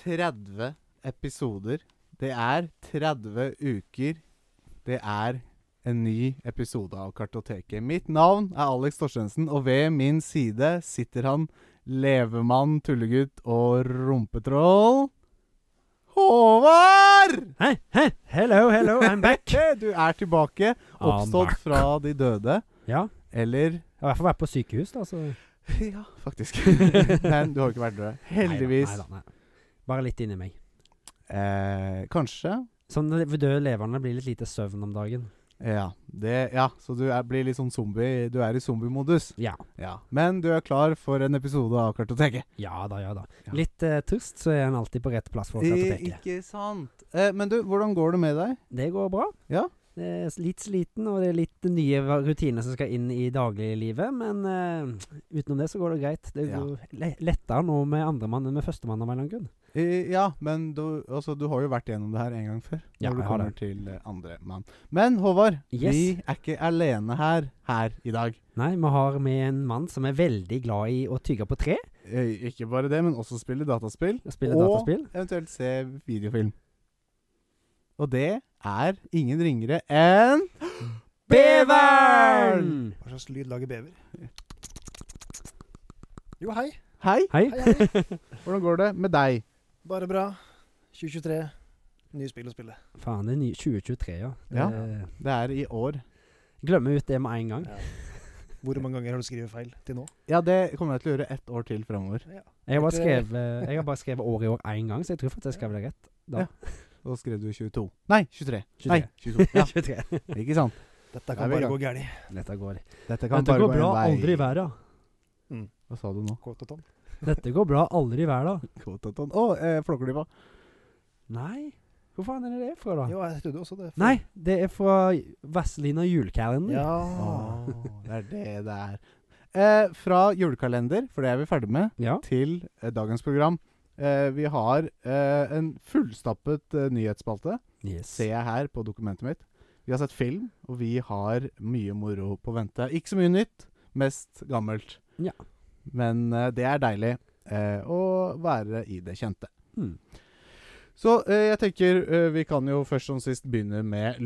30 episoder. Det er 30 uker. Det er en ny episode av Kartoteket. Mitt navn er Alex Torstensen, og ved min side sitter han levemann, tullegutt og rumpetroll Håvard! Hei, hei, hello, hello, I'm back. Hei, Du er tilbake, I'm oppstått back. fra de døde. ja, jeg Eller har i hvert fall vært på sykehus, da. Så. Ja, faktisk. Men du har ikke vært død. Heldigvis. Neida, neida, neida. Bare litt inni meg. Eh, kanskje. Sånn le- for døde leverne blir litt lite søvn om dagen. Ja, det, ja, så du er, blir litt sånn zombie. Du er i zombiemodus. Ja. Ja. Men du er klar for en episode av Kartoteket. Ja da, ja da. Ja. Litt eh, tørst, så er en alltid på rett plass for kartoteket. ikke sant. Eh, men du, hvordan går det med deg? Det går bra. Ja. Det er s- litt sliten, og det er litt nye va- rutiner som skal inn i dagliglivet. Men eh, utenom det så går det greit. Det Ja. går le lettere nå med andremann enn med førstemann av en eller annen grunn. Eh, ja, men du, altså, du har jo vært gjennom det her en gang før. Ja, når du jeg har kommer det. til eh, andre mann. Men Håvard, Yes. vi er ikke alene her her i dag. Nei, vi har med en mann som er veldig glad i å tygge på tre. Eh, ikke bare det, men også spille dataspill. og Og- Spille dataspill. Eventuelt se videofilm. Og det er ingen ringere enn Beveren! Beveren! Hva slags lyd lager bever? Jo, hei. Hei, Hei. Hei, hei. hvordan går det med deg? Bare bra. 2023. Nye spill å spille. Faen, det er ny 2023, ja. Det, Ja. Det er i år. Glemmer ut det med en gang. Hvor mange ganger har du skrevet feil til nå? Ja, det kommer jeg til å gjøre ett år til framover. Ja. Jeg har bare Etter- skrevet, eh, jeg har bare skrevet år i år én gang, så jeg tror faktisk jeg skrev det rett. Da. Ja. Da skrev du 22. Nei, 23. 23. Nei, 22. Ja, 23. ikke sant. Dette Er kan vi i bare gang? gå gærent. Dette går, Dette kan Dette bare går gå bra, en vei. aldri i verda. Hva sa du nå? Kåt og tom. Dette går bra, aldri i verda. Kvotaton. Å, eh, flåklypa. Nei, hvor faen er det det er Ah. fra, da? Jo, jeg trodde også det. Mm. Nei, det er fra Vazelina julekalender. Ja. Å, det er det det er. Eh, fra julekalender, for det er vi ferdig med, Ja. til eh, dagens program. Eh, vi har eh, en fullstappet eh, nyhetsspalte, Yes. ser jeg her på dokumentet mitt. Vi har sett film, og vi har mye moro på vente. Ikke så mye nytt, mest gammelt. Ja. Men eh, det er deilig eh, å være i det kjente. Mm. Så eh, jeg tenker eh, vi kan jo først som sist begynne med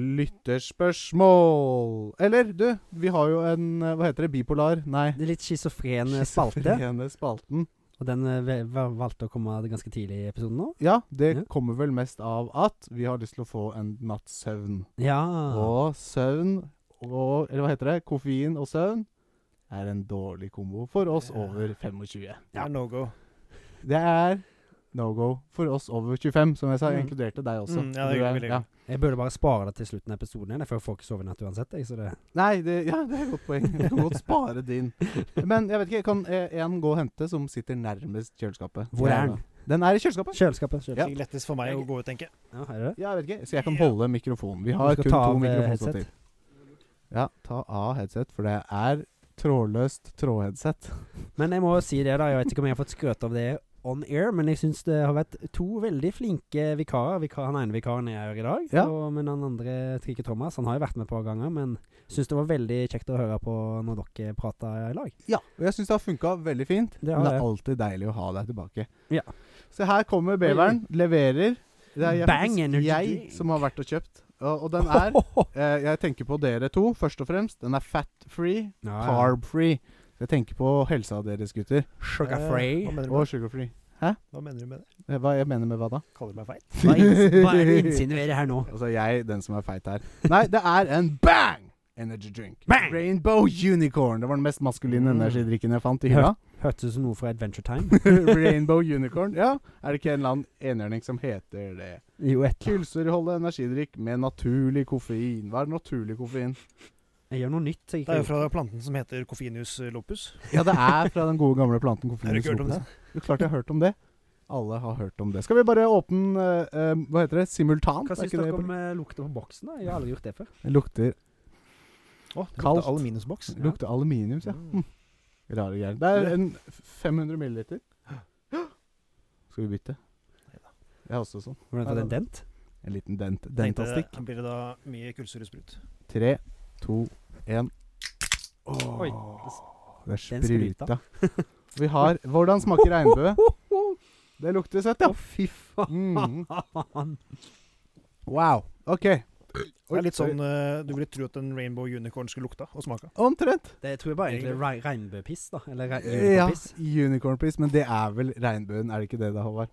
lytterspørsmål. Eller du, vi har jo en eh, Hva heter det? Bipolar? Nei. Det er litt schizofren eh, spalte, Schizofrene spalten. og den eh, ve- va- valgte å komme ganske tidlig i episoden nå. Ja, det Ja. kommer vel mest av at vi har lyst til å få en natts søvn. Ja. Og søvn og Eller hva heter det? Koffein og søvn er en dårlig kombo for oss Ja. over 25. Det er no go. Det er no go for oss over 25, som jeg sa. Jeg Mm. inkluderte deg også. Mm, ja, det Du gjorde vi veldig godt. Jeg burde bare spare det til slutten av episoden igjen, for jeg får ikke sove i natt uansett. Jeg, så det Nei, det, ja, det er et godt poeng. Du kan godt spare din. Men jeg vet ikke, kan eh, en gå og hente som sitter nærmest kjøleskapet? Hvor er den? Den er i kjøleskapet. Kjøleskapet. Ja. kjøleskapet. Det er lettest for meg å gå ut, tenker jeg. Ja, er det det? Ja, jeg vet ikke. Så jeg kan holde mikrofonen. Vi har Du skal kun ta to av, eh, mikrofonstativ. Ja, ta av headset, for det er trådløst trådheadset. Men jeg må jo si det, da. Jeg vet ikke om jeg har fått skrøt av det on air, men jeg syns det har vært to veldig flinke vikarer. Vikar, han ene vikaren er her i dag, Ja. og, men han andre, Trikke Thomas, han har jo vært med et par ganger. Men syns det var veldig kjekt å høre på når dere prata i lag. Ja, og jeg syns det har funka veldig fint. Det har men det er det. alltid deilig å ha deg tilbake. Ja. Så her kommer beveren, leverer. Det er jeg, Bang faktisk energy jeg drink. som har vært og kjøpt. Og, og den er eh, Jeg tenker på dere to, først og fremst. Den er fat free. Ja, ja. Carb free. Jeg tenker på helsa deres, gutter. Sugar Eh, Hva free. mener du Og med det? sugar free. Hva mener du med det? Eh, Hva jeg mener med hva da? Kaller du meg feil? Hva ins- hva er det du insinuerer her nå? Altså jeg, den som er feit her. Nei, det er en bang energy drink. Bang! Rainbow Unicorn. Det var den mest maskuline Mm. energidrikken jeg fant i hylla. Hørtes ut som noe fra Adventure Time. Rainbow Unicorn. Ja, er det ikke en eller annen enhjørning som heter det? Jo, et Kullsyreholdig energidrikk med naturlig koffein. Hva er naturlig koffein? Jeg gjør noe nytt. så Jeg Det er jo ikke, fra planten som heter Cofinus lopus. Ja, det er fra den gode gamle planten Har Coffeeus du ikke hørt om det? Jo, klart jeg har hørt om det. Alle har hørt om det. Skal vi bare åpne eh, eh, Hva heter det? Simultant? hva Er syns ikke det dere på- om eh, lukta på boksen? da? Jeg har aldri gjort det før. Det lukter, Å, det Kaldt. lukter aluminiumsboks. Ja. lukter aluminium, ja. Mm. Rare greier. Det er en f- 500 milliliter. Skal vi bytte? Jeg har også sånn. Hvordan var det en dent? En liten dent. Tenkte Dentastikk. det- Blir det da mye kullsyresprut? Tre, to, én. Åh, Oi. det Den spruta. spruta. Vi har Hvordan smaker regnbue? Det lukter søtt, Å, ja. fy faen. Mm. Wow. OK. Det er litt Oi. sånn eh, Du ville tro at en Rainbow Unicorn skulle lukta og smake. Omtrent. Det tror jeg bare egentlig er rein- regnbuepiss, da. Eller rein- Ja, regnbuepiss. unicorn piss, men det er vel regnbuen, er det ikke det det, Håvard?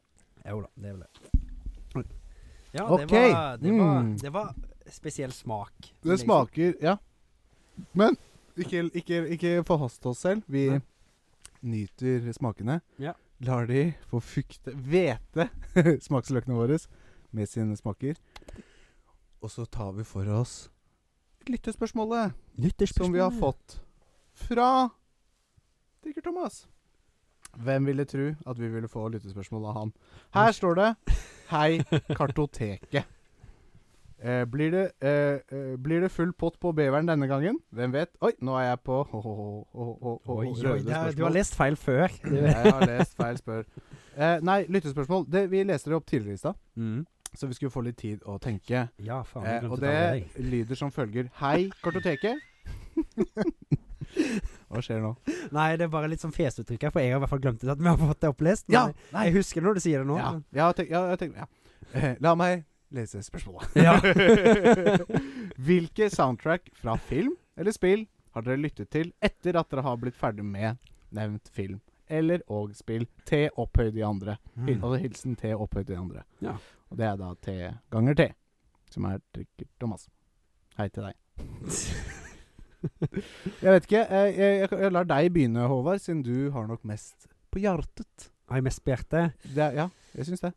Jo da, det er vel det. Ja, Ok. det, var, det, var, Mm. det var spesiell smak. Det smaker Ja. Men ikke, ikke, ikke forhast oss selv. Vi Nei. nyter smakene. Ja. Lar de få fukte Hvete smaksløkene våre med sine smaker. Og så tar vi for oss lyttespørsmålet som vi har fått fra Dikker Thomas. Hvem ville tro at vi ville få lyttespørsmål av han? Her står det 'Hei, Kartoteket'. Eh, blir, det, eh, eh, blir det full pott på beveren denne gangen? Hvem vet? Oi, nå er jeg på ho, ho, ho, ho, ho, ho, Oi, røde oi, det er, du spørsmål. Mm. har lest feil før. Jeg har lest feil spør. Eh, nei, lyttespørsmål. Det, vi leste det opp tidligere i stad, Mm. så vi skulle få litt tid å tenke. Ja, faen. jeg Eh, glemte og å ta med det lyder som følger. Hei, Kartoteket. Hva skjer nå? deg. Nei, det er bare litt sånn fjesuttrykk her, for jeg har i hvert fall glemt det at vi har fått det opplest. Ja, men Jeg husker når du sier det nå. Ja, ja, tenk, ja, jeg tenker- ja. Eh, La meg lese spørsmålet. Ja. Hvilke soundtrack fra film eller spill har dere lyttet til etter at dere har blitt ferdig med nevnt film eller og spill? T opphøyd i andre. Hil- Mm. Altså hilsen T opphøyd i andre. Ja. Og det er da T ganger T, som er Trikker Thomas. Hei til deg. Jeg vet ikke. eh, Jeg, jeg, jeg lar deg begynne, Håvard, siden du har nok mest på hjertet. Har jeg mest på hjertet? Det, er- ja, jeg syns det.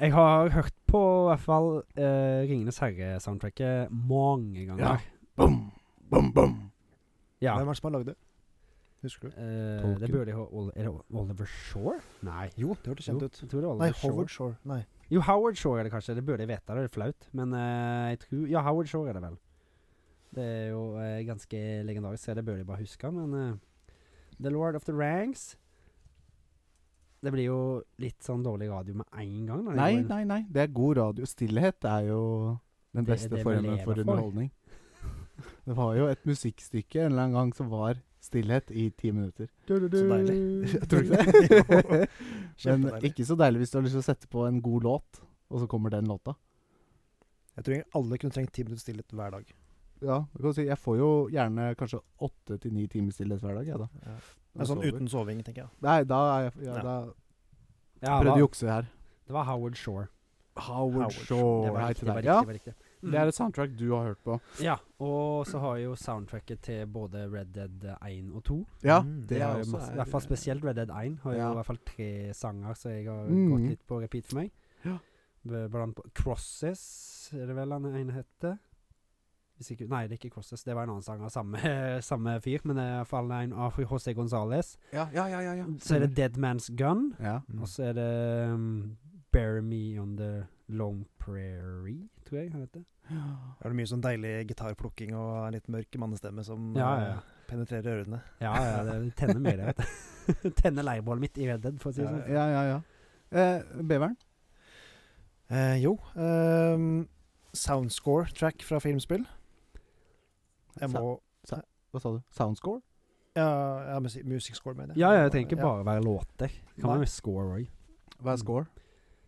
Jeg har hørt på i hvert fall eh, Ringenes herre-soundtracket mange Ja. ganger. Bom, bom, bom. Ja. Hvem er det som har lagd det? Husker du? Eh, det Tolkien. burde jeg ha Ol- Er det Oliver Shore? Nei. Jo, det hørtes kjent Jo, ut. jeg tror Oh, det er Oliver Nei, Shore. Howard Shore. Nei. Jo, Howard Shore er det kanskje. Det burde jeg vite, det er flaut. Men eh, jeg tror Ja, Howard Shore er det vel. Det er jo eh, ganske legendarisk, så det burde jeg bare huske. Men eh, The Lord of the Ranks Det blir jo litt sånn dårlig radio med en gang. da. Det Nei, går inn- nei, nei. Det er god radio. Stillhet er jo den Det er beste det vi formen lever for for. underholdning. Det var jo et musikkstykke en eller annen gang som var stillhet i ti minutter. Så deilig. Jeg tror ikke det. Men Kjempedeilig. ikke så deilig hvis du har lyst til å sette på en god låt, og så kommer den låta. Jeg tror egentlig alle kunne trengt ti minutter stillhet hver dag. Ja, du kan si, Jeg får jo gjerne kanskje åtte til ni timer stillhet hver dag. Jeg, da. Ja. Når jeg Men sånn sover. uten soving, tenker jeg. Nei, da er jeg ja, Ja. da Ja, det prøvde var, å jukse her. det var Howard Shore. Howard Det Shore. var Hei riktig. til Det var deg. riktig, Ja, det var riktig. det er et soundtrack du har hørt på. Ja, og så har jeg jo soundtracket til både Red Dead 1 og 2. Ja, Mm. det Det har er jo også masse, I hvert fall spesielt Red Dead 1 har Ja. jo i hvert fall tre sanger som jeg har Mm. gått litt på repeat for meg. Ja. B- Blant på Crosses, er det vel han ene heter? Hvis ikke, nei, det er ikke Crosses, det var en annen sang av samme, samme fyr, men det er i hvert fall en av José Gonzales. Ja, ja, ja, ja, ja. Så er det Dead Man's Gun, Ja. og Altså, så er det um, Bury Me On The Long Prairie, tror jeg han heter. Da Er det mye sånn deilig gitarplukking og en litt mørk mannestemme som Ja, ja, ja. eh, penetrerer ørene? Ja, ja, det tenner meg det, vet du. tenner leirbålet mitt i Red Dead, for å si det sånn. Ja, ja, ja. Eh, beveren? Eh, jo. ehm, Soundscore-track fra filmspill. Jeg Sa- må Hva sa du? Soundscore? Ja, ja musi- music score, mener jeg. Ja, ja, jeg trenger ikke Ja. bare være låter. Kan Nei. være score òg. Hva er score?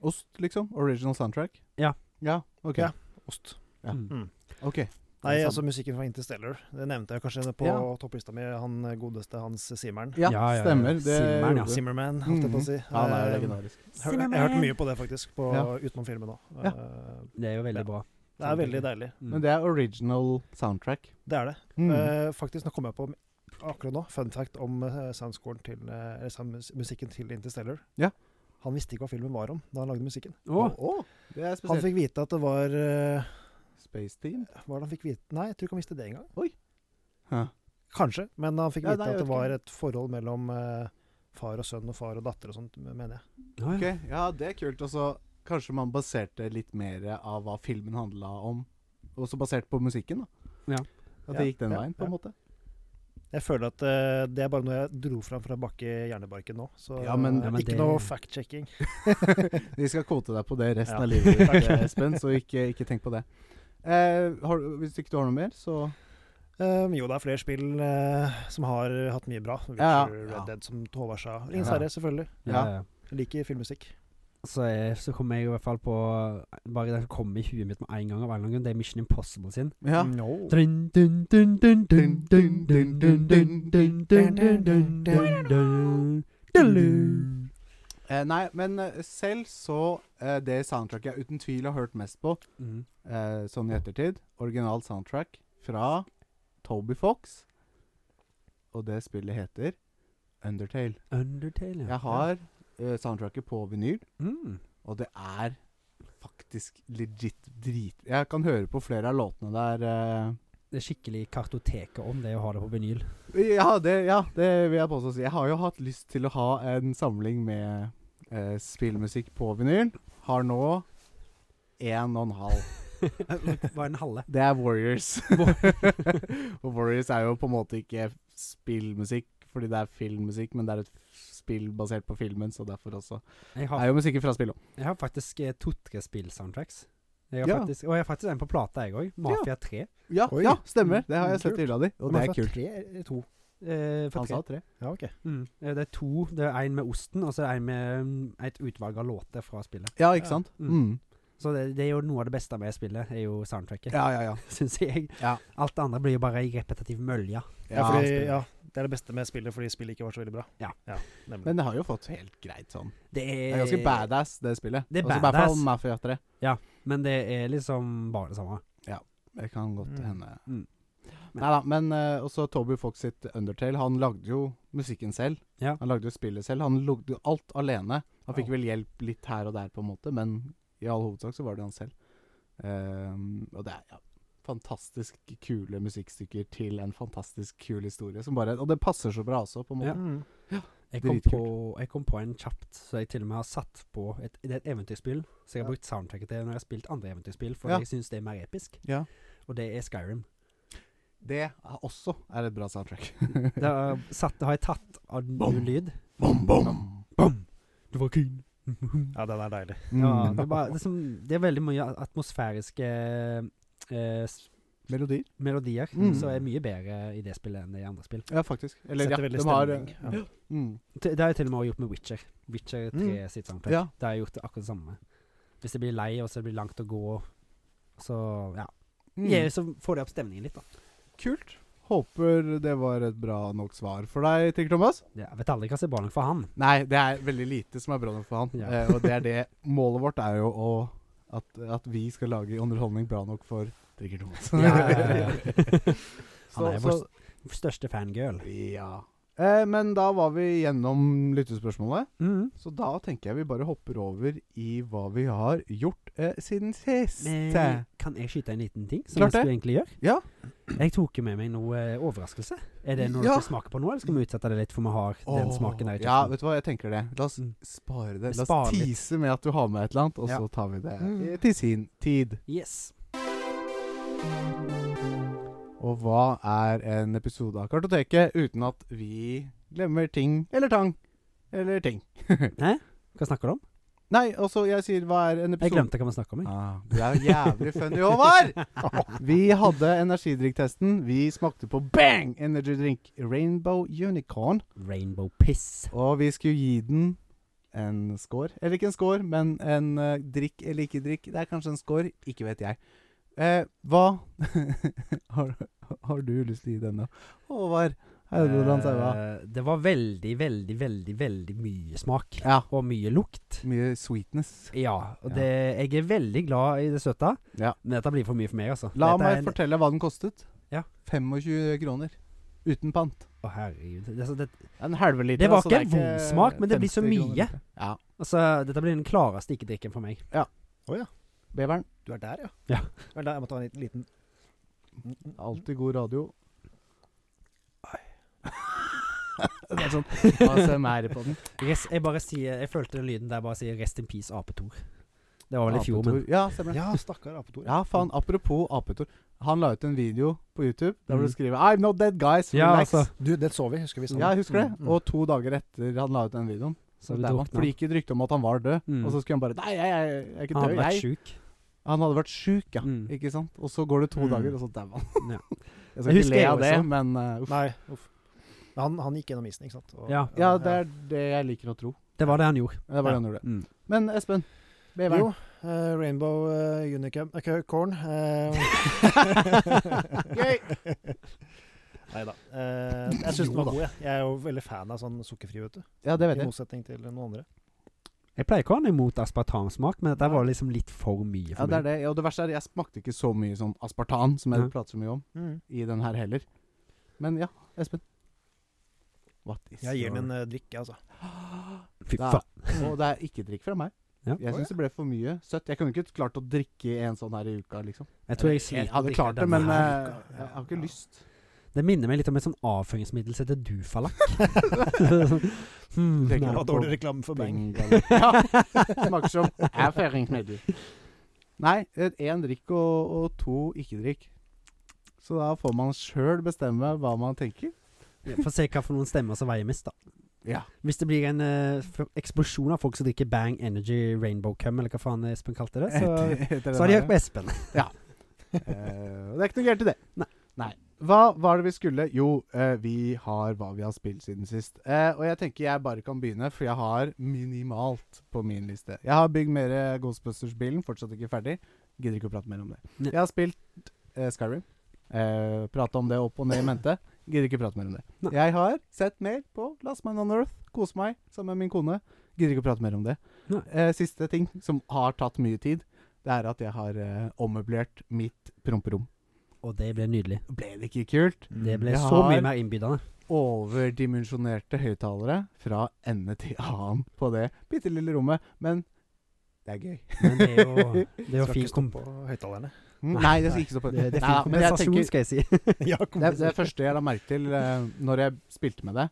Ost, liksom? Original soundtrack? Ja. Ja, ok. Ja. Ost. Ja. Mm. Ok. Nei, sånn. Det er altså musikken fra Interstellar. Det nevnte jeg kanskje på Ja. topplista mi, han godeste Hans Simmeren. Ja, Ja, ja, ja. stemmer. Det Simmeren, gjorde ja. du. Zimmerman, holdt jeg på å si. Ja, han er Eh, legendarisk. hør- jeg har hørt mye på det, faktisk, på, Ja. utenom filmen òg. Ja. Det er jo veldig Ja. bra. Det er veldig deilig. Mm. Men det er original soundtrack. Det er det. Mm. Eh, faktisk, nå kommer jeg på akkurat nå, fun fact om eh, soundscoren til eh, eller sound- musikken til Interstellar. Ja. Han visste ikke hva filmen var om da han lagde musikken. Å, Å, det er Han spesielt. fikk vite at det var eh, Space Team? Hva er det han fikk vite? Nei, jeg tror ikke han visste det engang. Hæ. Kanskje, men han fikk Ja, vite nei, jeg at vet ikke. det var et forhold mellom eh, far og sønn og far og datter og sånt, mener jeg. ja, Ok, ja. ja, det er kult. Og så kanskje man baserte litt mer av hva filmen handla om, også basert på musikken, da. Ja. At det Ja, gikk den ja, veien, på en ja. måte. Jeg føler at eh, det er bare noe jeg dro fram fra bakke hjernebarken nå. Så Ja, men- eh, Ja, men ikke det- noe fact-checking. Vi skal kvote deg på det resten Ja. av livet, ditt, eh, Takk. Espen, så ikke, ikke tenk på det. Eh, har, du- hvis ikke du har noe mer, så Um, jo, det er flere spill eh, som har hatt mye bra. Witcher, Ja, ja. Red Ja. Dead, som Håvard sa. Ingen Ja. Sverre, selvfølgelig. ja. ja. Jeg liker filmmusikk. så, jeg, så kom jeg i hvert fall på Bare det som kom i huet mitt med en gang, av en eller annen grunn, det er Mission Impossible sin. Ja. No. Dun, dun, dun, dun, dun, dun, dun, dun, dun, dun, dun, dun, dun, dun, dun. Dulu. Eh, nei, men eh, selv så eh, Det soundtracket jeg uten tvil har hørt mest på, Mm. eh, sånn i ettertid, originalt soundtrack fra Toby Fox, og det spillet heter Undertale. Undertale, ja. Jeg har eh, soundtracket på vinyl, Mm. og det er faktisk legit drit Jeg kan høre på flere av låtene der. eh, Det er skikkelig kartoteket om det å ha det på vinyl. Ja det, ja, det vil jeg påstå. å si. Jeg har jo hatt lyst til å ha en samling med eh, spillmusikk på vinyl. Har nå én og en halv. Bare en halve. Det er Warriors. og Warriors er jo på en måte ikke spillmusikk, fordi det er filmmusikk, men det er et spill basert på filmen, så derfor også. Det Jeg har, er jo musikken fra spillet òg. jeg har faktisk eh, to-tre spill-soundtracks. Jeg har Ja. faktisk, og jeg har faktisk en på plate, jeg òg. Mafia 3. Ja, Oi. ja, stemmer. Det har jeg sett Kult. i hylla di, og Men det er fra kult. Tre, eller to. Eh, for Han tre. sa tre. Ja, ok. Mm. Eh, Det er to. Det er en med osten, og så er det en med mm, et utvalg av låter fra spillet. Ja, Ja. ikke sant? Mm. Mm. Så det, det er jo noe av det beste med spillet, er jo soundtracket, Ja, ja, ja. syns jeg. Ja. Alt det andre blir jo bare ei repetitiv mølje. Ja, fordi, spillet. ja, det er det beste med spillet, fordi spillet ikke var så veldig bra. Ja. nemlig. Men det har jo fått helt greit sånn. Det er, Det er ganske badass, det spillet. Eh, Det er Også i hvert fall badass. Mafia 3. Men det er liksom bare det samme. Det kan godt Mm. hende. Mm. Nei da, men eh, også Toby Fox sitt Undertale. Han lagde jo musikken selv. Ja. Han lagde jo spillet selv. Han lagde jo alt alene. Han fikk Wow. vel hjelp litt her og der, på en måte, men i all hovedsak så var det han selv. Ehm, og det er ja, fantastisk kule musikkstykker til en fantastisk kul historie. Som bare, og det passer så bra også, på en måte. Ja. Mm. Jeg kom, Dritkult. på, jeg kom på en kjapt, så jeg til og med har satt på et, Det er et eventyrspill, så jeg har Ja. brukt soundtracket til når jeg har spilt andre eventyrspill, for Ja. jeg syns det er mer episk. Ja. Og det er Skyrim. Det er også er et bra soundtrack. Det har, satt, har jeg tatt av Bom. ny lyd. bom, bom! Bom! Du var keen. Ja, den er deilig. Ja, Mm. det, er bare, det, er som, det er veldig mye atmosfæriske eh, s- Melodier. melodier Mm. som er mye bedre i det spillet enn i andre spill. Ja, faktisk. Eller Setter ja, veldig de har stemning. Ja. mm. Det, det har jeg til og med også gjort med Witcher. Witcher 3 Mm. sitt soundtrack. Ja. Da har jeg gjort det akkurat det samme. Hvis jeg blir lei, og så det blir langt å gå, så ja. Mm. Jeg, så får det opp stemningen litt, da. Kult. Håper det var et bra nok svar for deg, Tigger Thomas. Jeg vet aldri hva som er bra nok for han. Nei, det er veldig lite som er bra nok for han. Ja. Eh, og det er det målet vårt er jo å at, at vi skal lage underholdning bra nok for Tigger Thomas. Ja, ja, ja. Han så, er så, vår største fangirl. ja. Eh, men da var vi gjennom lyttespørsmålet, Mm. så da tenker jeg vi bare hopper over i hva vi har gjort eh, siden sist. Men, kan jeg skyte en liten ting, som Eh, Klart jeg det. skulle egentlig gjøre? Ja. Jeg tok jo med meg noe eh, overraskelse. Er det noe Ja. du skal smake på nå, eller skal vi utsette det litt, for vi har den Åh, smaken der Ja, i kjeften? vet du hva, jeg tenker det. La oss Mm. spare det. Vi La oss sparer litt. tease med at du har med et eller annet, og Ja. så tar vi det Mm. eh, til sin tid. Yes. Og hva er en episode av Kartoteket uten at vi glemmer ting eller tang eller ting? Hva snakker du om? Nei, altså, jeg sier hva er en Jeg episode glemte hva vi snakka om. jeg. Ah, du er jo jævlig funny, Håvard! Vi hadde energidrikktesten. Vi smakte på bang energy drink Rainbow Unicorn. Rainbow piss. Og vi skulle gi den en score. Eller ikke en score, men en eh, drikk eller ikke drikk. Det er kanskje en score, ikke vet jeg. Eh, hva har, har du lyst til å gi den, da? Håvard Haudeland Saua. Eh, det var veldig, veldig, veldig veldig mye smak. Ja. Og mye lukt. Mye sweetness. Ja. og Ja. Det, jeg er veldig glad i det søte, Ja. men dette blir for mye for meg, altså. La dette er meg en- fortelle hva den kostet. Ja. 25 kroner. Uten pant. Å, herregud. Det, er så- det, En halvliter. Det var altså, ikke en vond smak, men det blir så 50 kroner. mye. Ja. altså, dette blir den klareste ikke-drikken for meg. Beveren. Du er der, ja? Ja. Vel, da, jeg må ta en liten, liten. Mm, mm. Alltid god radio. det er sånn ASMR på den. Res, jeg bare sier Jeg følte den lyden der jeg bare sier 'Rest in peace, Apetor'. Det var vel i fjor, men Apetor. Ja, stemmer det. Ja, stakkar apetor. Ja, faen. Apropos Apetor. Han la ut en video på YouTube der hvor det Mm. skriver I'm not dead, guys. Ja, Relax. altså. Du, den så vi, husker vi. sammen. Ja, jeg husker det. Mm, mm. Og to dager etter han la ut den videoen, Så så der du man, drukna. for det gikk et rykte om at han var død. Mm. Og så skulle han bare Nei, jeg, jeg, jeg er ikke han død, hadde vært jeg. sjuk. Han hadde vært sjuk, ja. Mm. Ikke sant? Og så går det to Mm. dager, og så dauer han. Ja. Jeg Jeg skal ikke husker le jeg av det, også. men uh, uff. Nei, uff. Men Han, han gikk gjennom isen, ikke sant? Og- eh, Ja. Ja, det er det jeg liker å tro. Det var det han gjorde. Det var det han gjorde. Mm. Men Espen, beveren. Jo, eh, Rainbow uh, Unicam Ok, Corn. eh. Gøy! Nei da. Eh, jeg syns den var god, jeg. Jeg er jo veldig fan av sånn sukkerfri, vet du. Ja, det vet I jeg. motsetning til noen andre. Jeg pleier ikke å ha noe imot aspartamsmak, men dette var liksom litt for mye Ja, for det er meg. det. Ja, og det verste er, jeg smakte ikke så mye sånn aspartan, som jeg Ja. prater så mye om, i den her heller. Men ja, Espen. What is Jeg gir your- den en eh, drikk, jeg, altså. Fy Da- faen. Og det er ikke drikk fra meg. Ja. Jeg syns det ble for mye søtt. Jeg kunne ikke klart å drikke en sånn her i uka, liksom. Jeg tror jeg sliter Jeg hadde med å klart drikke det, denne men her. eh, uka. jeg har ikke Ja. lyst. Det minner meg litt om et sånn avføringsmiddel som heter Dufalak. hmm, Det er Det Ja, nei. var dårlig reklame for Bang. Ja, smaker som erfaringsmiddel. Nei, én drikk og, og to ikke-drikk. Så da får man sjøl bestemme hva man tenker. Få se hva for noen stemmer som veier mest, da. Ja. Hvis det blir en eh, f- eksplosjon av folk som drikker Bang Energy Rainbow Cum, eller hva faen Espen kalte Eh, det, så, Etter- etter så har de den hørt her. på Espen. Eh, og det er ikke noe gærent i det. Nei. Hva var det vi skulle? Jo, eh, vi har hva vi har spilt siden sist. Eh, og jeg tenker jeg bare kan begynne, for jeg har minimalt på min liste. Jeg har bygd mer eh, Ghostbusters-bilen, fortsatt ikke ferdig. Gidder ikke å prate mer om det. Ne. Jeg har spilt eh, Skyrim. Eh, Prata om det opp og ned i mente. Gidder ikke prate mer om det. Nei. Jeg har sett mer på Last Man on Earth. Kose meg sammen med min kone. Gidder ikke å prate mer om det. Nei. Eh, siste ting som har tatt mye tid, det er at jeg har eh, ommøblert mitt promperom. Og det ble nydelig. Ble det ikke kult? Mm. Det ble Jeg så har- mye mer innbydende. Overdimensjonerte høyttalere fra ende til annen på det bitte lille rommet, men det er gøy. Men det er jo, det er jo Skal fin ikke stå kom... på høyttalerne. Mm, Nei, Nei, det skal ikke stå på. Det, det er Neida, fin men jeg kompensasjon, tenker- skal jeg si. ja, det, det første jeg la merke til eh, når jeg spilte med det,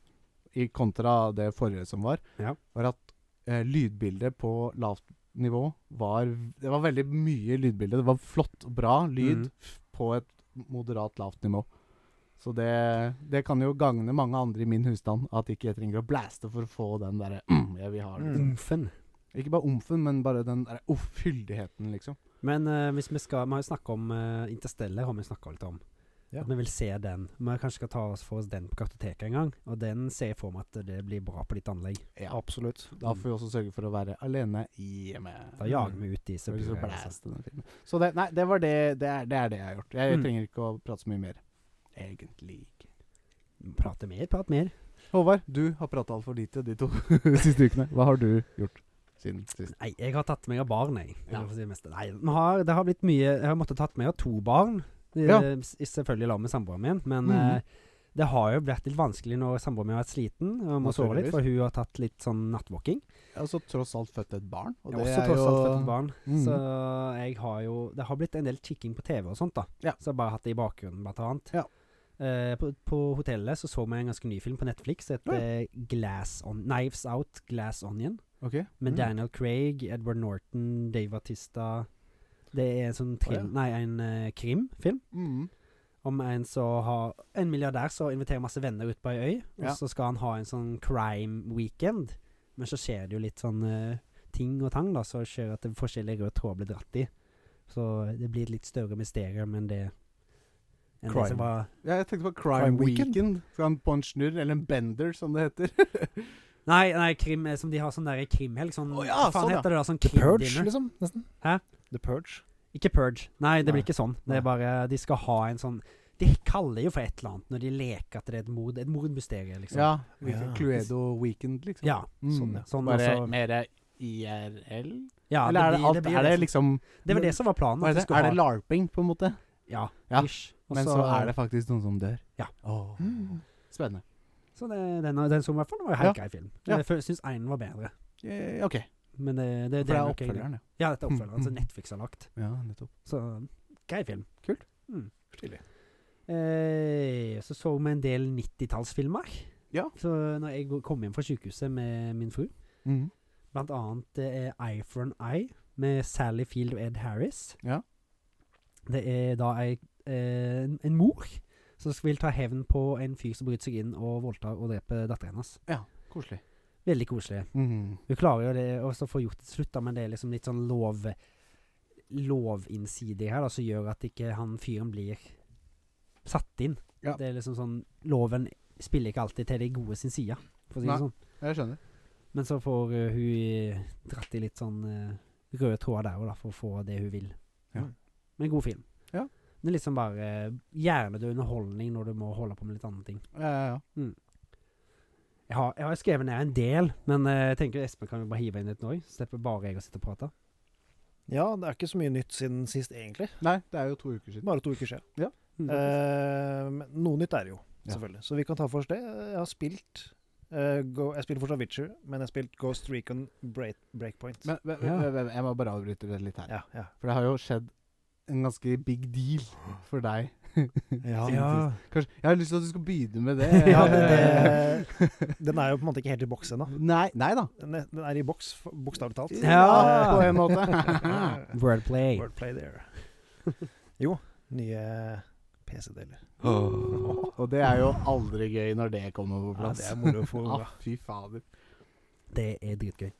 i kontra det forrige som var, Ja. var at eh, lydbildet på lavt nivå var Det var veldig mye lydbilde. Det var flott, bra lyd Mhm. f- på et moderat lavt nivå. Så det, det kan jo gagne mange andre i min husstand at ikke jeg trenger å blaste for å få den derre mm, jeg vil ha den. Mm. Umfen. Ikke bare omfen, men bare den derre uff, fyldigheten, liksom. Men eh, hvis vi skal Vi har jo snakka om uh, Interstellar, har vi snakka litt om. Ja. At vi vil se den. Vi kanskje skal ta oss for oss den på kartoteket en gang. Og den ser jeg for meg at det blir bra på ditt anlegg. Ja. Absolutt. Da får vi også sørge for å være alene hjemme. Mm. Da jager vi ut de Så som blir det så bor her, altså. blæst i den filmen. Så det, nei, det var det det er, det er det jeg har gjort. Jeg Mm. trenger ikke å prate så mye mer. Egentlig ikke. Prate mer, prat mer. Håvard, du har prata altfor lite de to siste ukene. Hva har du gjort siden sist? Nei, jeg har tatt meg av barn, jeg. Ja. Eller for å si det meste. Nei, vi har, det har blitt mye Jeg har måttet tatt meg av to barn. Eh, Ja. s- Selvfølgelig sammen med samboeren min, men Mhm. eh, det har jo blitt litt vanskelig når samboeren min har vært sliten og må sove litt, Naturligvis. for hun har tatt litt sånn nattvåking. Altså tross alt født et barn. Jeg har også tross alt født et barn. Mhm. Så jeg har jo Det har blitt en del kikking på TV og sånt, da. Ja. Så jeg har bare hatt det i bakgrunnen, blant annet. Ja. Eh, på, på hotellet så så vi en ganske ny film på Netflix. Det heter Glass On Knives Out Glass Onion. Ok. Med Mm. Daniel Craig, Edward Norton, Dave Batista Det er en sånn ja. trim, Nei, en eh, krimfilm Mm. om en som har En milliardær som inviterer masse venner ut på ei øy, og Ja. så skal han ha en sånn crime weekend. Men så skjer det jo litt sånn eh, ting og tang, da, så skjer at det forskjellige røde tråder blir dratt i. Så det blir et litt større mysterium enn det enn det Crime. som var Ja, jeg tenkte på Crime, Crime Weekend. Weekend. Skal han på en snurr, eller en bender, som det heter. Nei, nei, krim eh, som de har sånn der i krimhelg. Sånn, Å ja, hva faen sånn, ja. heter det da? Sånn The Purge, krimdinner. liksom? Nesten. Hæ? The Purge. Ikke purge. Nei, det Nei. blir ikke sånn. Det Nei. er bare De skal ha en sånn De kaller jo for et eller annet når de leker at det er et mord. Et mordmysterium, liksom. Ja. Ja. Cluedo Weekend, liksom. Ja, Mm. sånn, ja. Sånn, Bare altså- mer IRL? ja eller er det, blir- alt, blir er det som- liksom Det var det som var planen. hva At er de det? skulle Er det ha larping, på en måte? Ja, Ja. ish. Og Men så, er det faktisk noen som dør. Ja. Åh. Spennende. Så det, den, den som i hvert fall var en helt grei film. Ja. Jeg syns én var bedre. Eh, OK. Men det, For det, det det er nok jeg- oppfølgeren, ja. Ja, dette er oppfølgeren Mm, som mm. Netflix har lagt. ja nettopp. Så grei film. Kult. Mm. Stilig. Eh, så så vi en del 90-tallsfilmer. Ja. Så når jeg kom hjem fra sykehuset med min fru Blant annet det er Eye for an Eye med Sally Field og Ed Harris. Ja. Det er da ei, eh, en, en mor som vil ta hevn på en fyr som bryter seg inn og voldtar og dreper datteren hennes. Koselig. Veldig koselig. Hun klarer jo det og så får gjort det til slutt, da, men det er liksom litt sånn lov lovinnsidig her da, som gjør at ikke han fyren blir satt inn. Ja. Det er liksom sånn Loven spiller ikke alltid til de gode sin side, for å si Nei. det sånn. Jeg skjønner. Men så får eh, hun dratt i litt sånn eh, røde tråder der òg, da, for å få det hun vil. Ja. Men god film. Ja. Det er liksom bare eh, hjernedød underholdning når du må holde på med litt andre ting. Ja, ja, ja. Jeg har, jeg har skrevet ned en del, men eh, jeg tenker Espen kan jo bare hive inn et nå. Slipper bare jeg å sitte og prate. Ja, det er ikke så mye nytt siden sist, egentlig. Nei, det er jo to uker siden. Bare to uker siden. Mm. Eh, men noe nytt er det jo, Ja. selvfølgelig. Så vi kan ta for oss det. Jeg har spilt eh, Go, Jeg spiller fortsatt Witcher, men jeg har spilt Ghost Recon Break, Breakpoint. Men, men, Ja. men- men jeg må bare avbryte det litt her. ja, ja. For det har jo skjedd en ganske big deal for deg. Ja, Ja. Kanskje, jeg har lyst til at du skal begynne med det. men det, den er jo på en måte ikke helt i boks ennå. Nei, nei da. Den er- den er i boks, f- bokstavelig talt. Eh, Ja. På en måte. Wordplay. Wordplay there. Jo, nye PC-deler. Og det er jo aldri gøy når det kommer på Ja, plass. det er moro for Ah, unga. fy fader. Det er dritgøy.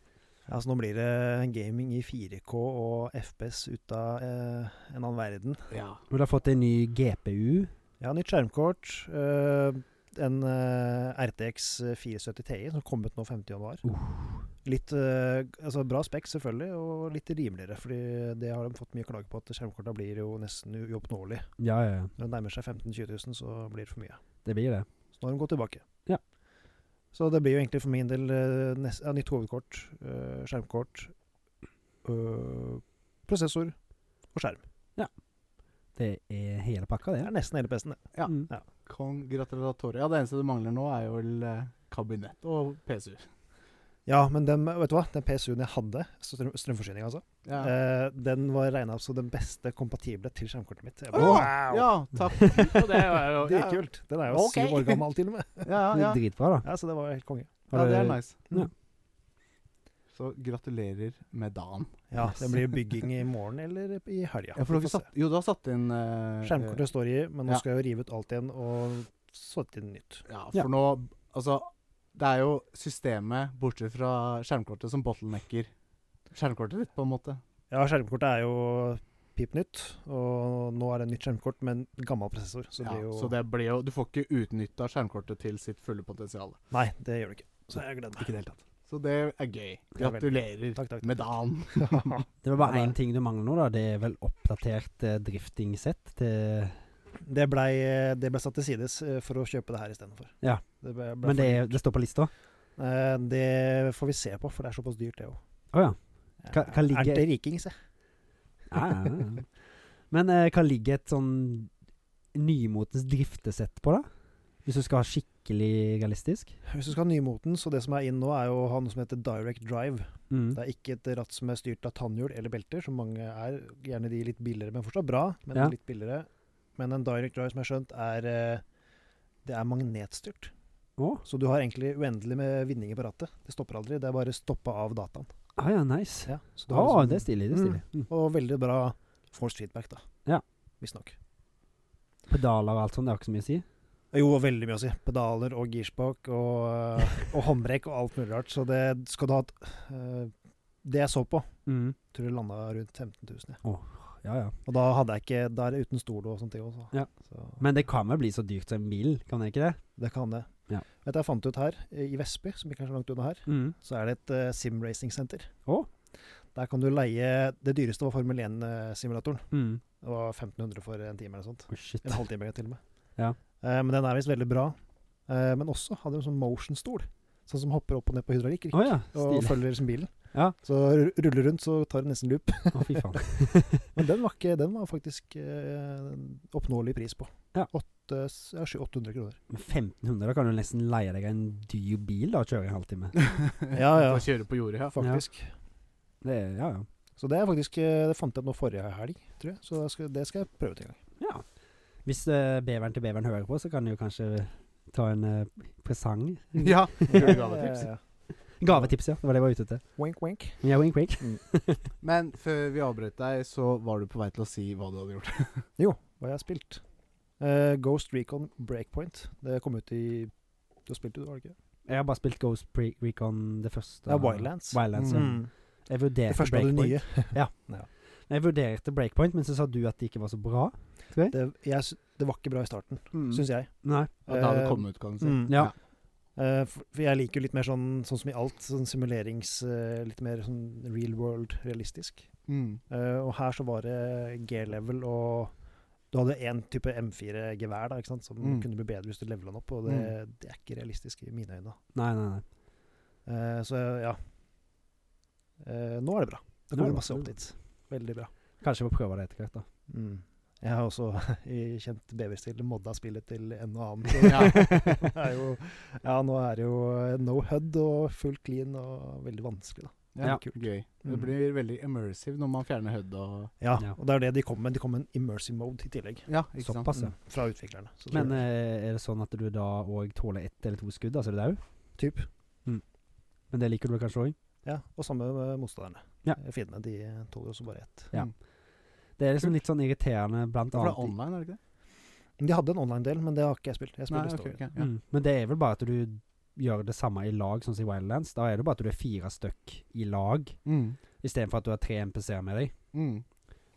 Altså, nå blir det gaming i 4K og FPS ut av eh, en annen verden. Ja. Og du har fått en ny GPU. Ja, nytt skjermkort. eh, en eh, RTX 470 Ti som kom ut nå 50. januar. Litt eh, altså bra spekk, selvfølgelig, og litt rimeligere. fordi det har de fått mye klager på, at skjermkorta blir jo nesten u- uoppnåelig. Ja, ja, ja. Når det nærmer seg 15 000-20 000, så blir det for mye. Det blir det. Så nå har de gått tilbake. Ja. Så det blir jo egentlig for min del eh, nes- ja, nytt hovedkort, eh, skjermkort, eh, prosessor og skjerm. Det er hele pakka, Det det. er nesten hele PC-en, det. Ja. Mm. Kong gratulatoria. Ja, det eneste du mangler nå, er jo vel eh, kabinett og PCU. Ja, men den, vet du hva? den PCU-en jeg hadde, strøm, strømforsyning altså, Ja. eh, den var regna som den beste kompatible til skjermkortet mitt. Jeg bare, Åh, wow! ja, takk. Og det var jo Det er kult. Den er jo Ok. syv år gammel til og med. Ja, Det ja. er dritbra, da. Ja, Så det var helt konge. ja, Har det er du- nice. Ja. Så gratulerer med dagen. Ja, Det blir bygging i morgen eller i helga. Ja, for Vi dere får satt, jo, du har satt inn eh, se. Skjermkortet står i, men nå Ja. skal jeg jo rive ut alt igjen og sette inn nytt. Ja, for Ja. nå Altså, det er jo systemet, bortsett fra skjermkortet, som bottlenecker skjermkortet ditt, på en måte. Ja, skjermkortet er jo pip nytt, og nå er det nytt skjermkort med en gammel prosessor. Så det ja, blir jo så det blir jo Du får ikke utnytta skjermkortet til sitt fulle potensial. Nei, det gjør det ikke. Så jeg gleder meg. Ikke i det hele tatt. Så det er gøy. Ja, veldig. Gratulerer Takk, takk. med dagen. Det var bare Ja, det- én ting du mangler nå, da. Det er vel oppdatert eh, drifting-sett til Det blei det ble satt til sides eh, for å kjøpe det her istedenfor. Ja. Det ble, ble Men det, er- det står på lista? for- Eh, det får vi se på, for det er såpass dyrt, det òg. Å ja. Hva- hva ligger- Er det riking, se? Ja, ja, ja. Men eh, hva ligger et sånn nymotens driftesett på, da? Hvis du skal ha skikkelig realistisk? Hvis du skal ha nymoten, så det som er inn nå, er jo å ha noe som heter direct drive. Mm. Det er ikke et ratt som er styrt av tannhjul eller belter, som mange er. Gjerne de litt billigere, men fortsatt bra. Men Ja. litt billigere. Men en direct drive, som jeg har skjønt, er eh, Det er magnetstyrt. Å? Så du har egentlig uendelig med vinninger på rattet. Det stopper aldri. Det er bare stoppa av dataen. Ah, ja, nice. Ja, så du Å, har liksom- det er stilig. Det er stilig. sånn- Mm. Og veldig bra forced feedback, da. Ja. Visstnok. Pedaler og alt sånt, det har ikke så mye å si? Jo, og veldig mye å si. Pedaler og girspak og, eh, og håndbrekk og alt mulig rart. Så det skal du ha et, eh, Det jeg så på, Mm. tror jeg landa rundt 15 000. jeg. Ja, ja. Og da hadde jeg ikke Da er det uten stol og sånne ting også. Ja. Så Men det kan vel bli så dyrt som en bil, kan det ikke det? det kan det. Ja. Vet du, jeg fant ut her, eh, i Vestby, som ikke er så langt unna her, Mm. så er det et eh, simracing-senter. Å. Der kan du leie Det dyreste var Formel 1-simulatoren. Mm. Det var 1500 for en time eller noe sånt. Å, shit. En halvtime til og med. Ja. Eh, men den er visst veldig bra. Eh, men også hadde de sånn motion-stol, sånn som hopper opp og ned på hydraulikk. Å ja, Og stilig. følger liksom bilen. Ja. Så ru- ruller rundt, så tar den nesten loop. Å, fy faen. Men den var, ikke, den var faktisk eh, oppnåelig pris på. Ja. Åtte- s- ja, sju- 800 kroner. Men 1500, da kan du nesten leie deg en dyr bil da, og kjøre en halvtime. Ja, ja. Får kjøre på jordet, ja. Faktisk. Det er, ja, ja. Så det er faktisk eh, Det fant jeg opp nå forrige helg, tror jeg. Så det skal, det skal jeg prøve til en gang. ja. Hvis eh, beveren til beveren hører på, så kan du jo kanskje ta en eh, presang. Ja. Julegavetips. Eh, Gavetips, ja. Det var det jeg var ute etter. wink, wink. Men jeg wink wink. Men før vi avbrøt deg, så var du på vei til å si hva du hadde gjort. Hva jeg har spilt? Eh, Ghost Recon Breakpoint. Det kom ut i Du har spilt det, du, har du ikke? Jeg har bare spilt Ghost Pre Recon det første. Ja, Wildlands. Wildlands, ja. Mm. Jeg vurderte Det første av det Breakpoint. nye. Jeg vurderte Breakpoint, men så sa du at det ikke var så bra. Det, jeg, sy- det var ikke bra i starten, Mm. syns jeg. Nei. At det hadde Eh, kommet ut, kan du si. mm, Ja. Eh, for for jeg liker jo litt mer sånn, sånn som i alt, sånn simulerings eh, Litt mer sånn real world realistisk. Mm. Eh, og her så var det G-level og Du hadde én type M4-gevær da, ikke sant, som Mm. kunne bli bedre hvis du levela den opp, og det, Mm. det er ikke realistisk i mine øyne. Nei, nei, nei. Eh, så ja. Eh, nå er det bra. Nå er Det kommer det masse bra. opp dit. Veldig bra. Kanskje vi prøver det etter hvert, da. Mm. Jeg har også i kjent beverstil modda spillet til en og annen. Så Ja. det er jo, ja, nå er det jo eh, no HUD og full clean og veldig vanskelig, da. Ja, Ja. Gøy. Det Mm. blir veldig immersive når man fjerner HUD og Ja, Ja. og det er det de kommer med. De kommer med en immersive mode i tillegg, altså, Ja, ikke sant. Såpass, ja. Mm. fra utviklerne. Så det- Men eh, er det sånn at du da òg tåler ett eller to skudd, altså er du dau? Typ. Mm. Men det liker du kanskje òg? eh, ja, og samme med motstanderne. Ja. Fiendene de tåler også bare ett. Det er liksom litt sånn irriterende blant Ja, For det annet er online, er det ikke det? De hadde en online-del, men det har ikke jeg spilt. Jeg spiller Nei, ok, story. ok, ja. mm. Men det er vel bare at du gjør det samme i lag, sånn som i Wildlands. Da er det bare at du er fire stykk i lag, Mm. istedenfor at du har tre NPC-er med deg. Mm.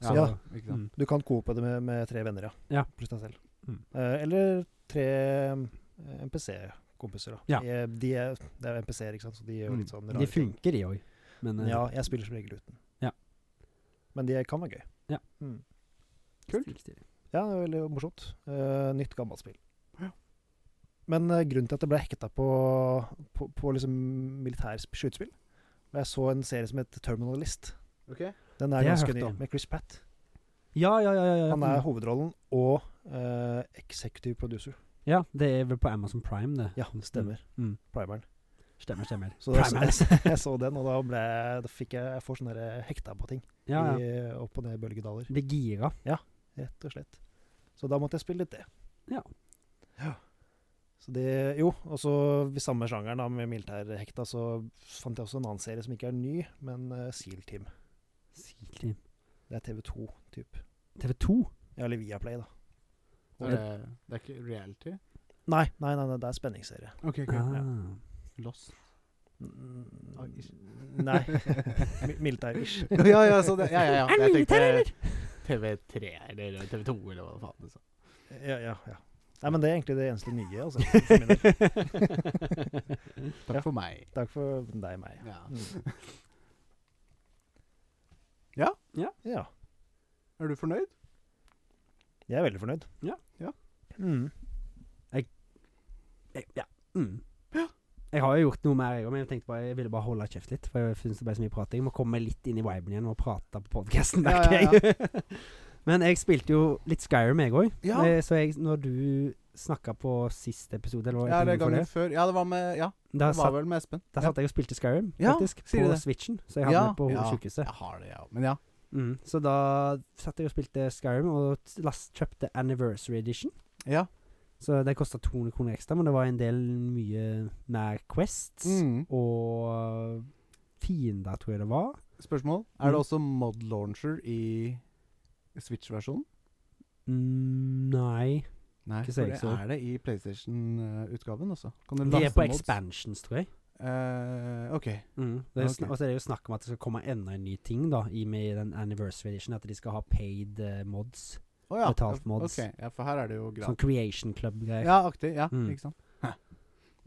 Ja, Så- ikke sant. Mm. Du kan coope det med, med tre venner, ja. Ja. Pluss deg selv. Mm. Eh, eller tre eh, MPC-kompiser, da. Ja. Eh, De er, det er MPC-er, ikke sant, så de gjør Mm. litt sånn De rare ting. funker, de òg. Men eh, Ja, jeg spiller som regel uten. Ja. Men de kan være gøy. Ja. Mm. kult. Ja, det er veldig morsomt. Eh, nytt, gammelt spill. Ja. Men eh, grunnen til at jeg ble hekta på, på, på liksom militært skytespill var Jeg så en serie som het Terminalist. Ok. Den Det er har jeg ganske hørt ny, om. med Chris Pratt. Ja, ja, ja. ja, ja. Han er Mm. hovedrollen og eh, executive producer. ja, det er vel på Amazon Prime, det. Ja, stemmer. Mm. Primeren. Stemmer, stemmer. Så da, Prime er det. så jeg, jeg så den, og da, ble, jeg- da fikk jeg, jeg får sånne der hekta på ting. Ja, ja. I opp- og ned-bølgedaler, Det gira. rett og slett. Så da måtte jeg spille litt det. Ja. ja. Så det, jo, og så i samme sjangeren da, med militærhekta, så fant jeg også en annen serie som ikke er ny, men eh, Seal Team. Siklig. Det er TV2, typ. TV2? Ja, eller Viaplay, da. Så Det, det er ikke reality? Nei, nei, nei, nei det er spenningsserie. OK, ok. Ah. Lost. Mm, Oi, ish. Nei. Mi- Militær-ish. ja, ja, så det, ja, ja, ja. Er det Jeg militær, tenkte TV3 eller TV2 eller hva faen det sa. Ja, ja, ja. Nei, men det er egentlig det eneste nye, altså. for min del. Takk for meg. Takk for deg, meg. Ja. Mm. Ja? Ja. ja. Er du fornøyd? Jeg er veldig fornøyd. Ja. Ja. Mm. Jeg- Ja. Mm. Jeg har jo gjort noe mer, jeg òg, men jeg tenkte bare, jeg ville bare holde kjeft litt. For jeg synes det ble så mye prating. Jeg må komme litt inn i viben igjen og prate på podkasten. Ja, ja, men jeg spilte jo litt Skyrim, jeg òg. Ja. Så jeg, når du snakka på sist episode, eller hva Ja, det er episoden gangen før før. Ja, det var med Ja, det, da det var satt, vel med Espen. da satt jeg og spilte Skyrim, Ja, faktisk. sier du på det? Switchen, så jeg hadde Ja, det på ja. hovedsjukehuset. Jeg har det, ja. Men ja. Mm, så da satt jeg og spilte Skyrim, og t- last, kjøpte Anniversary Edition. Ja. Så det kosta 200 kroner ekstra, men det var en del mye mer quests. Mm. Og fiender, tror jeg det var. Spørsmål? Mm. Er det også mod launcher i Switch-versjonen? Mm, nei Nei, Ikke for så jeg det så. er det i PlayStation-utgaven også. Kan De er laste på mods? expansions, tror jeg. Eh, OK. Mm. Det er, jo Ok. sn- Og så er det jo snakk om at det skal komme enda en ny ting da i med den Anniversary Edition. At de skal ha paid eh, mods. Å ja. Betalt ja, mods. ok. Ja, for her er det jo gratis. Sånn Creation Club-greier. Ja, aktig. Ja, Mm. ikke sant. Hæ.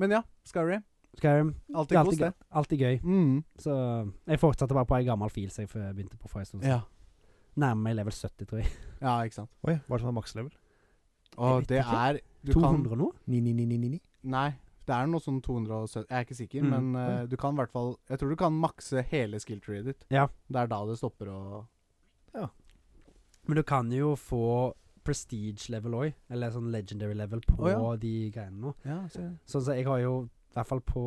Men ja, Skyrim. Skyrim. Det Alltid er kos, alltid, det. gøy- alltid gøy. Mm. Så jeg fortsatte bare på ei gammel fil som jeg før jeg begynte på for en stund siden. Ja. Nærmer meg level 70, tror jeg. ja, ikke sant. Oi, hva er det som er makslevel? Og vet det ikke. er du 200 nå? Kan, 9999? nei, det er noe sånn 270 Jeg er ikke sikker, Mm. men eh, du kan i hvert fall Jeg tror du kan makse hele skill treet ditt. Ja. Det er da det stopper å Men du kan jo få prestige level òg, eller sånn legendary level på Å, ja. de greiene nå. Ja, så Sånn som jeg har jo, i hvert fall på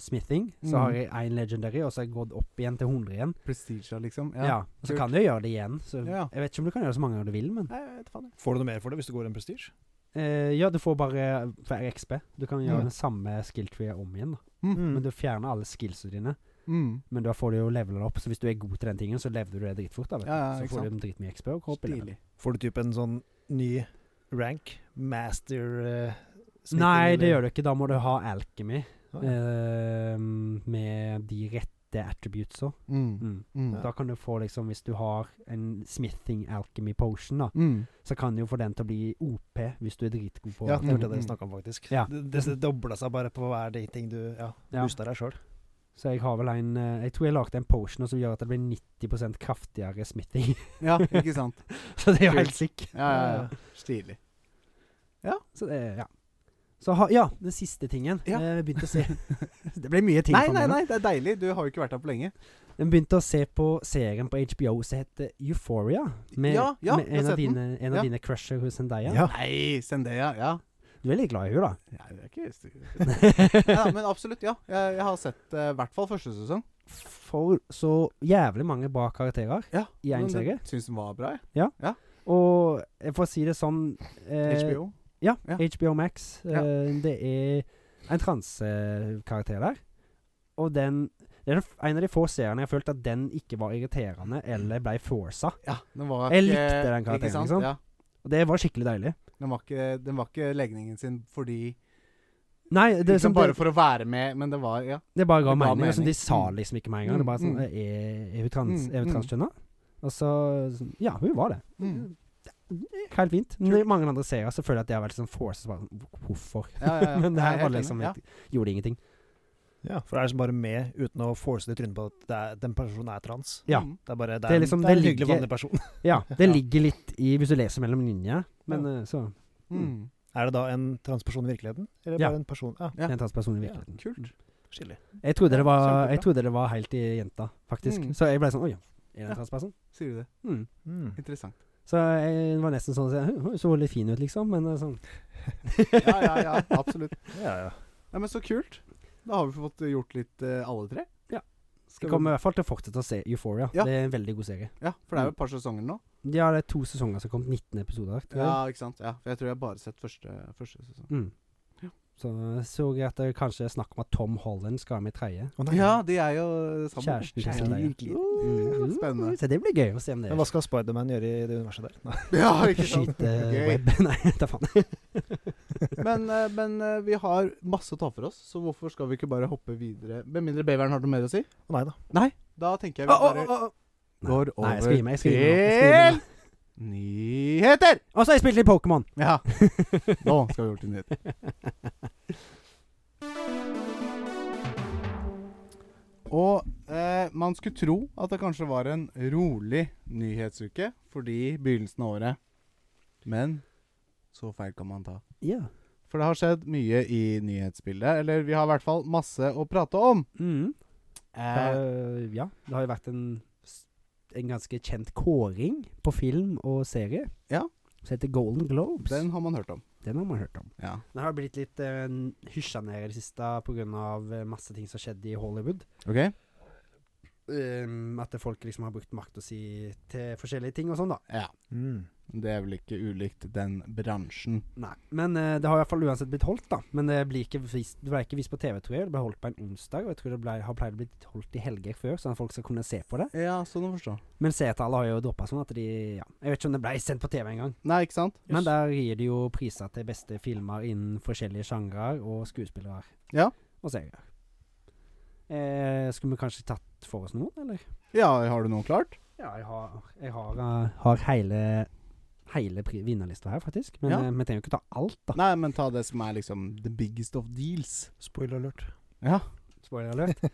smithing, så Mhm. har jeg én legendary, og så har jeg gått opp igjen til 100 igjen. prestige, liksom. Ja, Ja. og Så kult. kan du jo gjøre det igjen. Så Ja. jeg vet ikke om du kan gjøre det så mange ganger du vil, men Nei, jeg vet faen. jeg. Får du noe mer for det hvis du går en prestige? eh, Ja, du får bare hver XB. Du kan gjøre Mm. den samme skill tree om igjen, da. Mm. Men du fjerner alle skillsene dine. Mm. Men da får du jo levela opp, så hvis du er god til den tingen, så leveler du det dritfort. da, vet du. Ja, ja, så ikke får sant. du dritmye XB og går opp i level. Stilig. Får du typ en sånn ny rank? Master eh, Nei, det gjør du ikke. Da må du ha Alchemy Ah, ja. eh, med de rette gitte attributes òg. Mm. Mm. Da kan du få liksom Hvis du har en smithing alchemy potion, da, Mm. så kan du få den til å bli OP hvis du er dritgod på Ja, det var det Mm, dere mm. snakka om, faktisk. Ja. Det, det det dobla seg bare på hver de ting du ja, Ja. boosta deg sjøl. Så jeg har vel en eh, Jeg tror jeg lagde en potion som gjør at det blir 90 kraftigere smithing. Ja, ikke sant. så det er jo Kult. helt sick. Ja, ja, ja. Stilig. Så det er- ja. Så ha, ja, den siste tingen. Eh, Ja. Jeg begynte å se Det ble mye ting Nei, for nei, meg nå. nei, det er deilig. Du har jo ikke vært her på lenge. Jeg begynte å se på serien på HBO som heter Euphoria. Med, Ja, ja, med jeg har en av sett den. dine, en av Ja. dine crusher hos Zendaya. Ja. Nei, Zendaya. Ja. Du er litt glad i henne, da. ja det er ikke ja, men absolutt. Ja. Jeg, jeg har sett eh, i hvert fall første sesong. For så jævlig mange bra karakterer. Ja, I en men serie? det Syns den var bra, jeg. Og jeg får si det sånn eh, HBO. Ja, Ja. HBO Max. Ja. Eh, det er en transekarakter der. Og den Det er den f- en av de få seriene jeg følte at den ikke var irriterende eller ble forsa. Ja, den var Jeg ikke- likte den karakteren, ikke sant? liksom. Ja, Og det var skikkelig deilig. den, var ikke, den var ikke legningen sin fordi Nei, det, er liksom som Bare det, for å være med, men det var Ja. det bare ga det ga mening. og sånn, mening. de sa Mm. liksom ikke med en gang. Det bare sånn Mm, eh, Er, er hun trans, Mm, er hun mm. transkjønna? Og så sånn, Ja, hun var det. Mm. Helt fint. Men i mange andre serier så føler jeg at det har vært sånn forsa. så bare sånn, Hvorfor? ja, ja, ja. Men det Jeg er her var helt enig. liksom ja. ikke- Gjorde ingenting. Ja, for det er liksom bare med uten å force det i trynet på at det er, den personen er trans. Ja. Mm. Det er bare det Det er, er liksom- en, det er en det hyggelig, ligger- vanlig person. Ja. Det ligger litt i Hvis du leser mellom linjer, men eh, så Mm. Er det da en transperson i virkeligheten? Eller Ja. bare en person Ja, Ja. Det er en transperson i Ja, virkeligheten. Kult. skillig. Jeg trodde, det var, kjempebra. jeg trodde det var helt i jenta, faktisk. Mm. Så jeg ble sånn Oi, er det Ja. en transperson? Sier du det? Mm. Mm. Interessant. Så jeg var nesten sånn «Hm, Hun så litt fin ut, liksom, men eh, sånn Ja, ja, ja. Absolutt. Ja, ja. Nei, men så kult. Da har vi fått gjort litt, eh, alle tre. Ja. Skal Jeg vi- kommer i hvert fall til å fortsette å se Euphoria. Ja. Det er en veldig god serie. Ja, for det Mm. er jo et par sesonger nå. Ja, det er to sesonger som har kommet 19 episoder. tror jeg. Ja, ikke sant. Ja, for jeg tror jeg har bare sett første, første sesong. Mm. Ja. Så eh, så jeg at det kanskje er snakk om at Tom Holland skal være med i tredje. Å, nei. Ja, de er jo eh, sammen. Kjæresten til Zendaya. Virkelig. Uh, Mm. Spennende. Så det blir gøy å se om det Men hva skal Spiderman gjøre i det universet der? Nei. Ja, ikke sant? Skyte Gøy. web Nei, da faen. Men, eh, men eh, vi har masse å ta for oss, så hvorfor skal vi ikke bare hoppe videre? Med mindre beveren har noe mer å si? Å, nei da. Da tenker jeg Å, vi bare å, å, å. går Nei, over jeg skal gi meg. Jeg skal gi meg. nå. Jeg skal gi meg. nå. nyheter! Og så har jeg spilt litt Pokémon! Ja. Nå skal vi over til nyheter. Og eh, man skulle tro at det kanskje var en rolig nyhetsuke fordi begynnelsen av året. Men så feil kan man ta. Ja. For det har skjedd mye i nyhetsbildet. Eller vi har i hvert fall masse å prate om. Mm. Eh, Eh, ja, det har jo vært en, s- en ganske kjent kåring på film og serie. Ja. Som heter Golden Globes. Den, den har man hørt om. har man hørt om. Ja. Den har blitt litt uh, hysja ned i det siste pga. eh, masse ting som skjedde i Hollywood. OK? Um, at folk liksom har brukt makta si til forskjellige ting og sånn, da. Ja. Mm. Det er vel ikke ulikt den bransjen. Nei. Men eh, det har i hvert fall uansett blitt holdt, da. Men det, blir ikke vist, det ble ikke vist på TV, tror jeg. Det ble holdt på en onsdag, og jeg tror det ble, har pleid å bli holdt i helger før, sånn at folk skal kunne se på det. Ja, sånn å forstå. Men seertallet har jo droppa sånn at de Ja. Jeg vet ikke om det ble sendt på TV engang. Nei, ikke sant? Men der gir de jo priser til beste filmer innen forskjellige sjangre og skuespillere. Ja. Og serier. Eh, skulle vi kanskje tatt for oss noen, eller? Ja, har du noe klart? Ja, jeg har, jeg har, eh, har hele, hele pri- vinnerlista her, faktisk. Men Ja. eh, vi trenger jo ikke ta alt, da. Nei, men ta det som er liksom the biggest of deals. Spoiler alert. Ja. Spoiler alert. Nei,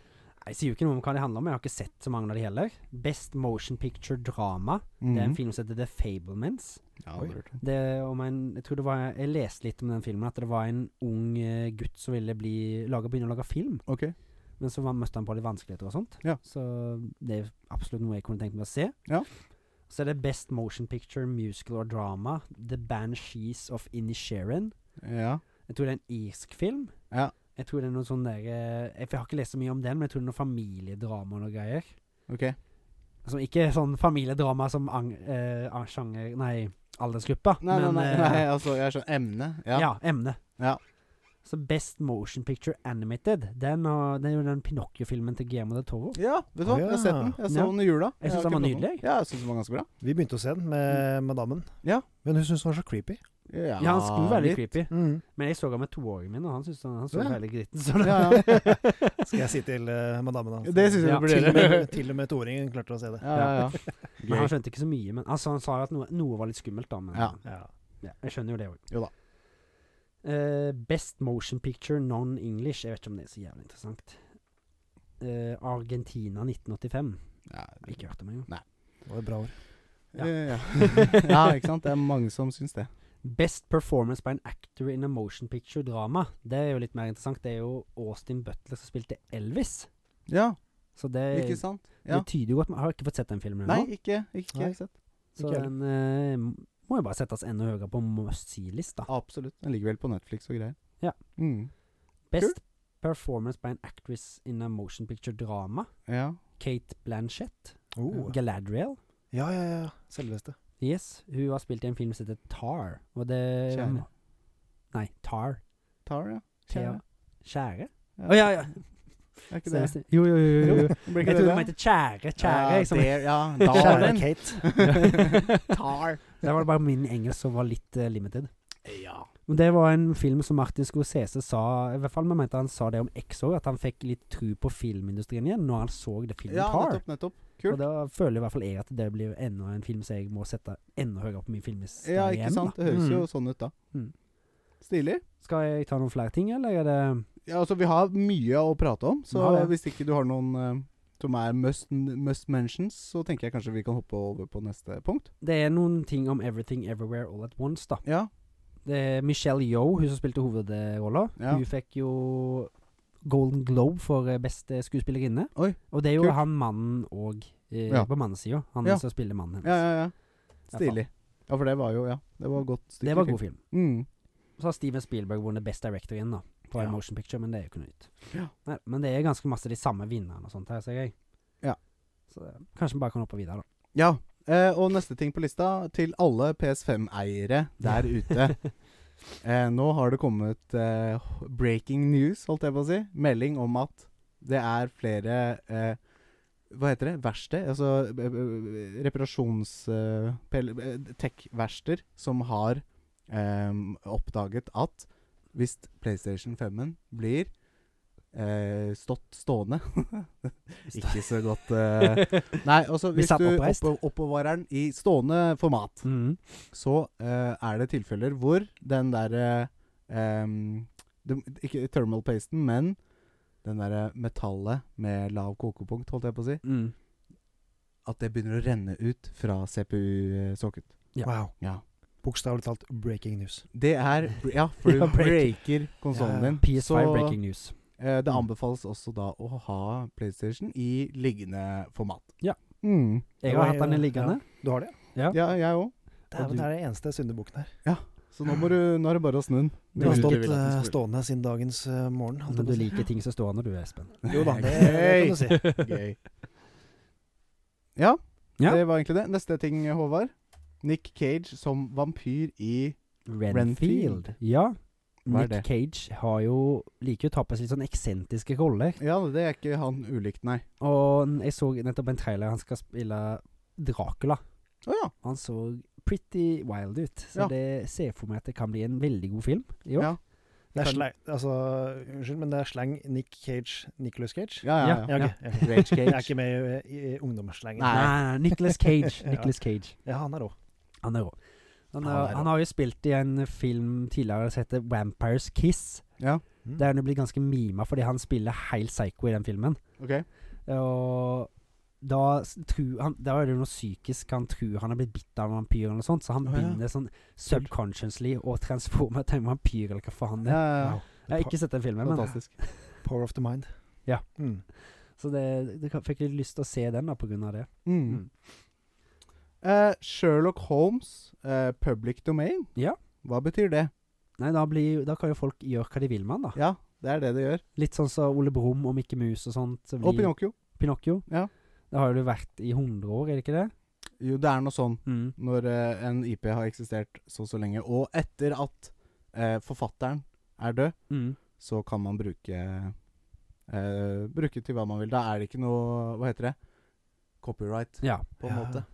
Jeg sier jo ikke noe om hva det handler om, jeg har ikke sett så mange av de heller. Best motion picture drama. Det er en film som heter The Fablements. Ja, det Mhm. har du hørt om. Det er om en, jeg tror det var Jeg leste litt om den filmen, at det var en ung eh, gutt som ville bli, lage, begynne å lage film. Ok. Men så var, møtte han på litt vanskeligheter og sånt. Ja. Så det er absolutt noe jeg kunne tenkt meg å se. Ja. Så er det Best Motion Picture, Musical or Drama, The Banshees of Inisherin. Ja. Jeg tror det er en irsk film. Ja. Jeg tror det er noe sånn der eh, Jeg har ikke lest så mye om den, men jeg tror det er noe familiedrama og noe greier. Ok. Altså ikke sånn familiedrama som ang, eh, ang, sjanger Nei, aldersgruppa. Nei, nei, men, nei, eh, nei altså, jeg skjønner. Emne. Ja. Ja, emne. Ja. Så Best Motion Picture Animated, den har, det er jo den Pinocchio-filmen til Guillermo del Toro. Ja, vet du hva? Jeg har sett den. Jeg så Ja. den i jula. Jeg synes har den var ikke prøvd nydelig, jeg. den. Ja, jeg syns den var ganske bra. Mm. Vi begynte å se den med madammen. Ja. Men hun syntes den var så creepy. Ja, Ja, Ja, han skulle være litt litt. creepy, Mm. men jeg så han med toåringen min, og han syntes han, han så Ja. veldig gritten. Så det, Ja, ja. Skal jeg si til eh, madammen hans. Det syns jeg Ja. du burde til gjøre. og med, til og med toåringen klarte å se det. Ja, ja, ja. men han skjønte ikke så mye. Men altså, han sa jo at noe, noe var litt skummelt, da. Men Ja. Ja. Ja, jeg skjønner jo det òg. Jo da. best motion picture non-English. Jeg vet ikke om det er så jævlig interessant. Eh, Argentina 1985. Ja, Har ikke hørt om engang. Det var et bra år. Ja. ja. ja, ikke sant. Det er mange som syns det. Best performance by an actor in a motion picture drama. Det er jo litt mer interessant. Det er jo Austin Butler som spilte Elvis. Ja, Så det, ikke sant? Ja. det tyder jo at man har ikke fått sett den filmen Nei, ennå. ikke, ikke, Nei. ikke sett. Så ikke heller. den eh, må jo bare settes enda høyere på must see-lista. Absolutt. Den ligger vel på Netflix og greier. Ah. Ja. Mm. Best performance by an actress in a motion picture drama. Ja. Kate Blanchett. Oh. Galadriel. Ja, ja, ja. Selveste. Yes, hun har spilt i en film som heter Tar. Og det Kjære. Nei, Tar. Tar, ja. Kjære. Kjære? Kjære? Ja. Å ja, ja. Er ikke det? Seriøst. Jo, jo, jo. jo, jo. Blir Jeg ikke trodde det hun det? mente Kjære. Kjære. Ja, liksom. der, ja. Da var Kjære den. Kate. Tar. Der var det bare min engelsk som var litt eh, limited. Ja. Men det var en film som Martin Scorsese sa I hvert fall vi mente han sa det om X òg, at han fikk litt tru på filmindustrien igjen når han så det filmen ja, Tar. nettopp, nettopp. Kult. Og da føler i hvert fall jeg at det blir enda en film som jeg må sette enda høyere på min filmliste. Ja, ikke igjen, da. sant? Det høres jo Mm. sånn ut da. Mm. Stilig. Skal jeg ta noen flere ting, eller er det Ja, altså, vi har mye å prate om, så Vi har det. hvis ikke du har noen eh, som er must, must mentions, så tenker jeg kanskje vi kan hoppe over på neste punkt. Det er noen ting om Everything Everywhere All At Once, da. Ja. Det er Michelle Yeoh, hun som spilte hovedrolla. Ja. Hun fikk jo Golden Globe for eh, beste skuespillerinne. Oi, og det er jo kult. han mannen òg, eh, Ja. på mannesida. Han Ja. som spiller mannen hennes. Ja, ja, ja. Stilig. Ja, for det var jo Ja, det var godt stykke. altså. Det var god film. Mm. Så har Steven Spielberg vunnet Best Director igjen, da. For Ja. en motion picture, men det er jo ikke noe nytt. Ja. Nei, men det er ganske masse de samme vinnerne og sånt her, ser jeg. Ja. Så eh, kanskje vi bare kan hoppe videre, da. Ja. Eh, og neste ting på lista, til alle PS5-eiere der ute. Eh, nå har det kommet eh, breaking news, holdt jeg på å si. Melding om at det er flere eh, Hva heter det? Verksted? Altså b- b- reparasjons... Eh, pel- eh, Tech-verksteder som har eh, oppdaget at hvis PlayStation 5-en blir eh, stått stående Ikke så godt eh, Nei, altså Vi hvis satt du oppreist. oppe- oppbevarer den i stående format Mhm. så eh, er det tilfeller hvor den derre ehm, dem- Ikke thermal pasten, men den derre metallet med lav kokepunkt, holdt jeg på å si, Mm. at det begynner å renne ut fra CPU-socket. Ja. Wow. Ja. Bokstavelig talt breaking news. Det er Ja, for du Ja, break. breaker konsollen din. PS5 Så, Breaking Mm. News. eh, det anbefales også da å ha PlayStation i liggende format. Ja. Mm. Jeg Det har var- hatt den liggende. Du har det? Ja, jeg òg. Dæven, du- det er det eneste syndebukken her. Så nå, må du, nå er det bare å snu den. Du har Hvis du stått vil at den eh, skal- stående siden dagens eh, morgen. holdt Men du jeg på å si. liker ting som står når du, Espen. Jo da, det, det kan du si. Gøy. Ja, Ja. det var egentlig det. Neste ting, Håvard. Nick Cage som vampyr i Renfield. Renfield. Ja. Hva er Nick det? Cage har jo liker jo å ta på seg litt sånn eksentriske roller. Ja, det er ikke han ulikt, nei. Og n- jeg så nettopp en trailer han skal spille Dracula. Å ja. Han så pretty wild ut. Så Ja. det ser jeg for meg at det kan bli en veldig god film i år. Ja. Det er Kan- slang, altså, unnskyld, men det er slang Nick Cage, Nicolas Cage. Ja, ja, ja. Ja, ok, ok. Rage Jeg er Cage. ikke med i, i ungdomsslangen. Nei, Nei. nei, Nicholas Cage. Ja. Nicolas Cage. Ja, han er rå. Han er rå. Han, Han er, er rå. han har jo spilt i en film tidligere som heter Vampires Kiss. Ja, Mm. Der han jo blir ganske mima fordi han spiller helt psycho i den filmen. ok. Og da s- tror han Da er det noe psykisk han tror han er blitt bitt av en vampyr, eller noe sånt, så han Å, ja. begynner sånn subconsciously å transforme til en vampyr, eller hva faen det Ja, ja, er. Wow. ja. Jeg har ikke sett den filmen, men Eh, Fantastisk. Power of the mind. Ja. Mm. Så det, det kan- fikk litt lyst til å se den da, på grunn av det. Mm. Mm. Eh, Sherlock Holmes, eh, public domain. Ja. Hva betyr det? Nei, da, blir, da kan jo folk gjøre hva de vil med den, da. Ja, det er det det gjør. Litt sånn som Ole Brumm og Mikke Mus og sånt. så Og blir- Pinocchio. Pinocchio. Ja. Det har jo det vært i 100 år, er det ikke det? Jo, det er noe sånn. Mm. når eh, en IP har eksistert så og så lenge, og etter at eh, forfatteren er død, Mm. så kan man bruke eh, Bruke til hva man vil. Da er det ikke noe Hva heter det? Copyright, Ja. på en Ja. måte.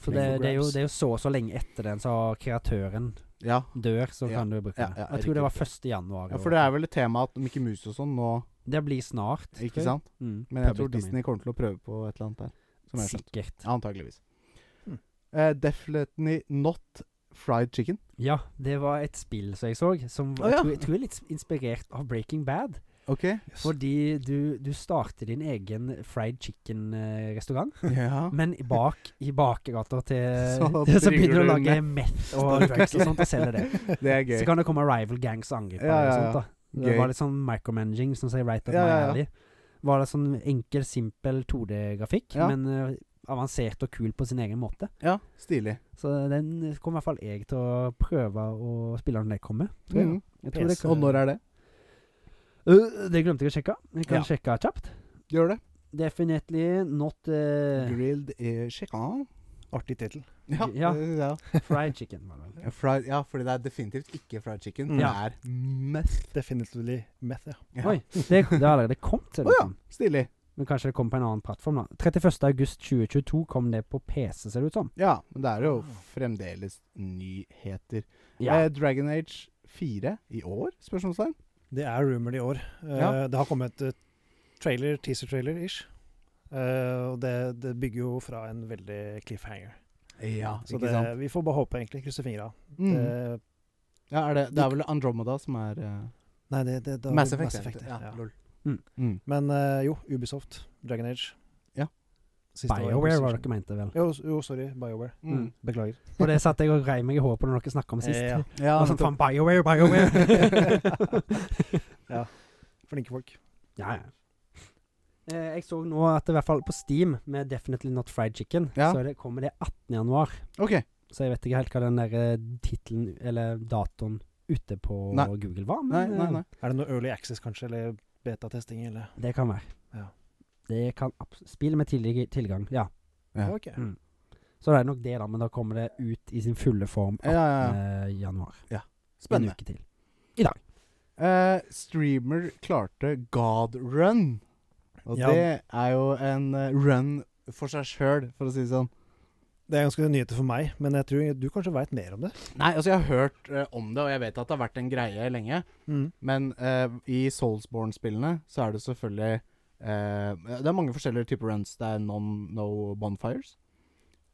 Så det, det, er jo, det er jo så og så lenge etter den, så kreatøren Ja. dør, så Ja. kan du bruke Ja, den. ja, jeg tror det riktig. var 1. januar. i ja, år. for det er vel et tema at Mickey Mouse og sånn nå Det blir snart. tror Ikke jeg. sant? Mm, Men jeg public tror domain. Disney kommer til å prøve på et eller annet der. Som jeg har skjønt. Sikkert. Antakeligvis. Hm. Hmm. Eh, Definitely not fried chicken. Ja, det var et spill som jeg så, som Å, ja. jeg, tror, jeg tror er litt inspirert av Breaking Bad. OK? Fordi du, du starter din egen fried chicken-restaurant, Ja. men i bak i bakgata til Så Så, driver begynner du å du med- lage meth og drugs og sånt og selger det. Det er gøy. Så kan det komme rival gangs og angripe Ja, deg ja, og sånt. da Det Gøy. var litt sånn micromanaging, som sier right up Ja, my ja, ja. alley. Var det sånn enkel, simpel 2D-grafikk, Ja. men eh, avansert og kul på sin egen måte. Ja, stilig. Så den kommer i hvert fall jeg til å prøve å spille når det kommer. tror jeg. Mm. Jeg tror det Og når er det? Øh, det glemte jeg å sjekke. Jeg kan Ja. sjekke kjapt. Gjør det. Definitely not eh, Grilled eh, chicken. Artig tittel. Ja. Ja. eh, ja. fried chicken. var det vel. Ja, Fried, ja, fordi det er definitivt ikke fried chicken. Mm. Det Ja. er meth. Definitively meth, ja. Ja. Oi, det, det har allerede kommet. ser Å det ut ja, som. stilig. Men kanskje det kom på en annen plattform, da. 31. august 2022 kom det på PC, ser det ut som. Ja, men det er jo fremdeles nyheter. Ja. Eh, Dragon Age 4 i år? Spørsmålstegn. Det er rumored i år. Eh, Ja. Det har kommet eh, trailer, teaser-trailer-ish. Eh, og det, det bygger jo fra en veldig cliffhanger. Ja, Så det, vi får bare håpe, egentlig. Krysse fingra. Mm. Eh, Ja, er det, det er vel Andromeda som er eh, nei, det, det, det har Mass blitt Effect. Effect, ja. ja. Ja, lol. Mm. Mm. Men eh, jo, Ubisoft, Dragon Age. Ja. Siste året, BioWare var det PlayStation. dere mente, vel. Jo, s- jo, sorry. BioWare. Mm. Beklager. Og det satt jeg og rei meg i håret på når dere snakka om sist. Eh, ja. Ja, Og sånn, nettopp. faen, BioWare, BioWare! Flinke folk. ja, ja. Eh, jeg så nå at det i hvert fall på Steam, med Definitely Not Fried Chicken, Ja. så det, kommer det 18. januar. OK. Så jeg vet ikke helt hva den der eh, titlen, eller datoen, ute på Nei. Google var. Nei, Men nei, eh, nei. Er det noe Early Access, kanskje? Eller betatesting, eller det kan være. Ja. Det kan abs- Spill med tidlig tilgang, ja. Ja. Ok. Mm. Så det er nok det, da. Men da kommer det ut i sin fulle form 18. Ja, ja, ja. januar. En Spennende. uke til. Eh, streamer klarte God Run. Og Ja. det er jo en eh, run for seg sjøl, for å si det sånn. Det er ganske nyheter for meg, men jeg tror du kanskje veit mer om det. Nei, altså jeg har hørt eh, om det, og jeg vet at det har vært en greie lenge. Mm. Men eh, i Soulsborne-spillene så er det selvfølgelig eh, Det er mange forskjellige typer runs. Det er non, no bonfires.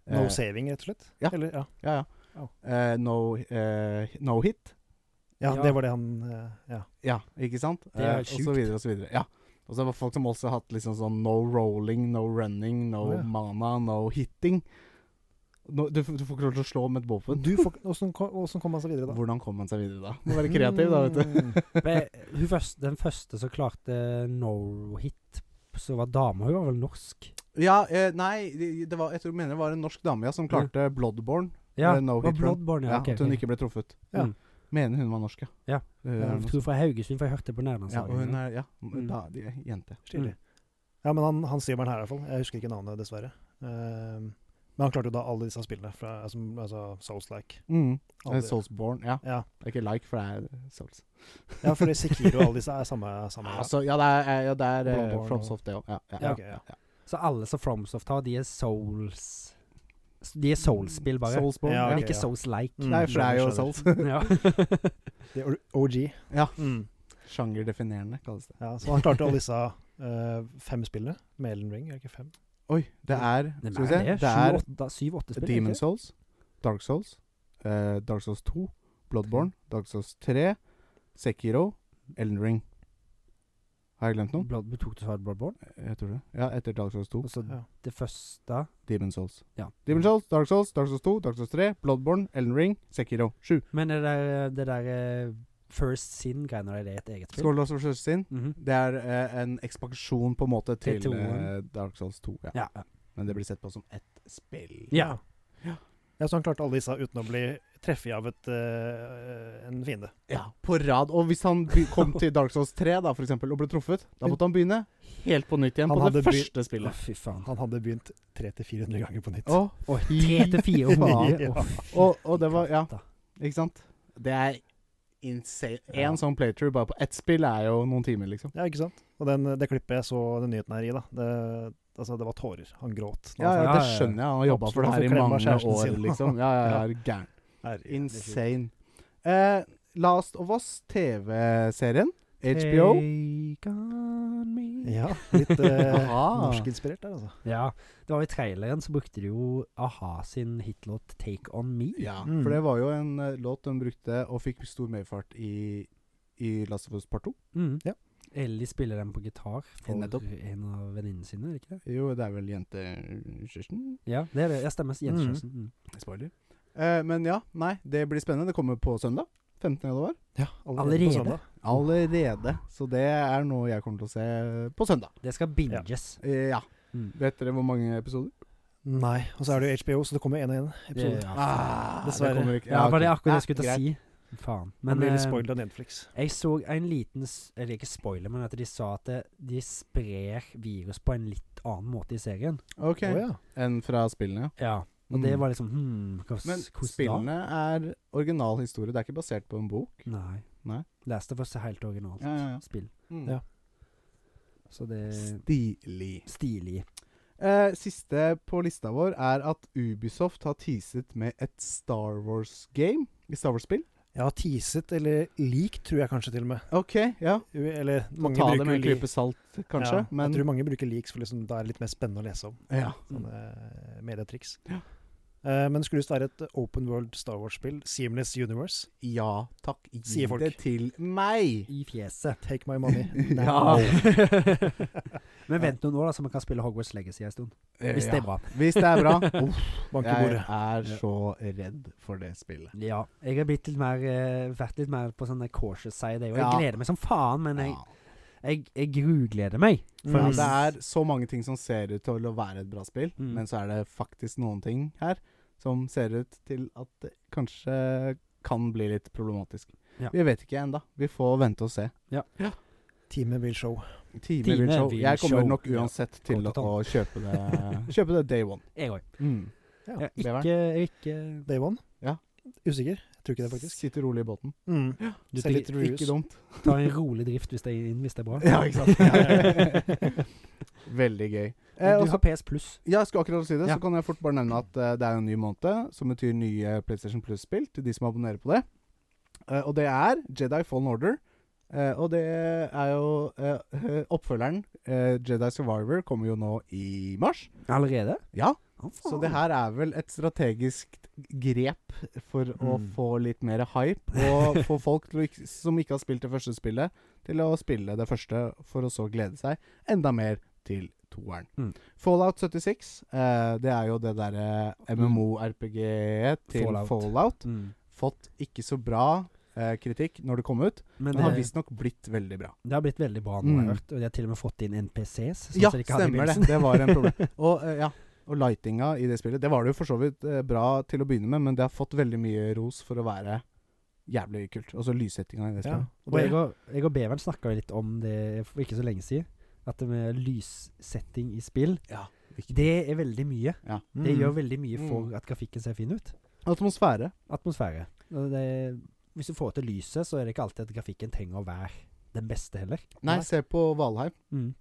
No Eh, saving, rett og slett? ja. Eller, ja. Ja, ja. Au. Eh, no, eh, no hit. Ja, Ja. det var det han eh, Ja. Ja, ikke sant? Det er Eh, helt og så sjukt. videre og så videre. Ja. Og så er det folk som også har hatt liksom sånn no rolling, no running, no Å, ja. mana, no hitting. No, du, f- du får ikke lov til å slå med et våpen. Du får, hvordan, ko- hvordan kom han seg videre da? Hvordan kom man seg videre da? Må være kreativ, da, vet du. Mm. Men hun først- den første som klarte no hit, så var dama. Hun var vel norsk? Ja, eh, nei, det- det var, jeg tror mener det var en norsk dame ja, som klarte Bloodborne. Ja, Eh, no var hit run. Bloodborne, Ja, ja. ok, at hun ok. ikke ble truffet. Ja. Mm. Mener hun var norsk, ja. Ja. Det er Jeg noe tror fra Haugesund, for jeg hørte på sånt. altså. ja og hun nærlandslaget. er ja, Mm. da, de, er jente. Stilig. Mm. Ja, men han, han streameren her i hvert fall. Jeg husker ikke navnet, dessverre. Ehm, men han klarte jo da alle disse spillene, fra, altså, altså Souls-like. Mm. Alle- Eh, Soulsborne, ja. Ja. Det er ikke like, for det er Souls. ja, for det Sekiro og alle disse er samme. samme Ja, greia. altså, ja, det er, ja, det er eh, Bloodborne og- FromSoft, det òg. Ja, ja, ja, ja. ok, ja. Så alle som Fromsoft har, de er souls De er souls-spill, bare. Soulsborne, Ja, ja. Men ok. ikke souls-like. Mm. Nei, for det er jo skjønner. Souls. Ja. Det er OG. Ja. Mm. Sjangerdefinerende, kalles det. ja. Så han klarte alle disse eh, fem spillene. Med Elden Ring, er det ikke fem? Oi, det er Det Skal vi er se. det. Det er Sju-åtte spill. Demon egentlig. Souls, Dark Souls, eh, Dark Souls 2, Bloodborne, Dark Souls 3, Sekiro, Elden Ring. Har jeg glemt noen? Blood, tok du svart Bloodborne? Jeg tror det. Ja, etter Dark Souls 2, Og så Ja. det første Demon Souls. Ja. Demon Souls, Dark Souls, Dark Souls 2, Dark Souls 3, Bloodborne, Elden Ring, Sekiro. Sju. Men det der, det der eh, First Sin-greiene, er det et eget spill? Skål, Lars Vårs sin. Mhm. Det er eh, en ekspansjon på en måte til Til eh, toeren. Dark Souls 2. Ja. Ja. Men det blir sett på som ett spill. ja. Ja, så han klarte alle disse uten å bli treffet av et, eh, en fiende. Ja, på rad. Og hvis han by- kom til Dark Souls 3 da, for eksempel, og ble truffet, da måtte han begynne helt på nytt igjen Han på det hadde by- første Å, spillet. fy faen. Han hadde begynt 300-400 ganger på nytt. Å, Og tre til fire hundre. Ja. Å, fy og, og det var Ja, katta. ikke sant? Det er insane. Ja. Én sånn playthrough bare på ett spill er jo noen timer, liksom. Ja, ikke sant? Og den, det klippet jeg så den nyheten her i, da, det, Altså, det var tårer. Han gråt. Ja, ja, ja, Altså, det ja, ja. skjønner jeg. Han har jobba for det Absolutt, her i han får klemme mange kjæresten år, sin. liksom. Ja, ja, ja, er gæren. Herregud. Insane. Eh, Last of Us, TV-serien. HBO. Take on me. Ja, litt eh, Aha. norskinspirert der, altså. Ja, det var i traileren så brukte de jo a-ha sin hitlåt 'Take On Me'. Ja, Mm. for det var jo en eh, låt de brukte og fikk stor medfart i, i Last of Us part 2. Mm. Ja. Ellie spiller den på gitar for Nettopp. en av venninnene sine, er det ikke det? Jo, det er vel jente Kirsten? Ja, det er det. Jeg stemmer. Jens Mm. Kjøsen. Mm. Spoiler. Eh, men ja, nei, det blir spennende. Det kommer på søndag. 15. januar. Ja, Allerede? på søndag. Mm. Allerede. Så det er noe jeg kommer til å se på søndag. Det skal binges. Eh, ja. Mm. Vet dere hvor mange episoder? Nei. Og så er det jo HBO, så det kommer én og én episode. Ja, Ah, dessverre. Det kommer ikke. Ja, var det ok. Ah, akkurat det jeg skulle Nei, til å si? Faen. Han Men blir litt eh, spoilet av Netflix. jeg så en liten s- Eller ikke spoiler, men at de sa at det, de sprer virus på en litt annen måte i serien. greit. Å Ok. ja. En fra spillene, ja. Ja. Og det Mm. var liksom hmm, hva s- Men hvordan da? spillene er original historie. Det er ikke basert på en bok. Nei. Nei. Last of Us er helt originalt Ja, ja, ja. spill. Ja. Så det Stilig. Stilig. Eh, siste på lista vår er at Ubisoft har teaset med et Star Wars-game. I Star Wars-spill. Jeg har teaset, eller leakt, tror jeg kanskje til og med. OK, ja. U- Eller Må mange ta det bruker med en jo klype salt, kanskje. Ja, men Jeg tror mange bruker leaks, for liksom, da er det litt mer spennende å lese om. ja. Sånne eh, medietriks. Ja. Eh, men det skulle visst være et open world Star Wars-spill. Seamless Universe. ja takk, gi Sier folk. det til meg! I fjeset. Take my money. Ja. Men vent noen år, da, så man kan spille Hogwarts Legacy en stund. Eh, Hvis det er ja. bra. Hvis det er bra. Uff, Bank i jeg bordet. er Ja. så redd for det spillet. Ja. Jeg har blitt litt mer, eh, vært litt mer på sånn cautious side. Jeg, Ja. jeg gleder meg som faen, men jeg, Ja. jeg, jeg grugleder meg. Ja, hvis- det er så mange ting som ser ut til å være et bra spill, Mm. men så er det faktisk noen ting her som ser ut til at det kanskje kan bli litt problematisk. Ja. Vi vet ikke enda. Vi får vente og se. Teamet vil show. Time, Time vil show. will Jeg kommer show. nok Ja. uansett til Godt å ta. å kjøpe det, kjøpe det day one. Jeg òg. Mm. Ja, Jeg er beveren. ikke, jeg er ikke Day one? Ja. Usikker? Jeg tror ikke det, faktisk. Sitter rolig i båten. Mm. Du Ser litt tar- reviews. Ikke dumt. tar en rolig drift hvis det er inn, hvis det er bra. Ja, ikke sant. Veldig gøy. Eh, Men og så- Du har PS Pluss. Ja, jeg skulle akkurat si det. Ja. Så kan jeg fort bare nevne at eh, det er en ny måned, som betyr nye PlayStation Plus-spill til de som abonnerer på det. Eh, og det er Jedi Fallen Order. Eh, og det er jo eh, oppfølgeren, eh, Jedi Survivor, kommer jo nå i mars. Allerede? Ja, Å, så faen. det her er vel et strategisk grep for å Mm. få litt mer hype, og få folk til å, ikk- som ikke har spilt det første spillet, til å spille det første, for å så glede seg enda mer til toeren. Mm. Fallout 76, eh, det er jo det eh, derre MMO-RPG-et til Mm. Fallout. Fallout. Mm. Fått ikke så bra eh, kritikk når det kom ut, Men men har det, visstnok blitt veldig bra. det har blitt veldig bra nå, har jeg Mm. hørt. Og de har til og med fått inn NPCs. sånn Ja, som de ikke hadde i stemmer det. begynnelsen. Det var en problem. Og, eh, ja. og lightinga i det spillet Det var det jo for så vidt eh, bra til å begynne med, men det har fått veldig mye ros for å være jævlig kult. Altså lyssettinga i det Ja. spillet. Og jeg og, jeg og Beveren snakka litt om det for ikke så lenge siden. At det med lyssetting i spill, Ja. det er veldig mye. Det gjør veldig mye Mm. for at grafikken ser fin ut. Atmosfære. Atmosfære. Og Det, hvis du får til lyset, så er det ikke alltid at grafikken trenger å være den beste heller. Nei, Nei. se på Valheim. Mm.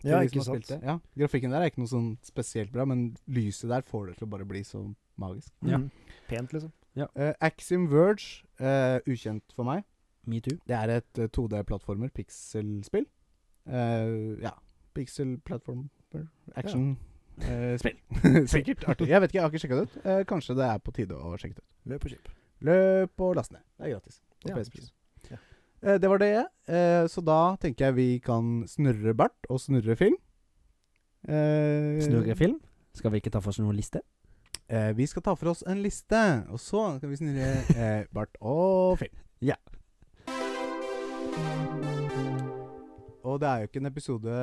til Ja, de ikke som har spilt sant. det. Ja. Grafikken der er ikke noe sånn spesielt bra, men lyset der får det til å bare bli så magisk. Ja. Mm. Pent, liksom. Eh, Axiom Verge, eh, ukjent for meg. Me too. Det er et eh, 2D-plattformer, pixelspill. Eh, ja. Pixel-plattformer, action-spill. Sikkert artig. eh, Jeg vet ikke, jeg har ikke sjekka det ut. Eh, kanskje det er på tide å sjekke det ut. Løp på skip. Løp og last ned. Det er gratis. På Ja, PS ikke Plus. sant. Ja. Eh, det var det. Eh, så da tenker jeg vi kan snurre bart og snurre film. Eh, Snurrefilm. Skal vi ikke ta for oss noen liste? Eh, vi skal ta for oss en liste, og så skal vi snurre eh, bart og film. Ja. Og det er jo ikke en episode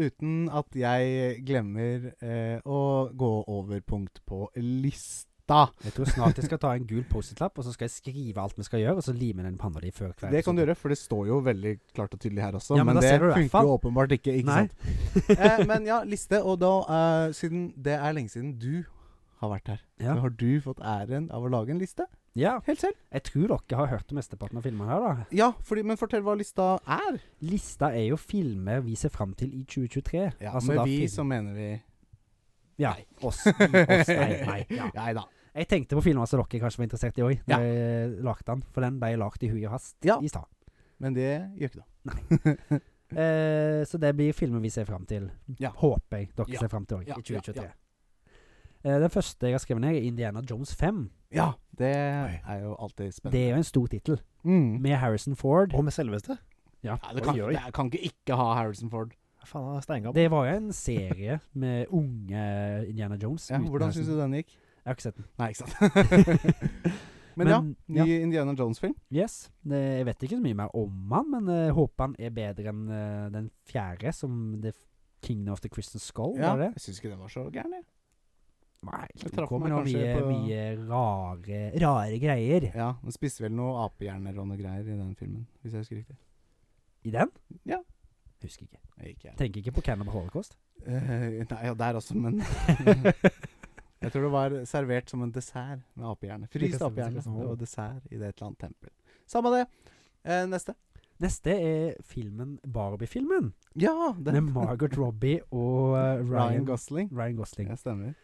uten at jeg glemmer eh, å gå over punkt på lista. Jeg tror snart jeg skal ta en gul Post-It-lapp, og så skal jeg skrive alt vi skal gjøre, og så lime den i panna di før hver Det kan du gjøre, for det står jo veldig klart og tydelig her også. Ja, men men da det ser du det i hvert funker jo åpenbart ikke. ikke Nei. sant? Eh, men ja, liste. Og da, eh, siden det er lenge siden du har vært her, Ja. så har du fått æren av å lage en liste. Ja, Helt selv. jeg tror dere har hørt om mesteparten av filmene her, da. Ja, fordi, men fortell hva lista er. Lista er jo filmer vi ser fram til i 2023. Ja, Altså, da Med vi film- så mener vi Ja, oss. oss nei, nei, ja. Nei da. Jeg tenkte på filmer som dere kanskje var interessert i òg, da Ja. jeg lagde den. For den ble lagd i hui og hast Ja. i stad. Men det gjør ikke noe. Eh, så det blir filmer vi ser fram til. Ja. Håper jeg dere Ja. ser fram til òg, Ja, i 2023. ja, Eh, den første jeg har skrevet ned, er Indiana Jones 5. Ja, det er jo alltid Det spennende. er jo en stor tittel, mm. med Harrison Ford. Og med selveste? Ja. ja, det kan, Oi, oi. det kan ikke ikke ha Harrison Ford. Faen, han er steingammel. Det var jo en serie med unge Indiana Jones. Ja, uten hvordan Harrison- syns du den gikk? Jeg har ikke sett den. Nei, ikke sant. men, ja, Men, ny Indiana Jones-film. Yes. Det, jeg vet ikke så mye mer om han, men jeg håper han er bedre enn eh, den fjerde, som The Kingdom of the Crystal Skull. Ja, Oh, Var det? jeg syns ikke den var så gæren, jeg. Nei, Jeg det traff kommer meg noe mye, kanskje på- mye rare, rare greier Ja, den spiser vel noe apehjerner og noe greier i den filmen, hvis jeg husker riktig. i den. Ja. Husker ikke. Jeg gikk, jeg. Tenker ikke på Cannibal Holocaust. Eh, nei, ja, der også, men Jeg tror det var servert som en dessert med apehjerne. Det sånn- Fryst kan stemme, det kan apehjerne. stemme. Det var dessert i det et eller annet tempel. Samme det. Eh, neste. Neste er filmen Barbie-filmen, Ja! Den. med Margot Robbie og eh, Ryan Ryan, Gosling. Ryan Gosling. Ja, stemmer.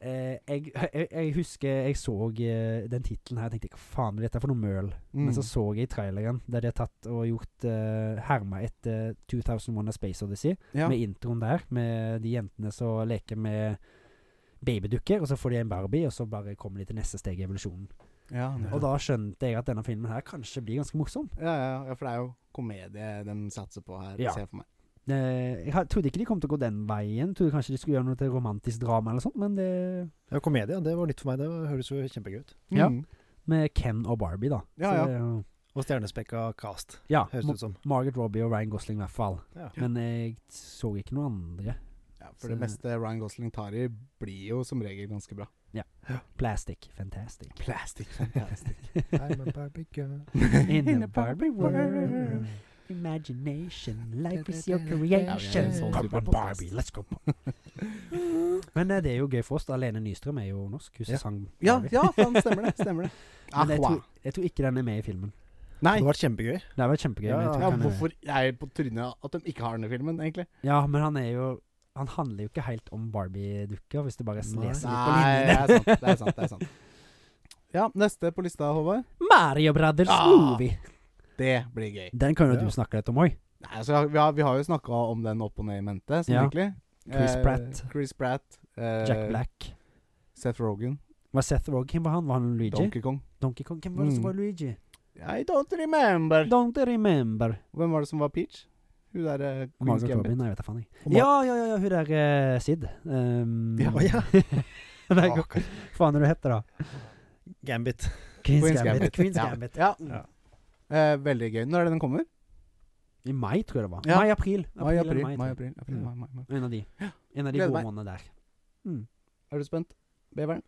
Eh, jeg, jeg, jeg husker jeg så eh, den tittelen her og tenkte hva faen er dette for noe møl? Mm. Men så så jeg i traileren der de har tatt og gjort uh, herma etter 2001 A Space Odyssey, ja. med introen der, med de jentene som leker med babydukker, og så får de en Barbie, og så bare kommer de til neste steg i evolusjonen. Ja, Og da skjønte jeg at denne filmen her kanskje blir ganske morsom. ja, ja, ja, for det er jo komedie de satser på her, Ja. ser jeg for meg. Eh, jeg ha- trodde ikke de kom til å gå den veien, trodde kanskje de skulle gjøre noe til romantisk drama eller sånt, men det Ja, komedie, det var nytt for meg. Det høres jo kjempegøy ut. Ja. Mm. Med Ken og Barbie, da. Ja, Så ja. det er jo- Og stjernespekka cast, ja høres mo- det ut som. Margaret Robbie og Ryan Gosling i hvert fall. Ja. Men jeg så ikke noen andre. ja, for det Så- meste Ryan Gosling tar i, blir jo som regel ganske bra. Plastic, fantastic. Plastic. fantastic. I'm a Barbie girl. In a Barbie world. Imagination, life is your creation. Ja, vi er en sånn Come type on, podcast. Barbie, let's go. Men eh, det er jo gøy for oss. da. Lene Nystrøm er jo norsk. Hun Ja. sang ja, Barbie. ja, faen, stemmer det. Ah, Stemmer det. Men jeg Aqua. tror, jeg tror ikke den er med i filmen. Nei. Det hadde vært kjempegøy. Det hadde vært kjempegøy. men jeg tror Ja, ikke han er med. hvorfor jeg er på trynet at de ikke har den i filmen, egentlig? Ja, men han er jo Han handler jo ikke helt om Barbie-dukker, hvis du bare Nei. leser litt på Nei, det linjene. er sant. Det er sant, det er sant. Ja, neste på lista, Håvard. Mario Brothers Ah. Movie. Det blir gøy. Den kan jo Ja. du snakke litt om òg. Nei, altså, vi, har, vi har jo snakka om den opp og ned i mente, sånn Ja. egentlig. Chris Pratt. Chris Pratt. eh, Jack Black. Seth Rogan. Var Seth Rogen Hvem var han? Var han Luigi? Donkey Kong. Donkey Kong? Hvem var det Mm. som var Luigi? I don't remember. Don't remember. Hvem var det som var Peach? Hun der eh, Queen's Margaret Gambit. Robin? Nei, jeg vet da faen. jeg. Og Mar- Ja, ja, ja, ja, hun der eh, Sid. Um, Ja, ja. Nei, Å, hva faen er det du heter da? Gambit. Queen's, Gambit. Queen's ja. Gambit. Mm. Ja. Ja. Eh, veldig gøy. Når er det den kommer? I mai, tror jeg det var. Ja. Mai-april. Mai, april. Mai, Mai, april. april, april, Mm. mai, mai, mai. En av de. En av de Gleder gode meg. månedene der. Mm. Er du spent, beveren?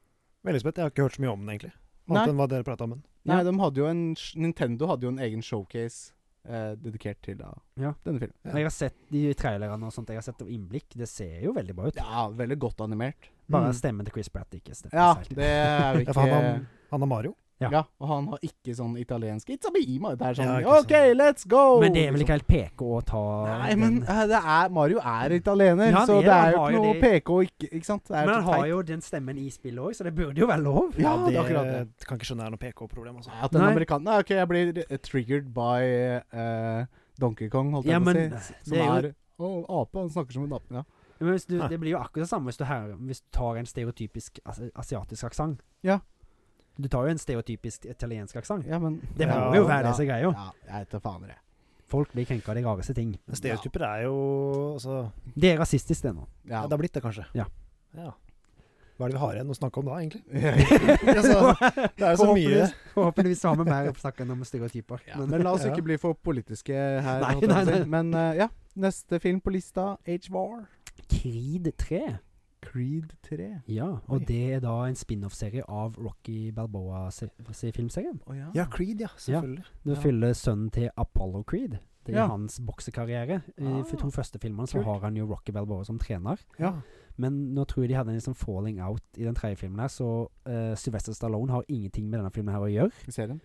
Veldig spent. Jeg har ikke hørt så mye om den, egentlig. Nei. Annet enn hva dere prata om den. Nei, Ja. de hadde jo en Nintendo hadde jo en egen showcase eh, dedikert til da, Ja. denne filmen. Jeg har sett de trailerne og sånt. Jeg har sett innblikk. Det ser jo veldig bra ut. Ja, veldig godt animert. Bare Mm. stemmen til Chris Pratt ikke stemmer. Ja, seg helt. det er jo Ja, ikke for han, har- han har Mario. Ja. Ja, og han har ikke sånn italiensk It's a bima! Det er sånn Ja, ikke OK, sånn. let's go! Men det er vel Liksom. ikke helt PK å ta Nei, den- men eh, det er, Mario er italiener, Ja, han så er det. det Han er jo har ikke jo noe det. PK, ikke, ikke sant? Det er Men så han har teit. jo den stemmen i spillet òg, så det burde jo være lov. Ja, det er akkurat det. det kan ikke skjønne er noe PK-problem, altså. Nei, At den Nei. amerikaner Nei, OK, jeg blir eh, triggered by eh, Donkey Kong, holdt jeg Ja, men på å si. det Som er er, jo- Å, ape. Han snakker som en ape. Ja. Men hvis du, Nei. det blir jo akkurat det samme hvis du, her, hvis du tar en stereotypisk as asiatisk aksent. Ja. Du tar jo en stereotypisk italiensk aksent. ja, men Det må Ja, jo være det som ja, er greia. Ja, jeg vet da faen, jeg. Folk blir krenka av de rareste ting. Men Stereotyper er jo altså, Det er rasistisk, det nå. Ja. ja, Det har blitt det, kanskje. Ja. Ja. Hva er det vi har igjen å snakke om da, egentlig? Altså, det er jo så mye. forhåpentligvis, forhåpentligvis har vi mer å snakke om stereotyper. Ja, men la oss ikke Ja. bli for politiske her. Nei, holdt jeg på å nei, si. Men eh, ja, neste film på lista, H-War. Creed 3. Creed 3. Ja, Oi. og det er da en spin-off-serie av Rocky Balboa-filmserien. Å ja. Ja, Creed, ja. Selvfølgelig. Du Ja. fyller sønnen til Apollo Creed. Det sett i Ja. hans boksekarriere. I de to første filmene så Kult. har han jo Rocky Balboa som trener. Ja. Men nå tror jeg de hadde en liksom falling out i den tredje filmen her, så eh, Sylvester Stallone har ingenting med denne filmen her å gjøre. Vi ser den.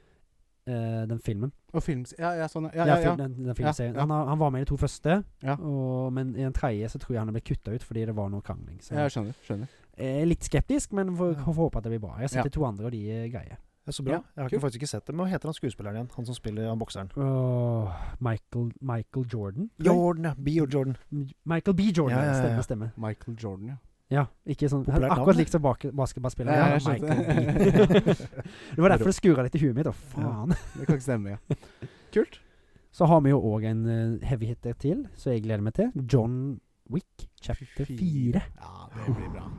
eh, den filmen. Og films... Ja, ja, sånn. Ja, Ja, ja, ja. film- Den, den filmserien. ja. Han, har, han var med i de to første, Ja. og, men i den tredje så tror jeg han ble kutta ut fordi det var noe krangling. Så Jeg skjønner. skjønner. jeg er litt skeptisk, men får, Ja. får håpe at det blir bra. Jeg har sett Ja. de to andre, og de er greie. Det er så bra. Ja, jeg har ikke, faktisk ikke sett det. Men hva heter han skuespilleren igjen? Han som spiller han bokseren? Åh, Michael, Michael Jordan? Jordan, ja. Bio Jordan. Michael B. Jordan. Ja, ja, ja, ja. Stemmer, stemmer. Michael Jordan, ja. Ja, ikke sånn Populært navn, Akkurat det. likt som bak- basketballspilleren. Ja, Ja, jeg Michael B. det var derfor det skura litt i huet mitt. Å, faen. Det kan ikke stemme, ja. Kult. Så har vi jo òg en eh, heavy hitter til, som jeg gleder meg til. John Wick, chapter Fy- 4. Ja, det blir bra.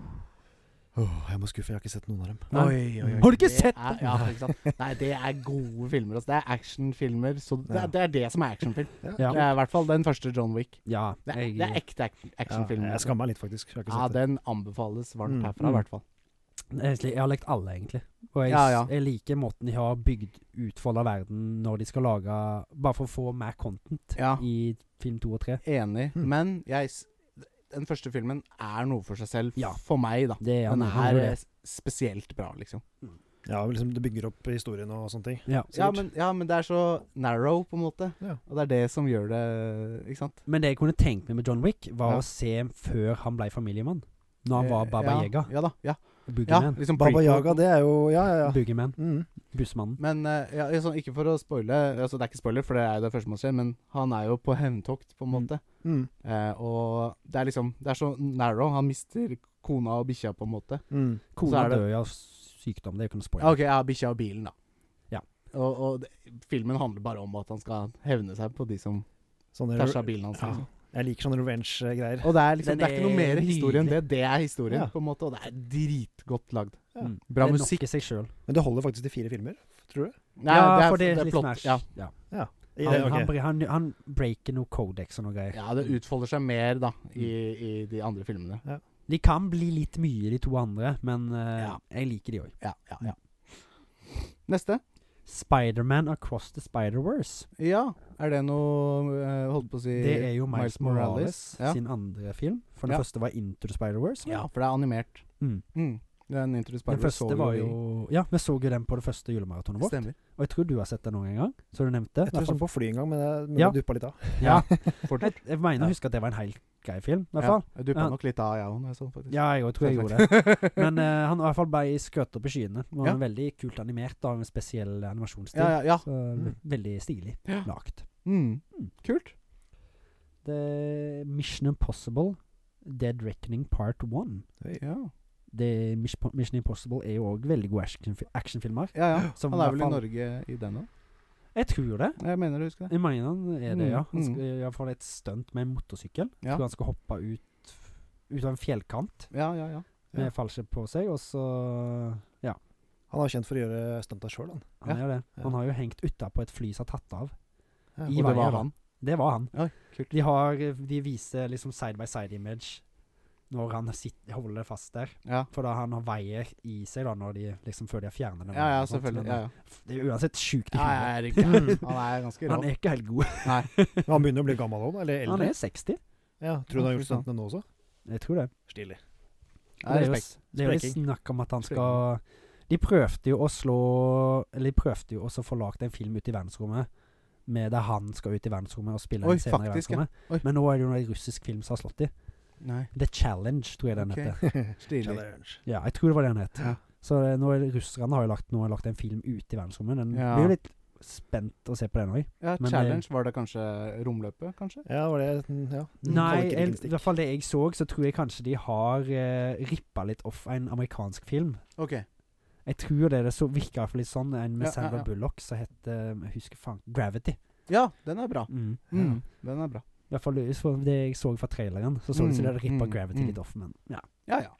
Åh, jeg må skuffe, jeg har ikke sett noen av dem. Nei. Har du ikke sett det? Er, det? ja, ikke sant? Nei, det er gode filmer. Altså. Det er actionfilmer. Så det, Ja. det er det som er actionfilm. Ja. Det er i hvert fall den første John Wick. Ja, Det er, det er jeg, ekte action- Ja, actionfilm. jeg skammer meg litt, faktisk. Jeg har ikke Ja, sett det. den anbefales varmt Mm. herfra, i hvert fall. egentlig, jeg har lekt alle, egentlig. Og jeg, Ja, ja. jeg liker måten de har bygd utfolda verden når de skal lage Bare for å få mer content Ja. i film to og tre. Enig. Mm. Men jeg, s- den første filmen er noe for seg selv. Ja. For meg, da. Det er, Den han- han er gjør det. eh, spesielt bra, liksom. Ja, men liksom, det bygger opp historien og sånne ting. ja. eh, Ja Sikkert. men, ja, men det er så narrow, på en måte. Ja. Og det er det som gjør det Ikke sant? Men det jeg kunne tenkt meg med John Wick, var Ja. å se før han ble familiemann. Når han var Eh, Baba ja, Yaga. Ja da. Ja. ja Boogeyman. liksom Baba prequel. Yaga, det er jo Ja, ja, ja. Boogeyman. Mm. Bussmannen. Men eh, ja, liksom, ikke for å spoile altså, Det er ikke spoiler, for det er jo det første man ser, men han er jo på hevntokt, på en Mm. måte. Mm. Eh, og det er liksom Det er så narrow. Han mister kona og bikkja, på en måte. Mm. Så Kona er det- dør jo av sykdom, det er jo ikke noe Ja, spoiler. OK, ja, bikkja og bilen, da. Ja. Og, og det, filmen handler bare om at han skal hevne seg på de som Sånne, tæsja bilen hans. ja. liksom. Jeg liker sånne revenge-greier. Og det er liksom Den Det er ikke noe er mer historie enn det. nydelig. Det er historien, Ja. på en måte, og det er dritgodt lagd. Ja. Mm. Bra det er musikk. Nok i seg sjøl. Men det holder faktisk til fire filmer, tror du? Nei, ja, det er- for det det er er litt plott, match. ja. Ja. Ja. I- Han, ok. han, bre- han, han breaker noe codex og noe greier. Ja, det utfolder seg mer, da, i, i de andre filmene. De kan bli litt mye, de to andre, men eh, Ja. jeg liker de òg. Ja, ja, ja. Neste. Spiderman Across the Spider-Wars. Ja, er det noe eh, Holdt på å si Det er jo Miles, Morales, Ja. sin andre film. For den Ja. første var Into the Spider-Wars. ja, for det er animert. Mm. Mm. Den Into the Den Spider-Man så første vi var i- jo Ja, vi så jo den på det første julemaratonet vårt. Stemmer. Og jeg tror du har sett den noen gang, som du nevnte. Jeg tror jeg så på fly en gang, men jeg- men Ja. det duppa litt av. Ja. Fort. Jeg, jeg mener å Ja. huske at det var en helt grei film, i hvert Ja, fall. jeg duppa Ja. nok litt av, jeg òg, når jeg så den, faktisk. Ja, jeg tror jeg gjorde det. Men eh, han i hvert fall ble skutt opp i skyene. Og han Ja. er veldig kult animert, da, med spesiell animasjonsstil. ja, ja, ja. Så, ve- Mm. Veldig stilig Ja. lagt. Mm. Mm. Kult. The Mission Impossible Dead Reckoning Part 1. Ja, The Mis- Mission Impossible er jo òg veldig gode actionfi- actionfilmer. ja. ja. Som Han er i vel i hvert fall- Norge i den òg? Jeg tror det. Jeg mener du husker det. Jeg mener han er det, Mm, ja. Han mm. skal iallfall et stunt med en motorsykkel. Ja. Tror han skal hoppe ut ut av en fjellkant Ja, ja, ja. med Ja. fallskjerm på seg, og så Ja, Han er kjent for å gjøre stunta sjøl, han. han Ja. gjør det. Ja. Han har jo hengt utapå et fly som har tatt av. Ja, I Og det veien, var da. han. Det var han. Oi, kult. De, har, de viser liksom side by side image når han sitter, holder fast der. Ja, For da han har veier i seg da når de liksom før de har fjernet den. ja, ja og sånt, selvfølgelig. men eh, Ja, ja. Det er uansett sjukt i ja, ja huet. jeg er ikke- Han er ganske rå. Han er ikke helt god. Men han begynner å bli gammel òg, eller Han eldre. er 60. Ja, tror du han har gjort Ja, fy faen. stuntene nå også? Jeg tror det. Stilig. Ja, det er jo respekt. s- det er jo litt Spreking. snakk om at han skal De prøvde jo å slå Eller de prøvde jo også å få lagd en film ut i verdensrommet med der han skal ut i verdensrommet og spille Oi, en scene faktisk, i ja. verdensrommet. Oi. Men nå er det jo en russisk film som har slått i. Nei, The Challenge, tror jeg den Ok. heter. stilig. Challenge. Ja, jeg tror det var det den het. Ja. Så eh, nå er det, russerne har jo lagt, nå har lagt en film ute i verdensrommet. Den Ja. blir jo litt spent å se på den òg. Ja, Men eh, det- Challenge, var det kanskje Romløpet, kanskje? Ja, var det Ja. Nei, Folkerikens jeg, i stikk. hvert fall det jeg så, så tror jeg kanskje de har eh, rippa litt off en amerikansk film. OK. Jeg tror det, det så virka iallfall litt sånn. En med Ja, ja, Sandra ja. Bullock som heter Jeg husker faen Gravity. Ja, den er bra. Mm. Mm, den er bra. I hvert fall ut fra det jeg så fra traileren, så så det ut som de hadde Mm, rippa mm, Gravity mm. litt off, men ja. Ja ja.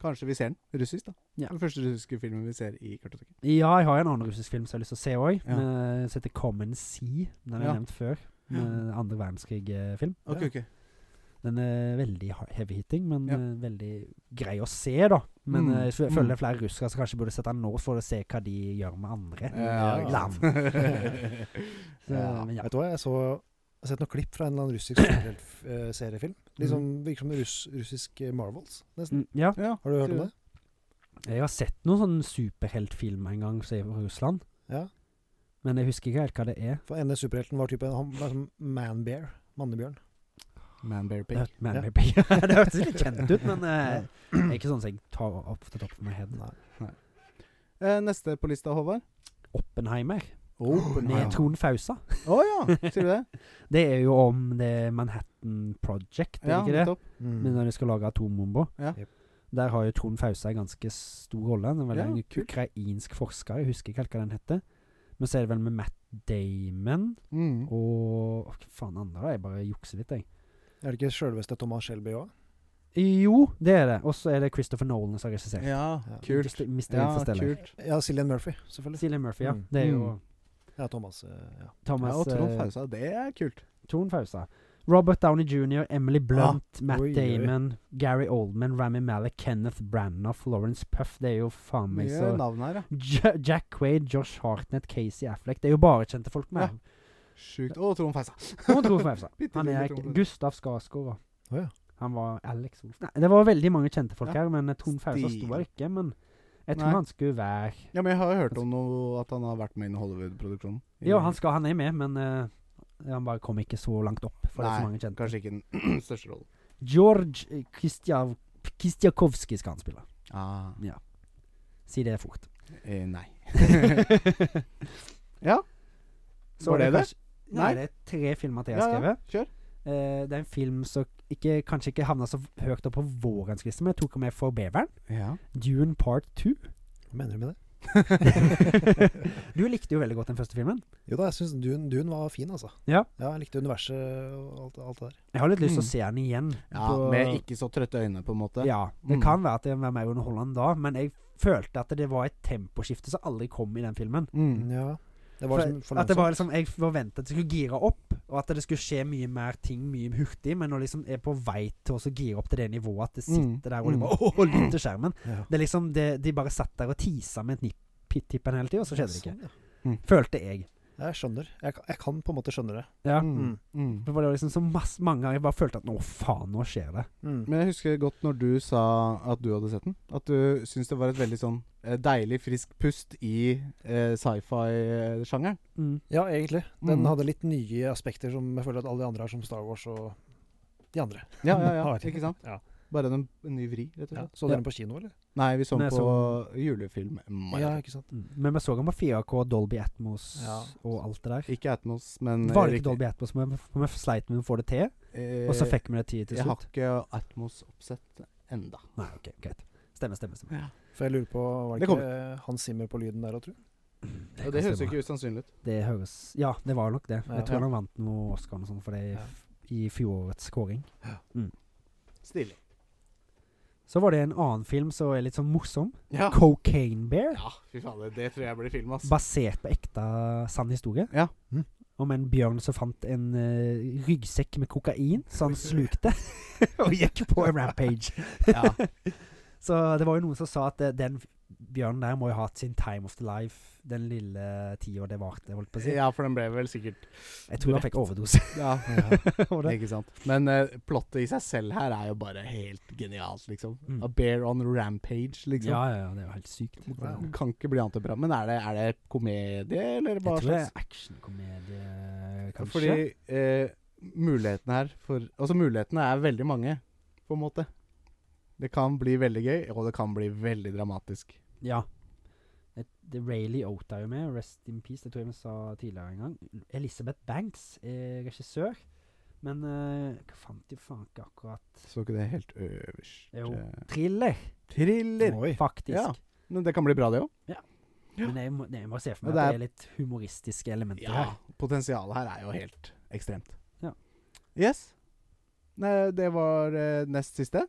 Kanskje vi ser den russisk, da. Ja. Den første russiske filmen vi ser i kartoteket. Ja, jeg har en annen russisk film som jeg har lyst til å se òg, Ja. som heter Common Sea. Den har Ja. jeg nevnt før. Ja. Med andre eh, verdenskrig-film. Ok, ok. Den er veldig ha- heavy hitting, men Ja. eh, veldig grei å se, da. Men Mm, eh, jeg føl- mm. føler det er flere russere som kanskje burde sette den nå, for å se hva de gjør med andre. Ja, land. ikke sant. Så, Ja. Men ja. Vet du hva, jeg så har sett noen klipp fra en eller annen russisk superhelt- eh, seriefilm. Liksom, virker som russ, russisk eh, Marvels, nesten. Mm, ja. Ja, Har du hørt om det? Jeg har sett noen sånn superheltfilm en gang som er fra Russland, Ja. men jeg husker ikke helt hva det er. For ene superhelten var type han var som manbear. Mannebjørn. Man Bear Det, Pig. hørt, man Ja. Bear Pig. det hørtes litt kjent ut, men eh, det er ikke sånn som jeg tar opp til toppen av heden. Nei. Eh, neste på lista, Håvard. Oppenheimer Oppenheimer. med Trond Fausa. Å ja, sier du det? Det er jo om det Manhattan Project, er Ja, ikke det? nettopp. Mm. Men når de skal lage atombomber. Ja. Jep. Der har jo Trond Fausa en ganske stor rolle. Han er vel Ja, en kult. ukrainsk forsker, jeg husker ikke helt hva den heter. Men så er det vel med Matt Damon Mm. og Hva faen andre, da? Jeg bare jukser litt, jeg. Er det ikke sjølveste Thomas Shelby òg? Jo, det er det. Og så er det Christopher Nolan som har regissert. Ja, Ja. kult. Just- Mr. Ja, Interstellar. kult. Ja, Cillian Murphy, selvfølgelig. Cillian Murphy, ja. Mm. Det er jo Mm. Ja, Thomas. eh, Ja. Thomas Ja, og Trond eh, Fausa. Det er kult. Trond Fausa. Robert Downey jr., Emily Blunt, Matt Ah, Oi, oi. Damon, Gary Oldman, Rami Malik, Kenneth Branagh, Lawrence Puff Det er jo faen meg Mye så navn her, ja. J Jack Quaid, Josh Hartnett, Casey Affleck Det er jo bare kjente folk med. Sjukt. Å, Trond Fausa. Og Trond Fausa. Bitte Han lille er Trond Fausa. Gustav Skarsgård. da. Å ja. Han var Alex Olsen Nei, det var veldig mange kjente folk Ja. her, men eh, Trond Fausa sto Stil. her ikke. Men jeg Nei. tror han skulle være Ja, men jeg har jo hørt om noe at han har vært med innen Hollywood-produksjonen. I- Ja, han, skal, han er med, men eh, han bare kom ikke så langt opp. For det er Nei, så mange kjente. Kanskje ikke den største rollen. George eh, Kistjav, Kistjakovskij skal han spille. Ah, Si det fort. eh, nei. Så Var det det? kanskje- Nei, Nei. det er tre filmer til jeg Ja, har ja, skrevet. kjør. Eh, det er en film som ikke, kanskje ikke havna så høyt opp på vårens liste, men jeg tok med for beveren. Ja. Dune Part 2. Hva mener du med det? du likte jo veldig godt den første filmen. Jo da, jeg syns Dune, Dune var fin, altså. Ja. Jeg likte universet og alt, alt det der. Jeg har litt lyst Mm. til å se den igjen. ja på- med ikke så trøtte øyne, på en måte. Ja, det Mm. kan være at jeg var mer underholdende da, men jeg følte at det var et temposkifte som aldri kom i den filmen. Mm. Ja. Det var For- liksom for at det var langsomt. liksom, Jeg forventa at det skulle gire opp, og at det skulle skje mye mer ting mye hurtig, men nå liksom er på vei til å gire opp til det nivået at det Mm. sitter der og Mm. liksom, åh, lytt til skjermen. Ja. Det er liksom, det, De bare satt der og tisa med et nipp-tippen hele tida, og så skjedde det ikke. Sånn, ja. Følte jeg. Jeg skjønner. Jeg, kan- jeg kan på en måte skjønne det. Ja. Mm. Mm. Det var liksom så masse, mange ganger jeg bare følte at nå faen, nå skjer det. Mm. Men jeg husker godt når du sa at du hadde sett den. At du syntes det var et veldig sånn eh, deilig, frisk pust i eh, sci-fi-sjangeren. Ja, egentlig. Den Mm. hadde litt nye aspekter som jeg føler at alle de andre har, som Star Wars og de andre. Ja, ja, ja. Har- Ikke sant? Ja. Bare en, en ny vri, rett og slett. Så Ja. dere den på kino, eller? Nei, vi så den Nei, på så- julefilm. Ja, Marathon. ikke sant. Mm. Men vi så den på 4K, Dolby Atmos Ja. og alt det der. Ikke Atmos, men eh, Var det riktig. ikke Dolby Atmos, men vi- vi sleit med å få det til, Eh, og så fikk vi det til til Jeg har slutt. ikke Atmos-oppsett enda. Nei, ok, greit. Stemmer, stemmer. stemmer. For jeg lurer på, var Det det ikke eh, Hans Zimmer på lyden der òg, tro? Og det høres jo ikke usannsynlig ut. Det høres Ja, det var nok det. Ja. Jeg tror Ja. han vant noe Oscar og sånn for det i Ja. f- i fjorårets kåring. Stilig. Så var det en annen film som er litt sånn morsom. Ja. Cocaine Bear. ja, fy fader. Det tror jeg blir film, ass. Basert på ekte sann historie. Ja. Mm. Om en bjørn som fant en eh, ryggsekk med kokain, så han slukte og gikk på en rampage. Ja. Så det var jo noen som sa at eh, den bjørnen der må jo ha hatt sin time of the life den lille tida det varte, holdt på å si. ja, for den ble vel sikkert Jeg tror han fikk overdose. Ja, av det. ikke sant. Men eh, plottet i seg selv her er jo bare helt genialt, liksom. Mm. A bear on rampage, liksom. Ja, ja, ja, det er jo helt sykt. Wow. Kan ikke bli annet enn bra. Men er det, er det komedie, eller hva Jeg tror det slags? er actionkomedie, kanskje. Fordi eh, mulighetene her for Altså, mulighetene er veldig mange, på en måte. Det kan bli veldig gøy, og det kan bli veldig dramatisk. Ja. Et, det Ray Liotta er jo med, Rest in Peace, det tror jeg vi sa tidligere en gang. Elisabeth Banks er regissør, men eh, hva fant de faen ikke akkurat Så ikke det helt øverst Jo. eh, Thriller, Thriller! Oi. faktisk. Ja. Men det kan bli bra, det òg. Ja. Men jeg må, jeg må se for Og meg at det det er litt humoristiske elementer Ja. her. Potensialet her er jo helt ekstremt. Ja. Yes. Nei, det var eh, nest siste.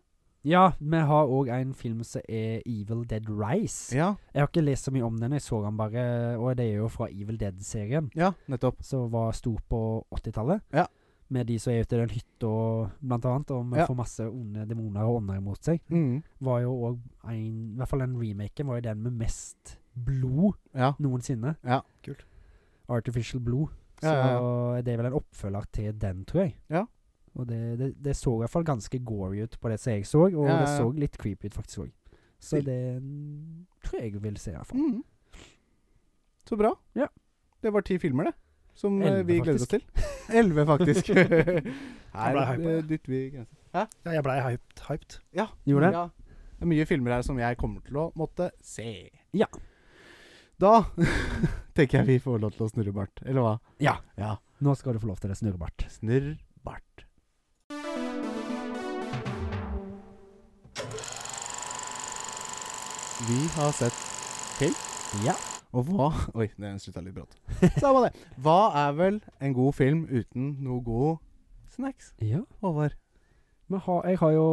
Ja, vi har òg en film som er Evil Dead Rise. Ja, Jeg har ikke lest så mye om den, jeg så den bare, og det er jo fra Evil Dead-serien. ja nettopp. som var stor på 80-tallet. Ja. Med de som er ute i den hytta, blant annet, og man Ja. får masse onde demoner og ånder imot seg. Mm. Var jo òg en I hvert fall den remaken var jo den med mest blod Ja. noensinne. Ja. Kult. Artificial blod. Så Ja, ja, det er vel en oppfølger til den, tror jeg. Ja. Og det, det, det så i hvert fall ganske gory ut på det som jeg så, og Ja, ja, det ja. så litt creepy ut faktisk òg. Så Vil- det mm, tror jeg jeg vil se, i hvert fall. Mm. Så bra. Ja. Det var ti filmer, det. Som eh, Elleve, vi gleder oss til. Elleve, faktisk. Her Jeg ble eh, dytter vi grenser. Ja, jeg blei hyped. hyped. Ja. Gjorde det? ja. Det er mye filmer her som jeg kommer til å måtte se. Ja. Da tenker jeg vi får lov til å snurre bart, eller hva? Ja. ja. Nå skal du få lov til det, snurrebart. Snurr bart. Vi har sett Ja. Og hva Oi, det slutta litt brått. Samme det. Hva er vel en god film uten noe god snacks, ja. Håvard? Men ha, jeg har jo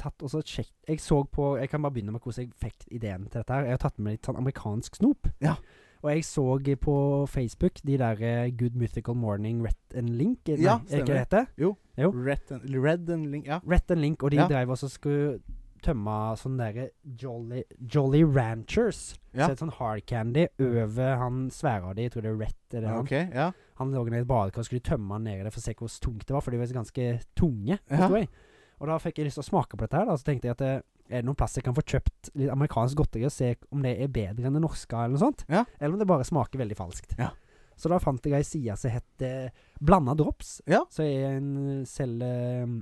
tatt også et sjekk Jeg så på Jeg kan bare begynne med hvordan jeg fikk ideen til dette. her Jeg har tatt med litt sånn amerikansk snop. Ja. Og jeg så på Facebook de der eh, Good Mythical Morning Rett and Link. eh, Ja, nei, er det ikke stemmer. det det heter? Jo. Red and, red and Link Ja. Rett and Link, og de Ja. drev også skulle tømme sånne derre Jolly, Jolly Ranchers. Ja. Så et sånn hard candy over han svære av de, jeg tror det er Rett eller han. Ok, ja. Han lå nede i et badekar og skulle tømme han ned i det for å se hvor tungt det var, for de var ganske tunge. Ja. forsto Jeg. Og da fikk jeg lyst til å smake på dette her, da, så tenkte jeg at eh, er det noen plass jeg kan få kjøpt litt amerikansk godteri og se om det er bedre enn det norske, eller noe sånt? Ja. Eller om det bare smaker veldig falskt. Ja. Så da fant jeg ei side som heter Blanda Drops, Ja. som er en eh, selger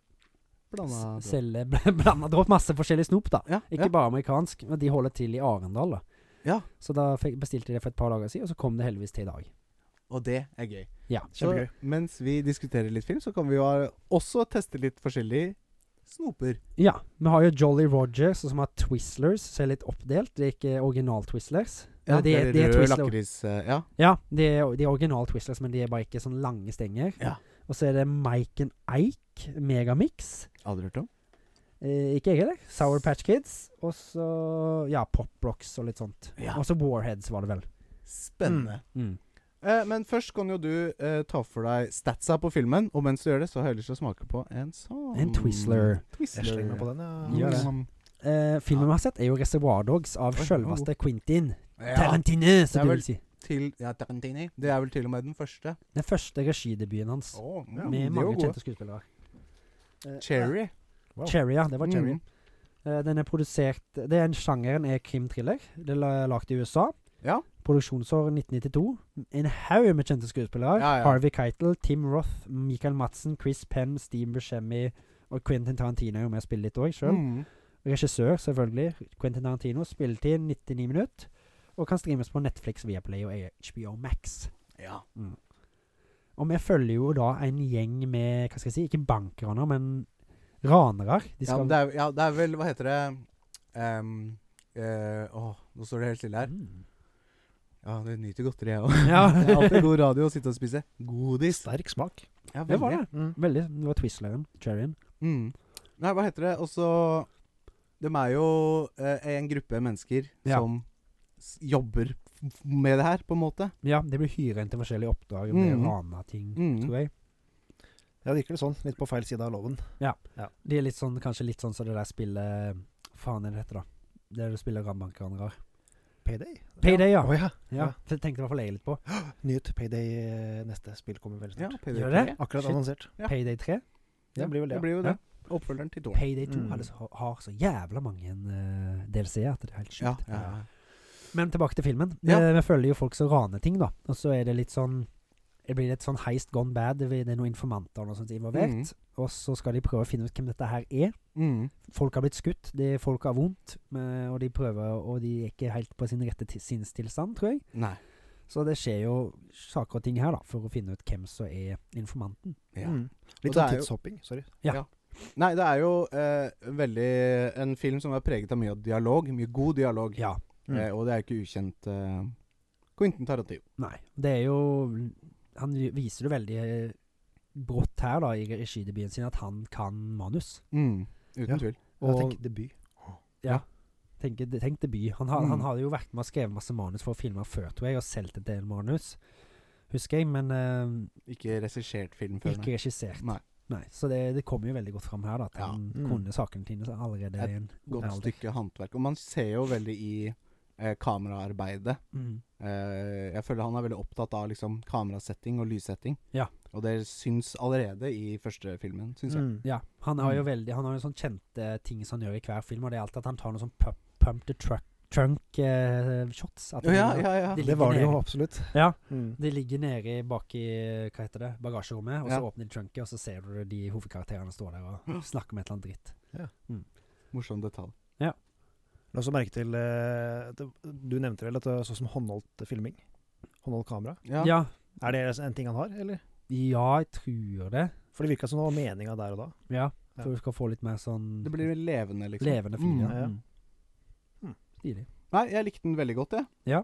Blanda S- Selge blanda dropp masse forskjellig snop, da. ja, Ikke ja. bare amerikansk, men de holder til i Arendal, da. Ja. Så da fikk, bestilte jeg det for et par dager siden, og så kom det heldigvis til i dag. Og det er gøy. Ja. Så Kjempegøy. mens vi diskuterer litt film, så kan vi jo ha- også teste litt forskjellige snoper. ja. Vi har jo Jolly Rogers, som har Twizzlers, som er litt oppdelt. Det er ikke original-Twizzlers. Nei, det er- det er rød Twizzler. lakris eh, Ja. Ja, de er, de er original Twizzlers, men de er bare ikke sånn lange stenger. Ja. Og så er det Mike and Ike, Megamix. Aldri hørt om? Eh, ikke jeg heller. Sour Patch Kids. Og så ja, Pop Rocks og litt sånt. Ja. Og så Warheads, var det vel. Spennende. Mm. Eh, men først kan jo du eh, ta for deg statsa på filmen, og mens du gjør det, så har jeg lyst til å smake på en sånn En Twizzler. Twizzler. Jeg slenger meg på den, Gjør ja. det. Mm. Eh, filmen vi har sett, er jo 'Reservoir Dogs' av Oi, oh. selveste Quentin Ja. Tarantine. Det Som er du vel- vil si. til ja, Tarantini. Det er vel til og med den første. Den første regidebuten hans. Oh, med mange kjente skuespillere. Eh, Cherry. ja, Cherry, ja. Det var Cherry. Mm. Eh, den er produsert det er en Sjangeren er krimthriller. Det er la- lagt i USA. Ja. Produksjonsår 1992. En haug med kjente skuespillere. Ja, ja. Harvey Keitel, Tim Roth, Michael Madsen, Chris Penn, Steve Buscemi og Quentin Tarantino er jo med og spiller litt òg, sjøl. Mm. Regissør, selvfølgelig. Quentin Tarantino. Spilletid 99 minutter. Og kan streames på Netflix, Viaplay og HBO Max. Ja. Og vi følger jo da en gjeng med Hva skal jeg si? Ikke bankraner, men ranere. De Ja, skal men det er, ja, det er vel Hva heter det Em, eh, Åh, nå står det helt stille her. Mm. Ja, det nyter godteri, jeg òg. Ja. det er alltid god radio å sitte og spise godis. Sterk smak. Ja, Det var det. Mm. Veldig. Det var Twizzleren. Cherryen. Mm. Nei, hva heter det? Og så De er jo eh, en gruppe mennesker Ja. som s jobber f- f- med det her, på en måte. Ja, de blir hyret inn til forskjellige oppdrag. Mm. Med Mm. raneting, Mm. tror jeg. Ja, virker det sånn. Litt på feil side av loven. De er litt sånn, kanskje litt sånn som det der spillet Faen er det heter, da. Der du spiller rambankraner. Payday? Payday, ja. Å ja. Ja, det tenkte i hvert fall jeg litt på. Nytt Payday eh, neste spill kommer vel Ja, snart. PVP. Gjør det? Akkurat Shit. annonsert. Ja. Payday 3. Ja, Det blir vel det. Det blir jo Ja. det. Oppfølgeren til toeren. Payday 2 Mm. hadde så, har så jævla mange uh, DLC-er at det er helt sjukt. Ja, ja, ja. Men tilbake til filmen. Ja. Eh, Vi følger jo folk som raner ting, da. Og så er det litt sånn Det blir litt sånn heist gone bad. Det blir- det er noen informanter og noe sånt involvert. Og så skal de prøve å finne ut hvem dette her er. Mm. Folk har blitt skutt, de, folk har vondt, men- og de prøver, og de er ikke helt på sin rette ti- sinnstilstand, tror jeg. Nei. Så det skjer jo saker og ting her, da, for å finne ut hvem som er informanten. Ja. Mm. Og Litt det sånn er jo- tidshopping. Sorry. Nei, det er jo eh, veldig en film som er preget av mye dialog. Mye god dialog. Ja. Mm. Eh, og det er jo ikke ukjent eh, Quentin Tarantino. Nei. Det er jo Han vi- viser det veldig eh, brått her, da, i regidebuten sin, at han kan manus. Mm. Uten Ja. tvil. Og Og- tenk debut. Ja. Tenk, tenk debut. Han, har, Mm. han hadde jo vært med og skrevet masse manus for filmer før, tror jeg, og solgt en del manus, husker jeg, men eh, Ikke regissert film før. ikke regissert. Nei. Nei, Så det, det kommer jo veldig godt fram her, da, at Ja. han Mm. kunne sakene sine allerede Et i en Godt ung alder. stykke håndverk. Og man ser jo veldig i eh, kameraarbeidet. Mm. Eh, jeg føler han er veldig opptatt av liksom, kamerasetting og lyssetting. Ja. Og det syns allerede i første filmen, syns jeg. Mm. Ja, han har jo veldig Han har jo sånn kjente ting som han gjør i hver film, og det er alltid at han tar noen sånn pump, pump the truck, trunk eh, shots. At han- Ja, ja, ja. de Det ligger var det jo nede- absolutt. Ja. Mm. De ligger nede i- bak i hva heter det, bagasjerommet, og Ja. så åpner de trunket, og så ser du de hovedkarakterene står der og snakker om et eller annet dritt. Morsom detalj. La oss merke til eh, det, Du nevnte vel at det er sånn som håndholdt filming? Håndholdt kamera. Ja. Ja, Er det en ting han har, eller? ja jeg tror det. For det virka som det var meninga der og da. Ja, Ja. For du skal få litt mer sånn Det blir Mm. levende, liksom. levende film. Mm. ja. ja. Mm. Hmm. Stilig. Nei, jeg likte den veldig godt, jeg. Ja.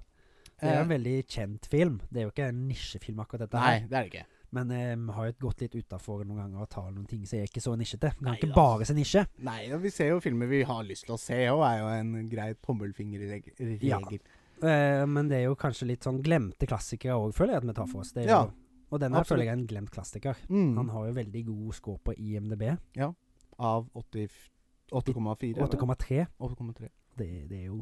Det er Eh, jo en veldig kjent film. Det er jo ikke en nisjefilm, akkurat dette. nei, her det er det ikke. Men eh, vi har jo gått litt utafor noen ganger og tar noen ting som er ikke så nisjete. Vi Nei, kan ikke altså. bare se nisje. Nei, og vi ser jo filmer vi har lyst til å se òg, er jo en grei tommelfingerregel. Ja. Eh, men det er jo kanskje litt sånn glemte klassikere òg, føler jeg at vi tar for oss. Det er Ja, jo, og den her absolutt. føler jeg er en glemt klassiker. Han Mm. har jo veldig god score på IMDb. Av 80 8,4. eller? 8,3. 8,3. Det, det er jo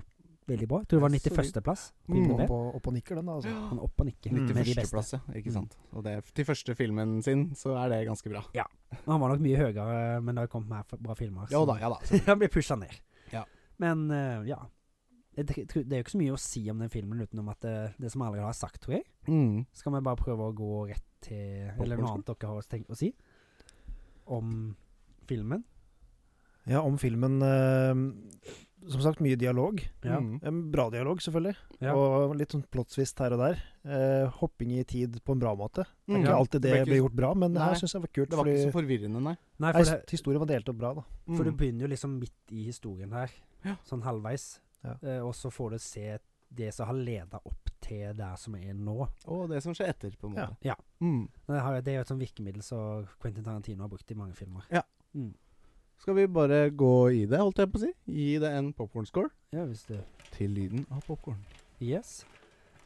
veldig bra. Jeg tror det var Det er solid. 91. plass på Mm. IMDb. Opp og, opp og nikker, den da. Altså. Han er opp og nikker Mm. med de 91. beste. plass, ja, ikke Mm. sant. Og det, til første filmen sin, så er det ganske bra. Han var nok mye høyere, men det har jo kommet mer f- bra filmer. Jo så- da, ja da. han blir pusha ned. Ja. Men eh, ja. Jeg tr- tror- Det er jo ikke så mye å si om den filmen utenom at det, det som jeg allerede har sagt, tror jeg. Mm. Skal vi bare prøve å gå rett til Eller noe annet dere har å tenke å si om filmen? Ja, om filmen eh, Som sagt, mye dialog. Ja. Mm. En bra dialog, selvfølgelig. Ja. Og litt sånn plottsvist her og der. Eh, hopping i tid på en bra måte. Det er Mm. ikke Ja. alltid det ble ikke- blir gjort bra, men Nei. her syns jeg det var kult. Det var fordi ikke så forvirrende, nei. Nei, nei, for, det, historien var delt opp bra, da. for du Mm. begynner jo liksom midt i historien her, Ja. sånn halvveis, Ja. eh, og så får du se det som har leda opp til der som er nå. Og det som skjer etter, på en måte. Ja. Ja. Mm. Det har- det er jo et sånt virkemiddel som Quentin Tarantino har brukt i mange filmer. Skal vi bare gå i det, holdt jeg på å si? Gi det en popkorn-score? Ja, hvis du Til lyden av popkorn. Yes.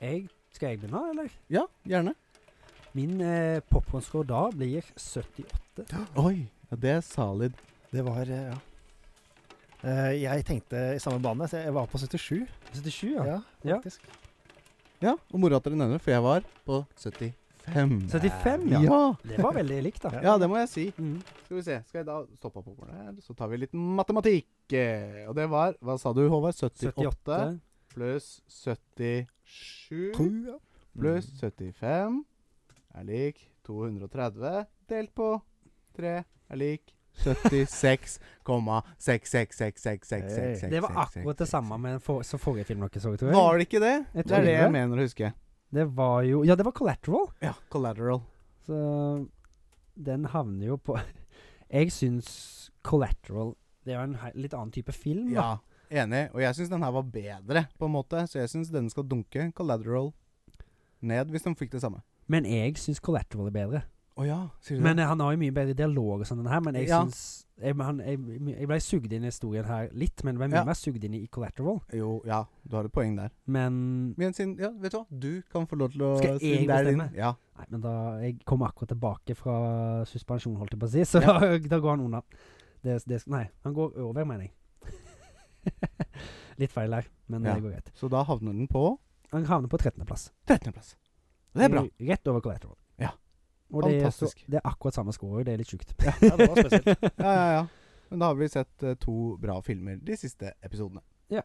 Jeg, skal jeg begynne, eller? Ja, gjerne. Min eh, popkornscore da blir 78. Oi, ja, det er solid. Det var eh, Ja. Eh, jeg tenkte i samme bane, så jeg var på 77. 77, Ja, ja. Ja. faktisk. Ja, og moro at dere nevner det, for jeg var på 75. 75, ja. Ja. Det var veldig likt, da. Ja. ja, det må jeg si. Mm. Skal vi se, skal jeg da stoppe opp over her, så tar vi litt matematikk. Eh, Og det var, hva sa du Håvard? 78, 78. pluss 77 To, ja. pluss 75 er lik 230 delt på 3 er lik 76,6666666. Det var akkurat det samme med den for, som forrige film dere så, tror jeg. Var det ikke det? Jeg Det tror er det det. jeg mener å huske. Det var jo Ja, det var Collateral. Ja, collateral. Så den havner jo på Jeg syns Collateral Det er jo en he- litt annen type film, da. Ja, enig. Og jeg syns den her var bedre, på en måte. Så jeg syns denne skal dunke collateral ned, hvis de fikk det samme. Men jeg syns Collateral er bedre. Å ja, sier du Men eh, han har jo mye bedre dialog og sånn, den her. Men jeg Ja. syns jeg, han- jeg, jeg ble sugd inn i historien her litt, men ble mye Ja. mer sugd inn i Collateral. det? Jo, ja, du har et poeng der. Men Men siden, ja, vet du hva, du kan få lov til å Skal siden jeg det er din- bestemme? Ja. Nei, men da Jeg kom akkurat tilbake fra suspensjon, holdt jeg på å si, så Ja. da, da går han unna. Det, det, nei, han går over, mener jeg. Litt feil her, men Ja. det går greit. Så da havner den på Han havner på 13.-plass. 13.-plass. Det er bra. Rett over collateral. Ja. Og det er, så, Fantastisk. det er akkurat samme score, det er litt sjukt. ja, det var spesielt. Ja, ja, ja. Men da har vi sett eh, to bra filmer de siste episodene. Ja.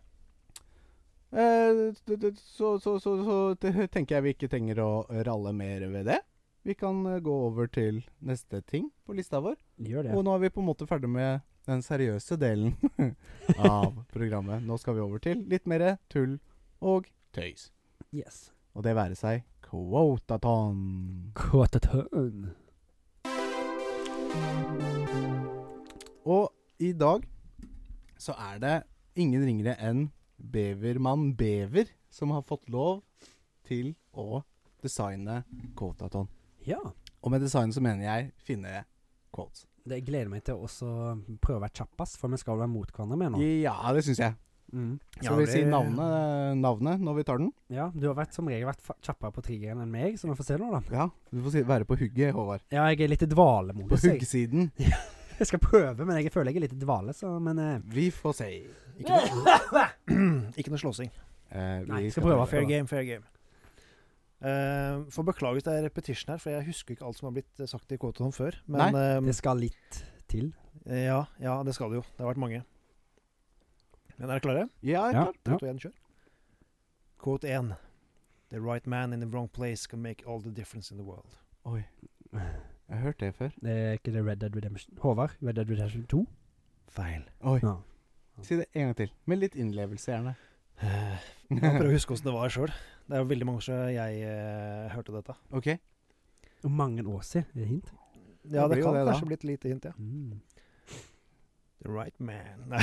Eh, d- d- så, så, så, så t- tenker jeg vi ikke trenger å ralle mer ved det. Vi kan eh, gå over til neste ting på lista vår. Gjør det. Og nå er vi på en måte ferdig med den seriøse delen av programmet. Nå skal vi over til litt mer tull og tøys. Yes. Og det være seg Quotaton. Quotaton. Og i dag så er det ingen ringere enn Bevermann Bever som har fått lov til å designe Quotaton. Ja. Og med design så mener jeg finne quotes. Det jeg gleder meg til å også prøve å være kjappest, for vi skal være mot hverandre med nå. Ja, det syns jeg. Mm. Skal Ja, vi det- si navnet, navnet når vi tar den? Ja, du har vært, som regel vært fa- kjappere på triggeren enn meg, så vi får se nå, da. Ja, Du får si, være på hugget, Håvard. Ja, jeg er litt i På dvalemodus. jeg. huggsiden. Jeg skal prøve, men jeg føler jeg er litt i dvale, så Men eh, Vi får se. Ikke noe, ikke noe slåssing. Eh, Nei, vi skal prøve prøve. fair Mm. Fair game, fair game. Uh, for Beklager at det er repetition her, for jeg husker ikke alt som har blitt eh, sagt i Kåton før. Men Det skal litt til. eh, ja, ja, det skal det jo. Det har vært mange. Men er dere klare? Ja, Ja, klart. ja. Quote 1, kjør. Quote 1. The right man in the wrong place can make all the difference in the world. Oi. Jeg har hørt det før. Det er ikke det Red Dead Redemption Håvard, Red Dead Redemption 2? Feil. Oi. Ja. Si det en gang til. Med litt innlevelse, gjerne. Jeg prøver å huske åssen det var sjøl. Det er jo veldig mange år siden jeg eh, hørte dette. OK. Og mange år siden, er det hint? Ja, Det blir det, jo kan det, da. kanskje bli et lite hint, ja. Mm. The right man Nei.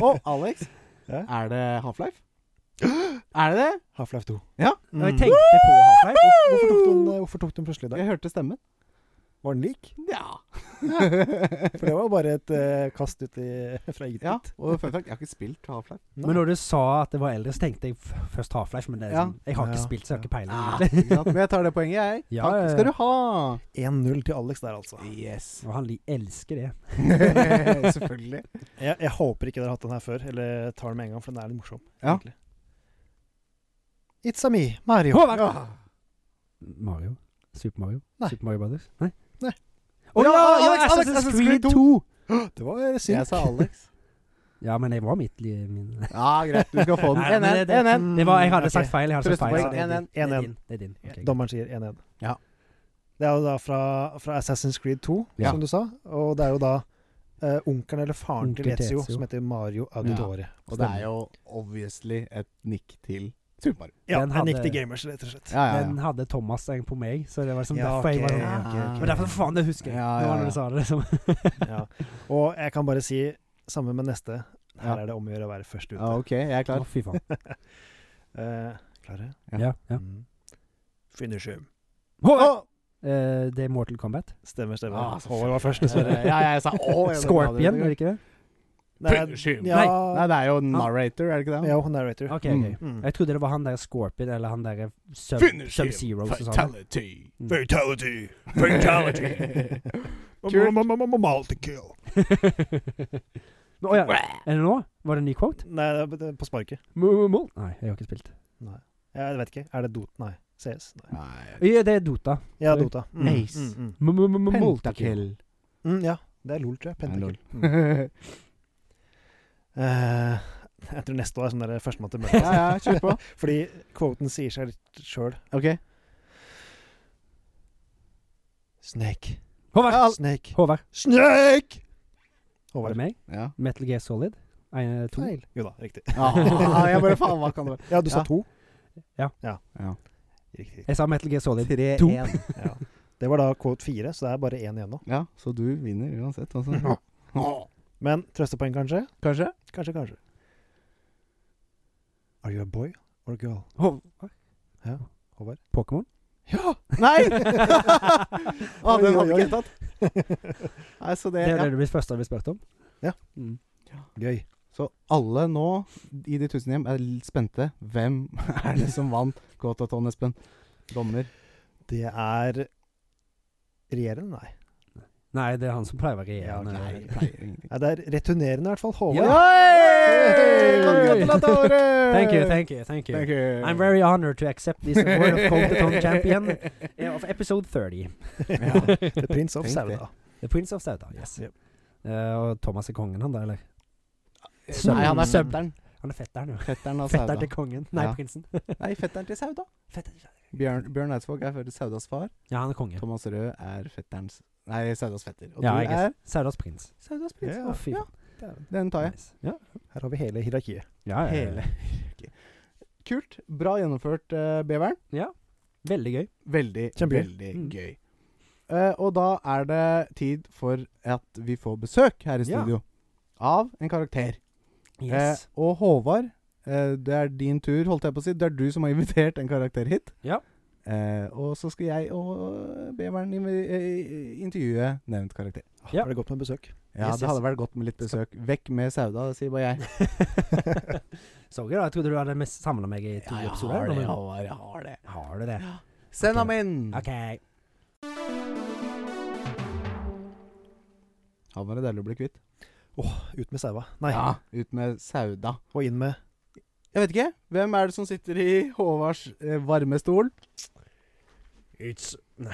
Å, Alex. Ja? Er det Half-Life? Er det det? Half-Life 2. Ja. Ja, jeg tenkte på Half-Life. Hvor- Mm. Hvorfor tok du den, eh, hvorfor tok du den plutselig der? Jeg hørte stemmen. Var den lik? Ja. For det var jo bare et eh, kast ut i, fra eget ja. ditt. Og fun fact, jeg har ikke spilt Half-Life. Nei. Men når du sa at det var eldre, så tenkte jeg f- først Half-Life. Men det er Ja. sånn, jeg har Ja, ikke spilt, så jeg har ikke peiling. Ah, egentlig. ikke sant? Men jeg tar det poenget, jeg. Ja, Takk ja, ja. skal du ha. 1-0 til Alex der, altså. Yes. Og han li- elsker det. Selvfølgelig. Jeg, jeg håper ikke dere har hatt den her før, eller tar den med en gang, for den er litt morsom. Ja. egentlig. It's a me, Mario. Håvard! Mario? Super Mario? Nei. Super Mario Brothers? Nei. Nei. Å Ja, ja, ja, Alex, Alex, Assassin's Assassin's Creed Creed 2! Det var Jeg sa Alex. Ja, men jeg var midt i min Ja, greit. Du skal få Nei, den. men 1-1. det- det- 1-1. Det var, Jeg hadde Ok. sagt feil. Jeg hadde sagt feil. Trøstepoeng, så det er din. 1-1. Det er 1-1. din. Det er din. Ok, greit. Dommeren sier 1-1. Ja. Det er jo da fra, fra Assassin's Creed 2, Ja. som du sa. Og det er jo da eh, onkelen eller faren til Onkel til Ezio, Ezio. som heter Mario Auditore. Og det er jo obviously et nikk til Super Mario. Ja, Den han hadde- gikk til gamers, rett og slett. Ja, ja, Den hadde Thomas en på meg, så det var liksom Ja, derfor jeg ok, var sånn ja. Det var derfor faen det husker jeg. Ja, Det ja, var ja. når du sa det. Liksom. Ja. Og jeg kan bare si, sammen med neste, her Ja. er det om å gjøre å være først ute. ja. OK, jeg er Å, klar. fy faen. Eh, klare? Ja. Ja, ja. Mm. Finish him. Håvard! Eh, det er Mortal Kombat. Stemmer, stemmer. Ah, så Håvard var først, dessverre. Ja, jeg sa å, jeg- Scorpion, er det ikke det? Finish him. Ja, Nei, det er jo narrator, er det ikke det? ja, narrator. Ok, Mm. ok. Mm. Jeg trodde det var han der Scorpion, eller han der Sub- Finish him. Sub-Zero som sa det. Fatality. Mm. Fatality! Kult. Mal to kill. Nå, å ja. Er det nå? Var det en ny quote? Nei, det er- det er på sparket. Mål? Nei, jeg har ikke spilt. Nei. Jeg vet ikke. Er det Dota? Nei. CS? Nei. Nei. Ja, det er Dota. Ja, Dota. Mm, Ace. Mm, mm. Pentakill. Moltakill. Mm, ja, det er LOL, tror jeg. Pentakill. Mm. ja, Eh, jeg tror neste år er sånn der førstemann til mølla. ja, kjør på. Fordi quoten sier seg litt sjøl. OK. Snake. Håvard! Snake. Håvard. Snake! Var Håvard. det meg? Ja. Metal Gear Solid? En, to? Feil. Jo da, riktig. Ah, jeg bare faen, hva kan det være? Ja, du sa Ja. to. Ja. ja. Ja. Riktig. Jeg sa Metal Gear Solid. 3-1. Ja. Det var da quote fire, så det er bare én igjen nå. Ja, så du vinner uansett, Mm. altså. Men trøstepoeng, kanskje? Kanskje? Kanskje, kanskje. Are you a boy or a girl? Håvard. Ja, Håvard. Pokémon? Ja! Nei! ah, den hadde ikke jeg tatt. Nei, så det, Det er ja. det du blir første du blir spurt om? Ja. Mm. Gøy. Så alle nå i De tusen hjem er litt spente. Hvem er det som vant Gåtaton, Espen? Dommer. Det er regjerende, nei. Nei, det er han som pleier å være eh, Ja, regjerende. nei. pleier ingenting. nei. Det er returnerende, i hvert fall. Håvard. Ja. Hey! Gratulatore! Thank you, thank you, thank you. Thank you. I'm very honored to accept this award of Colton Champion eh, of episode 30. ja. The Prince of Tenk det. Sauda. The Prince of Sauda, yes. Yep. Eh, og Thomas er kongen, han da, eller? Sønnen. Nei, han er Sønnen. fetteren. Han er fetteren, jo. Fetteren av Sauda. Fetteren til kongen. Nei, Ja. prinsen. Nei, fetteren til Sauda. Fetteren til- Bjørn, Bjørn Eidsvåg er født Saudas far. Ja, han er konge. Thomas Rød er fetterens Nei, Saudas fetter. Og Ja, du jeg guess. er Saudas prins. Saudas prins. Ja, Ja, fy Den tar jeg. Nice. Ja. Her har vi hele hierarkiet. Ja, ja, ja. Hele. Kult. Bra gjennomført, eh, Beveren. Veldig gøy. Veldig, Kjempegøy. veldig Mm. gøy. Eh, og da er det tid for at vi får besøk her i Ja. studio av en karakter. Yes. Eh, og Håvard, eh, det er din tur, holdt jeg på å si. Det er du som har invitert en karakter hit. Ja. Eh, og så skal jeg og Beveren invi- eh, intervjue nevnt karakter. Ah, Ja. Har det gått med besøk? Ja, Yes, det yes. hadde vært godt med litt besøk. Vekk med Sauda, det sier bare jeg. Sorry, da. Jeg trodde du hadde samla meg i to episoder. men- Håvard, jeg har det. Har du det? Send ham Ok. inn! OK. Han var det deilig å bli kvitt. Ut med saua. Nei, Ja, ut med Sauda. og inn med Jeg vet ikke. Hvem er det som sitter i Håvards eh, varme stol? It's Nei.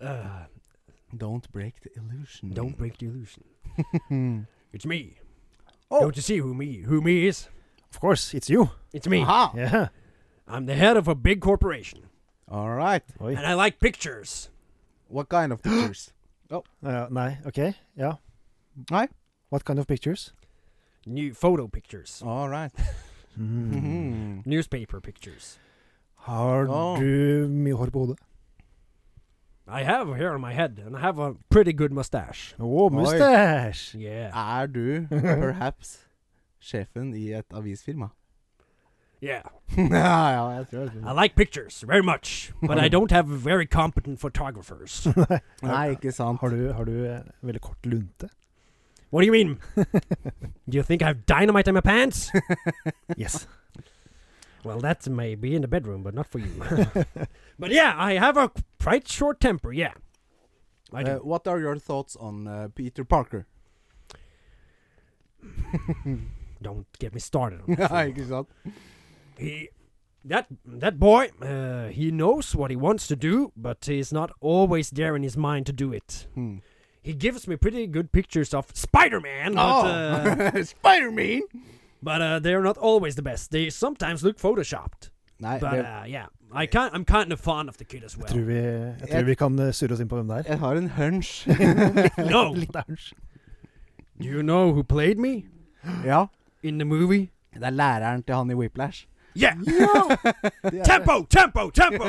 uh, Don't break the illusion. don't break the illusion. Hmm. It's me. Oh. Don't you see who me who me is? Of course, it's you. It's me. Aha! Yeah. I'm the head of a big corporation, All right. Oi. and I like pictures. What kind of pictures? Ja, nei, OK. Ja. Nei. What kind of pictures? New photo pictures, All right. Mhm. newspaper pictures. Har Ja. du mye hår på hodet? I have hair on my head, and I have a pretty good mustache. Å, oh, mustache! Yeah, Er du perhaps sjefen i et avisfirma? yeah. ja, ja, jeg tror det. I like pictures very much, but I don't have very competent photographers. Nei, ikke sant. Har du, har du eh, veldig kort lunte? What do you mean? do you think I have dynamite in my pants? Yes. well, that may be in the bedroom, but not for you. but yeah, I have a quite short temper. Yeah, I do. Uh, what are your thoughts on uh, Peter Parker? don't get me started. On that ja, fool. ikke sant? he that that boy uh, he knows what he wants to do but he's not always there in his mind to do it Hmm. he gives me pretty good pictures of spider-man but, Oh. uh, Ah! Spider-Man! but uh, they're not always the best they sometimes look photoshopped Nei, but det, uh, yeah i can i'm kind of fond of the kid as Jeg well tror vi, jeg tror vi kan eh, surre oss inn på hvem det er. jeg har en hunch. no Litt ouch. do you know who played me ja. in the movie Det er læreren til han i Whiplash. yeah Det er- tempo tempo tempo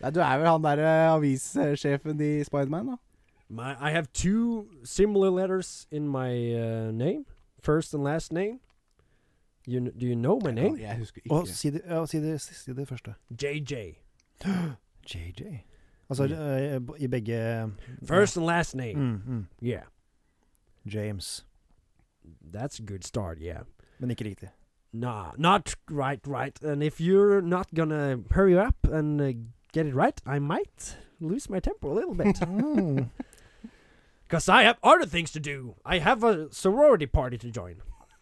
Nei, du er vel han derre avissjefen i Spiderman, da? My, I have two similar letters in my uh, name, first and last name. You kn- do you know my name? Jeg husker Å, ikke. si det, ja, si, det, si det første. JJ. JJ. Altså eh, bo- i begge First and last name. Mm, mm. Yeah, James. that's a good start. Yeah. Men ikke riktig. Nah, not right, right. And if you're not gonna hurry up and uh, get it right, I might lose my temper a little bit. Hmm. Mm. Cause I have other things to do. I have a sorority party to join.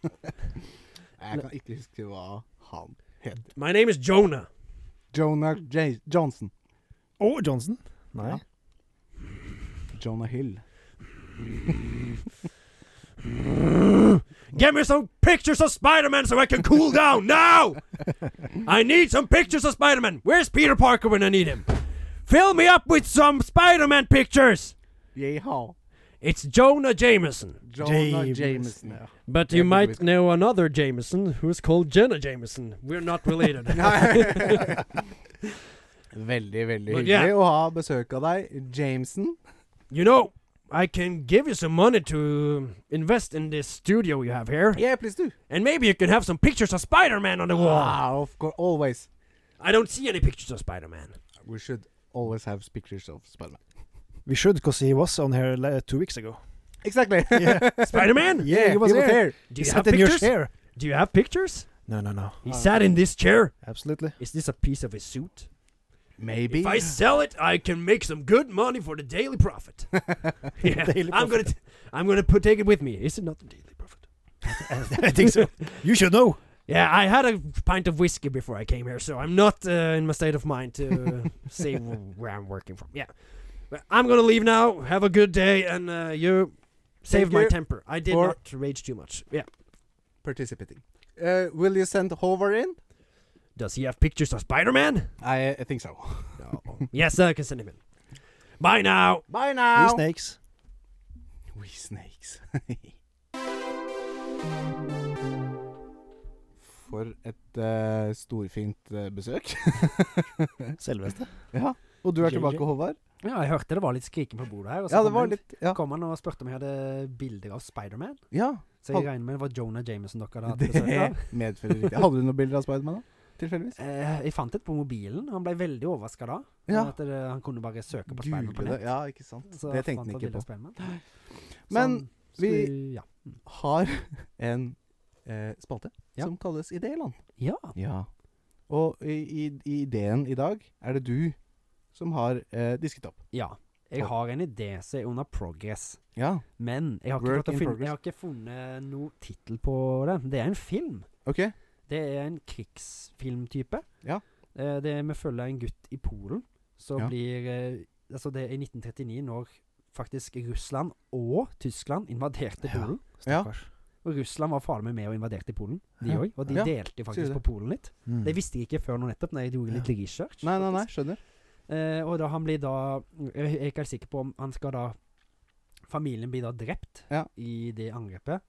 Jeg kan ikke huske hva han het. My name is Jonah. Jonah J Johnson. Å, Johnson. Nei. Ja. Jonah Hill. Get me some pictures of Spider-Man so I can cool down now. I need some pictures of Spider-Man. Where's Peter Parker when I need him? Fill me up with some Spider-Man pictures. Yeha. It's Jonah Jameson, Jonah James. Jameson. Ja. but Yeah, you but might with- know another Jameson who's called Jenna Jameson. We're not related. Veldig, veldig But hyggelig yeah. å ha besøk av deg, Jameson. you know, I can give you some money to invest in this studio you have here, Yeah, please do. and maybe you can have some pictures of Spider-Man on the wall. Wow, of course, always. I don't see any pictures of Spider-Man. We should always have pictures of Spiderman. We should, because he was on here like, two weeks ago. Exactly. Yeah. Spider-Man, yeah, he was here. do He you have sat in your pictures? chair. Do you have pictures? No, no, no. He Uh, sat in this chair. Absolutely. Is this a piece of his suit? Maybe. If I sell it, I can make some good money for the daily profit. yeah, Daily I'm gonna, t- I'm gonna put take it with me. Is it not the daily profit? I think so. You should know. Yeah, I had a pint of whiskey before I came here, so I'm not uh, in my state of mind to uh, say wh- where I'm working from. Yeah, but I'm gonna leave now. Have a good day, and uh, you save Thank my you temper. I did for- not rage too much. Yeah. Participating. Uh, will you send Hover in? Does he have pictures of Spider-Man? I, I think so. No. yes, I can send him in. Bye now. Bye We now. snakes. We snakes. For et eh, storfint eh, besøk. Selveste. ja. Og du er JJ. tilbake, Håvard? Ja, jeg hørte det var litt skriking på bordet her. Og så Ja, det kom var han- litt Ja. kom han og spurte om jeg hadde bilder av Spiderman. ja Så jeg regner med det var Jonah Jameson dere hadde hatt det besøk av. medfører riktig. Hadde du noen bilder av Spiderman, da? Tilfeldigvis? Eh, jeg fant et på mobilen. Han ble veldig overraska da. Ja. At det, han kunne bare søke på Spiderman på Google det. nett. Ja, ikke sant. Så Det fant tenkte han han ikke bilder av på. Spider-Man. Men Sånn, så vi- Ja. Har en eh, spalte Ja. som kalles Idéland. ja. Ja. Og i, i, i ideen i dag er det du som har eh, disket opp. Ja. Jeg har en idé som er under progress, Ja, men jeg har ikke, Work klart å in finne, progress. jeg har ikke funnet noen tittel på det. Det er en film. OK. Det er en krigsfilmtype. Ja. Eh, det er Vi følger en gutt i Polen som Ja. blir eh, Altså, det er i 1939, når faktisk Russland og Tyskland invaderte Ja. Polen. Stakkars. Og Russland var faen meg med og invaderte Polen, de Ja. òg. Og de Ja. delte jo Sier faktisk det. på Polen litt. Mm. Det visste jeg ikke før nå nettopp, når jeg gjorde litt research. Nei, nei, faktisk. nei, skjønner. Eh, og da han blir da Jeg er ikke helt sikker på om han skal da Familien blir da drept Ja. i det angrepet.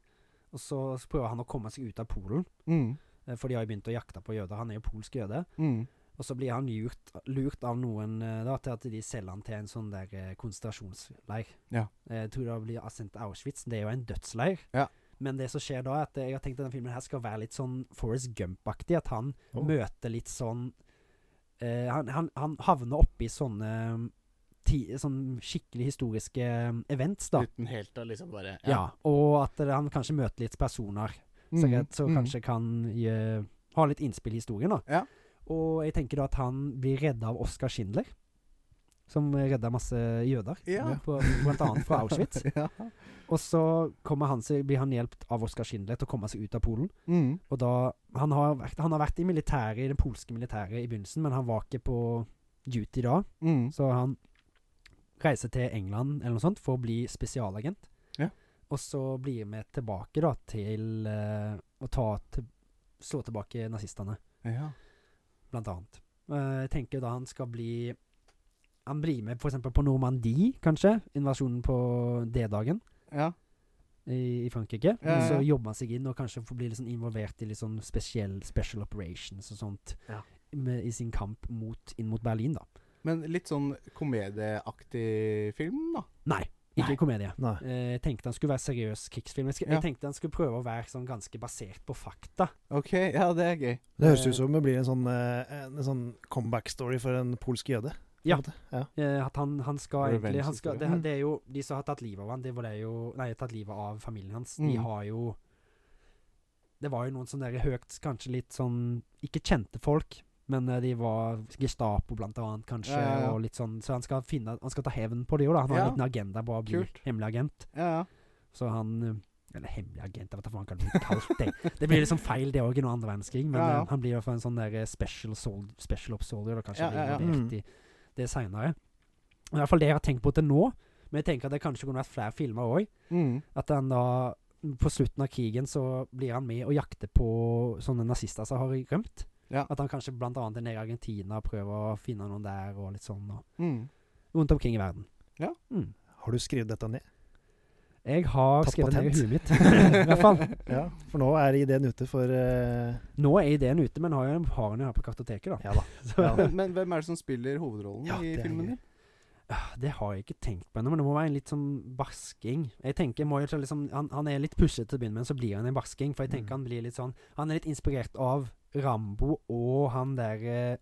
Og så, så prøver han å komme seg ut av Polen, Mm. eh, for de har jo begynt å jakte på jøder. Han er jo polsk jøde. Mm. Og så blir han lurt, lurt av noen eh, da, til at de selger han til en sånn der eh, konsentrasjonsleir. Ja. Eh, jeg tror det blir sendt til Auschwitz. Det er jo en dødsleir. Ja. Men det som skjer da, er at eh, jeg har tenkt at denne filmen her skal være litt sånn Forrest Gump-aktig. At han Oh. møter litt sånn eh, han, han, han havner oppi sånne mm, ti, sånn skikkelig historiske mm, events, da. Uten helt å liksom bare Ja. Og at eh, han kanskje møter litt personer så, Mm. Mhm, jeg, så kanskje kan gjø- ha litt innspill i historien, da. Ja. Og jeg tenker da at han blir redda av Oskar Schindler, som redda masse jøder, Ja. på, blant annet fra Auschwitz. ja. Og så kommer han, seg- blir han hjulpet av Oskar Schindler til å komme seg ut av Polen. Mm. Og da, han, har vært, han har vært i militæret, i det polske militæret i begynnelsen, men han var ikke på duty da. Mm. Så han reiser til England eller noe sånt for å bli spesialagent. Ja. Og så blir vi tilbake da til eh, å ta til, slå tilbake nazistene, ja. blant annet. Eh, jeg tenker da han skal bli Han blir med f.eks. på Normandie, kanskje. Invasjonen på D-dagen Ja. i, i Frankrike. Ja, ja, Så ja. jobber han seg inn og kanskje får bli litt sånn involvert i litt sånn spesiell special operations og sånt Ja. med, i sin kamp mot, inn mot Berlin, da. Men litt sånn komedieaktig film, da. Nei, ikke Nei. komedie. Nei. Eh, Jeg tenkte han skulle være seriøs krigsfilm. Jeg, sk- Ja. jeg tenkte han skulle prøve å være sånn ganske basert på fakta. OK, ja, det er gøy. Det høres ut som det blir en sånn, eh, en sånn comeback-story for en polsk jøde. på Ja. en måte. Eh, at han, han skal Revenge egentlig han skal, det, historie. det er jo De som har tatt livet av han Det var det jo Nei, tatt livet av familien hans. Mm. De har jo Det var jo noen sånne der høyt Kanskje litt sånn Ikke kjente folk, men eh, de var Gestapo, blant annet, kanskje, Ja, ja, ja. og litt sånn Så han skal finne Han skal ta hevn på det jo, da. Han har Ja. en liten agenda på å bli Kult. hemmelig agent. Ja, ja. Så han eh, Eller hemmelig agent, jeg vet da faen hva det blir kalt. Det, det blir liksom feil, det òg, i noen andre verdenskrig. Men Ja, ja. eh, han blir i hvert fall en sånn der eh, special, sol, special ops soldier, og kanskje Ja, blir ja, Mm. ja. involvert i det seinere. I hvert fall det jeg har tenkt på til nå. Men jeg tenker at det kanskje kunne vært flere filmer òg. Mm. At han da på slutten av krigen så blir han med og jakter på sånne nazister som har rømt. Ja. At han kanskje blant annet er nede i Argentina og prøver å finne noen der, og litt sånn. Og Mm. rundt omkring i verden. Ja. Mm. Har du skrevet dette ned? Jeg har Tatt skrevet det ned i huet patent. mitt, i hvert fall. Ja, for nå er ideen ute for eh, Nå er ideen ute, men har jo har den jo her på kartoteket, da. Ja da. Så, Ja. Men, men hvem er det som spiller hovedrollen Ja, i det er filmen gøy. din? ah, Det har jeg ikke tenkt på ennå, men det må være en litt sånn basking. Jeg tenker må jo ta liksom, han, han er litt pussete til å begynne med, så blir han en basking. Mm. For jeg tenker han blir litt sånn Han er litt inspirert av Rambo og han der eh,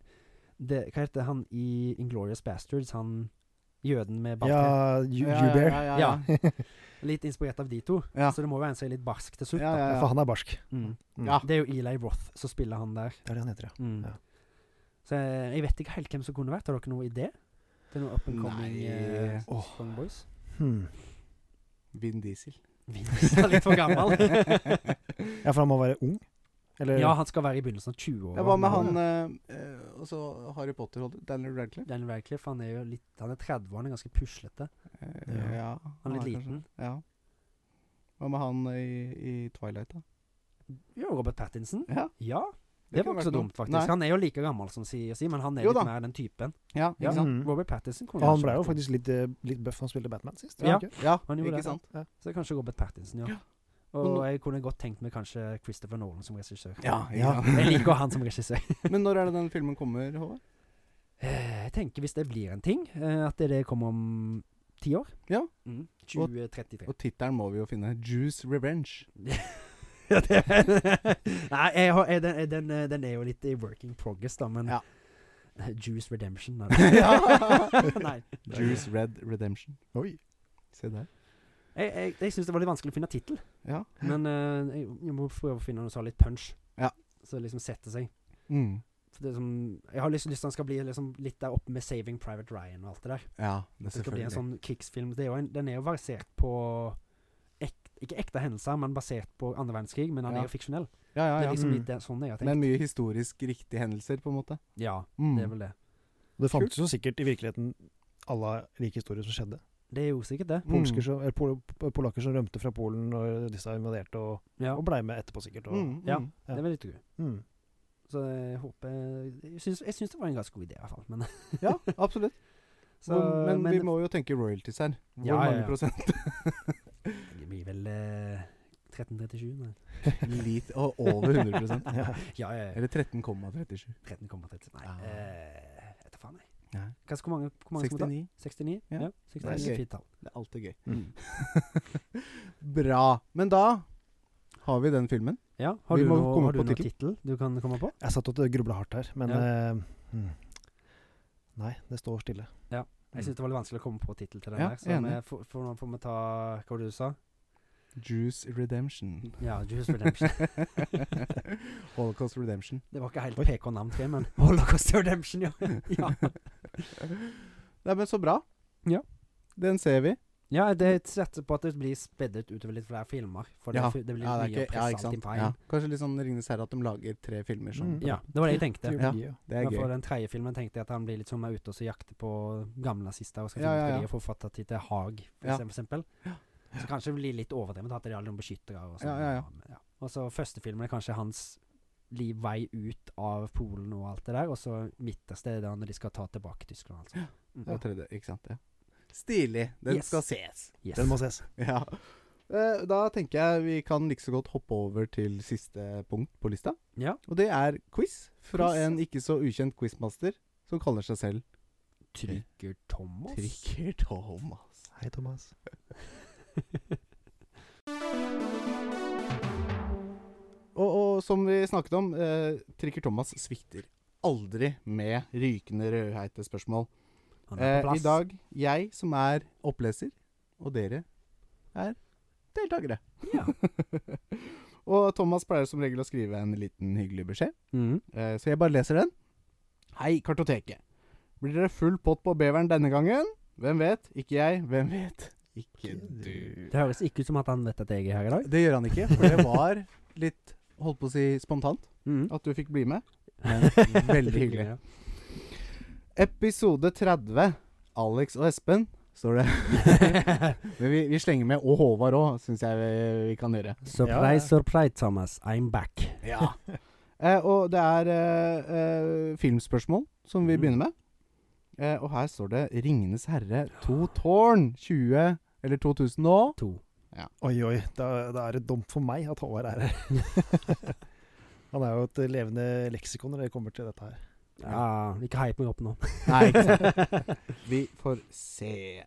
det, Hva heter han i Inglorious Bastards? Han jøden med Ja, barte. you, Ja, you bear. Ja, ja, ja. Ja. Litt inspirert av de to. Ja. Så det må være en som er litt barsk til slutt. Ja, ja, Ah. da. ja. For han er barsk. Mm. Mm. Ja. Det er jo Eli Roth som spiller han der. Det er det han heter, ja. Mm. Ja. Så eh, jeg, jeg vet ikke helt hvem som kunne vært. Har dere noen idé? Til noen up and coming Nei. eh, Åh. Strong Boys? Hmm. Vin Diesel. Vince er litt for gammel. ja, for han må være ung? Eller ja, han skal være i begynnelsen av 20-åra. Ja, hva med han eh, eh, Og så Harry Potter, holdt- Daniel Radcliffe? Daniel Radcliffe han er jo litt Han er 30 år, han er ganske puslete. Eh, Ja. Han er litt kanskje- liten. Ja. Hva med han i, i Twilight, da? Jo, Robert Pattinson. Ja, Ja, det, var kunne ikke så vært noe. dumt, faktisk. Nei. Han er jo like gammel som si, si men han er Jo da. litt mer den typen. Ja, Ja, ikke sant? Mm. Robert Pattinson Og kunne han kanskje ble jo vært faktisk litt, eh, litt buff han spilte Batman sist. Ja. ikke? Ja, Han gjorde ikke det. sant? ung. Så kanskje Robert Pattinson, ja. Ja. Og Men jeg kunne godt tenkt meg kanskje Christopher Nolan som regissør. Ja, ikke Ja. sant? Jeg liker han som regissør. Men når er det den filmen kommer, Håvard? Eh, Jeg tenker hvis det blir en ting, eh, at det kommer om ti år. Ja. Mm. 2033. Og tittelen må vi jo finne. 'Juice Revenge'. Ja, det- Nei, jeg har, jeg, den, jeg- den, eh, den er jo litt i working progress, da, men Ja. Juice Redemption nei. Ja. Nei. Juice Red Redemption. Oi. Se der. Jeg, jeg, jeg syns det var litt vanskelig å finne tittel, Ja. men eh, jeg, jeg må prøve å finne noe som har litt punch. Ja. Så det liksom setter seg. Mm. For det er som- jeg har lyst lyst til at den skal bli liksom litt der oppe med 'Saving Private Ryan' og alt det der. Ja, det Det skal bli en selvfølgelig. sånn krigsfilm. Det er jo en, den er jo basert på ek, Ikke ekte hendelser, men basert på andre verdenskrig. Men den Ja. er jo fiksjonell. ja, ja, Det er ja. liksom Mm. litt det, sånn jeg har tenkt. Men mye historisk riktige hendelser, på en måte. ja, Mm. det er vel det. Det fantes jo sikkert i virkeligheten alle like historier som skjedde. Det er jo sikkert Mm. det. Polsker som, eller pol polakker som rømte fra Polen når disse invaderte, og, Ja, og blei med etterpå, sikkert. Og, Mm, mm. Ja. det er veldig gøy. mm. Så jeg håper Jeg syns, jeg syns det var en ganske god idé, i hvert fall. Men, ja, absolutt. så, Hvor- men, vi det- må jo tenke royalties her. Hvor Ja, ja, mange ja. prosent? Det blir vel eh, 1337, nei. Litt og over 100 ja. Ja, ja, ja. Eller 13,37. 13,37. Nei, Ja. eh, jeg vet da faen, jeg. Nei. Kanskje hvor mange, hvor mange skal vi ta? 69. 69? Ja. Ja. 69 Det er er gøy. fint tall. Det er alltid gøy. Mm. Bra. Men da har vi den filmen. Ja, har Vi du må noe, komme har du på noe tittel. tittel du kan komme på? Jeg satt og grubla hardt her, men Ja. eh, mm. Nei, det står stille. Jeg syns det var litt vanskelig å komme på tittel til den Ja, der, så enig. vi får- får- nå får vi ta hva var det du sa? Juice Redemption. Ja, Juice Redemption. Holocaust Redemption. Det var ikke helt Oi. PK navn, tror jeg, men Holocaust Redemption, ja. ja. Nei, men så bra. Ja. Den ser vi. Ja, det setter på at det blir spedd ut utover litt flere filmer. For det, Ja. fi- det blir Ja, det er mye mye ikke- ja, ikke pressa sant. alt i Ja. veien. Kanskje litt sånn Ringnes Herre at de lager tre filmer som Mm. Ja, det var det jeg tenkte. Ja. Teologi, ja. Det er Men for gøy. den tredje filmen tenkte jeg at han blir litt som er ute og så jakter på gamle nazister og skal Ja, finne ut ja, hva ja. de har forfattet til til Haag, for Ja. eksem- for eksempel. Så kanskje det blir litt overdrevet at det er alle noen beskyttere og sånn. Ja, ja, ja. Men ja. Og så første filmen er kanskje hans liv vei ut av Polen og alt det der, og så midterste er det når de skal ta tilbake Tyskland, altså. Mm. Og tredje, ikke sant. Ja. Stilig. Den Yes. skal ses. Yes. Den må ses. Ja. Eh, Da tenker jeg vi kan like så godt hoppe over til siste punkt på lista. Ja. Og det er quiz fra Quiz, ja. en ikke så ukjent quizmaster som kaller seg selv Trygger Thomas. Tricker Thomas. Hei, Thomas. Og, og som vi snakket om, eh, Tricker Thomas svikter aldri med rykende rødheite spørsmål. Han er Eh, på plass. I dag, jeg som er oppleser, og dere er deltakere. Ja. Og Thomas pleier som regel å skrive en liten hyggelig beskjed, Mm. eh, så jeg bare leser den. Hei, Kartoteket. Blir dere full pott på beveren denne gangen? Hvem vet? Ikke jeg. Hvem vet? Ikke du. Det høres ikke ut som at han vet at jeg er her i dag. Det gjør han ikke, for det var litt, holdt på å si, spontant Mm. at du fikk bli med. Men veldig hyggelig. Ja. Episode 30. Alex og Espen, står det. Men vi, vi slenger med og Håvard òg, syns jeg vi, vi kan gjøre. Surprise, Ja. surprise, Thomas. I'm back. Ja. eh, og det er eh, eh, filmspørsmål som vi Mhm. begynner med. Eh, og her står det 'Ringenes herre, to tårn'. 20 eller 2000 nå. To. Oi, oi. Da, da er det dumt for meg at Håvard er her. Han er jo et levende leksikon når det kommer til dette her. Ja, ikke hype meg opp nå. Nei, ikke sant. Vi får se. I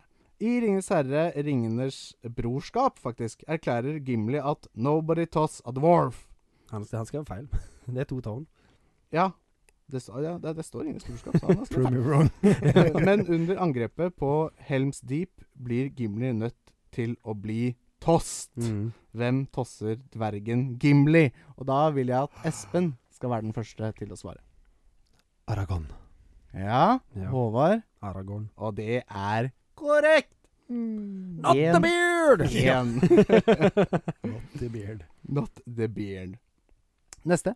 'Ringenes herre', 'Ringenes brorskap', faktisk, erklærer Gimli at 'nobody toss a dwarf'. Han, han skrev feil. Det er to tårn. Ja. Det, sa- ja, det, det står Ringenes brorskap, så han har skrevet Prove me wrong. Men under angrepet på Helms Deep blir Gimli nødt til å bli tost. Mm. Hvem tosser dvergen Gimli? Og da vil jeg at Espen skal være den første til å svare. Aragon. Ja, Ja. Håvard. Aragorn. Og det er korrekt! Not En- the beard! Igjen. Not the beard. Not the beard. Neste.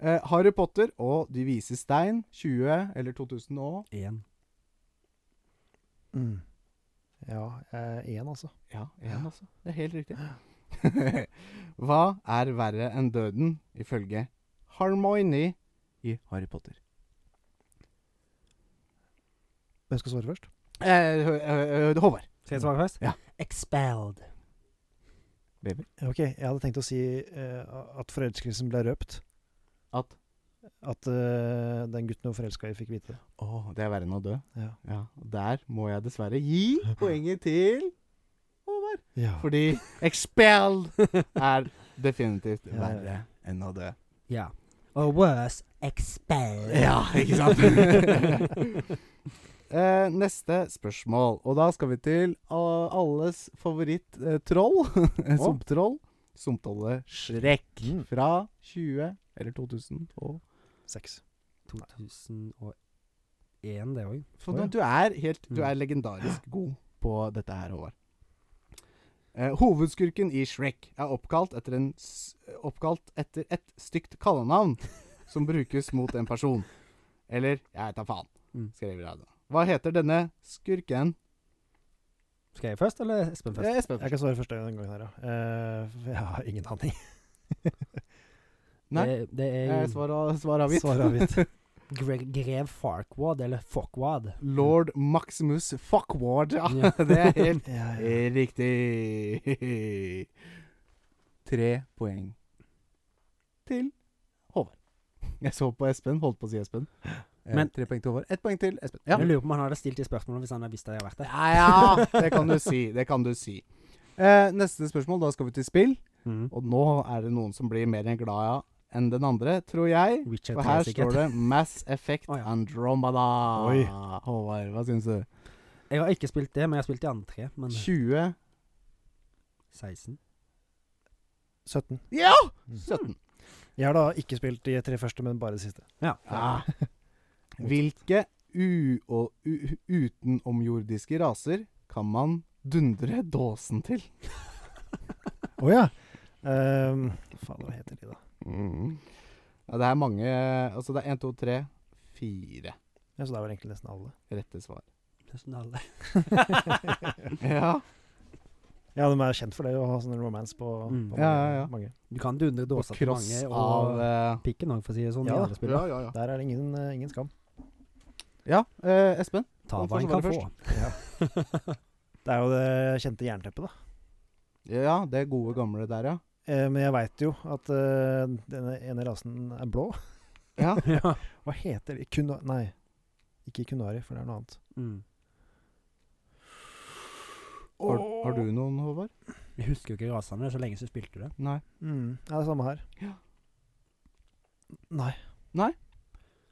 Eh, Harry Potter og De vise stein. 20 eller 2000 og En. Mm. Ja, én, altså. Ja, én altså. Det er helt riktig. Hva er verre enn døden, ifølge Harmony i Harry Potter? Hvem skal svare først? Eh, hø- hø- hø- Håvard. Skal jeg svare først? Ja. Expelled. Baby. Ok, jeg hadde tenkt å si eh, at forelskelsen ble røpt. At At eh, den gutten hun forelska i, fikk vite det. Å, det er verre enn å dø. Ja. Ja, og Der må jeg dessverre gi poenget til Håvard. ja. Fordi expelled er definitivt Ja, ja, ja. verre enn å dø. Ja. Or worse, expelled. Ja, ikke sant? Eh, neste spørsmål, og da skal vi til a- alles favoritt-troll. Sumptroll. Sumptrollet Shrek Mm. fra 20 eller 2000 og Seks. 2001, det òg. Så nå- Å, ja. Sånn du er helt Du Mm. er legendarisk god på dette her, Håvard. Eh, hovedskurken i Shrek er oppkalt etter, en, s- oppkalt etter et stygt kallenavn som brukes mot en person. Eller jeg vet da faen, Mm. skriver jeg da. Hva heter denne skurken? Skal jeg først, eller Espen først? Eh, Espen. Jeg kan svare første gangen her, ja. Eh, for jeg har ingen aning. Nei, Det, det er eh, jo svar, svar avgitt. Svar avgitt. Gre Grev Farquad, eller Fockwad. Lord Maximus Fuckward. Ja, Ja. det er helt Ja, ja. Eh. Riktig. Tre poeng til Håvard. Jeg så på Espen, holdt på å si Espen. Eh, Men- tre poeng til Håvard. Ett poeng til Espen. Ja. Jeg lurer på om han hadde stilt de spørsmålene hvis han hadde visst at jeg hadde vært der. ja, ja, det kan du si. Det kan du si. Eh, neste spørsmål, da skal vi til spill. Mm. Og nå er det noen som blir mer enn glad enn den andre, tror jeg. Witcher For 3, her sikkert. står det Mass Effect Å, ja. Andromeda. Oi. Håvard, hva syns du? Jeg har ikke spilt det, men jeg har spilt de andre tre. Men 20 16. 17. Ja! Mm. 17. Jeg har da ikke spilt de tre første, men bare de siste. Ja. Ja. Hvilke u- og u- utenomjordiske raser kan man dundre dåsen til? Å ja! Ehm, faen, hva heter de, da? Mm. Ja, det er mange Altså, det er én, to, tre, fire Ja, så det er vel egentlig nesten alle. rette svar. Nesten sånn alle. Ja. Ja, de er kjent for det, å ha sånn romance på, Mm. på mange, Ja, ja, ja. mange. Du kan dundre På dåser til kross mange, av og eh, pikken òg, for å si det sånn. Ja, i alle spill. Ja, ja, ja. Der er det ingen, eh, ingen skam. ja eh, Espen? Ta Han får hva en svare kan få. Det er jo det kjente jernteppet, da. Ja, det gode gamle der, ja. Eh, men jeg veit jo at eh, denne ene rasen er blå. Ja, ja. Hva heter de? Kuna... Nei, ikke kunari, for det er noe annet. mm. har, har du noen, Håvard? Jeg husker jo ikke rasene, så lenge så spilte du det. Nei. Mm. Ja, det er samme her. Ja. Nei,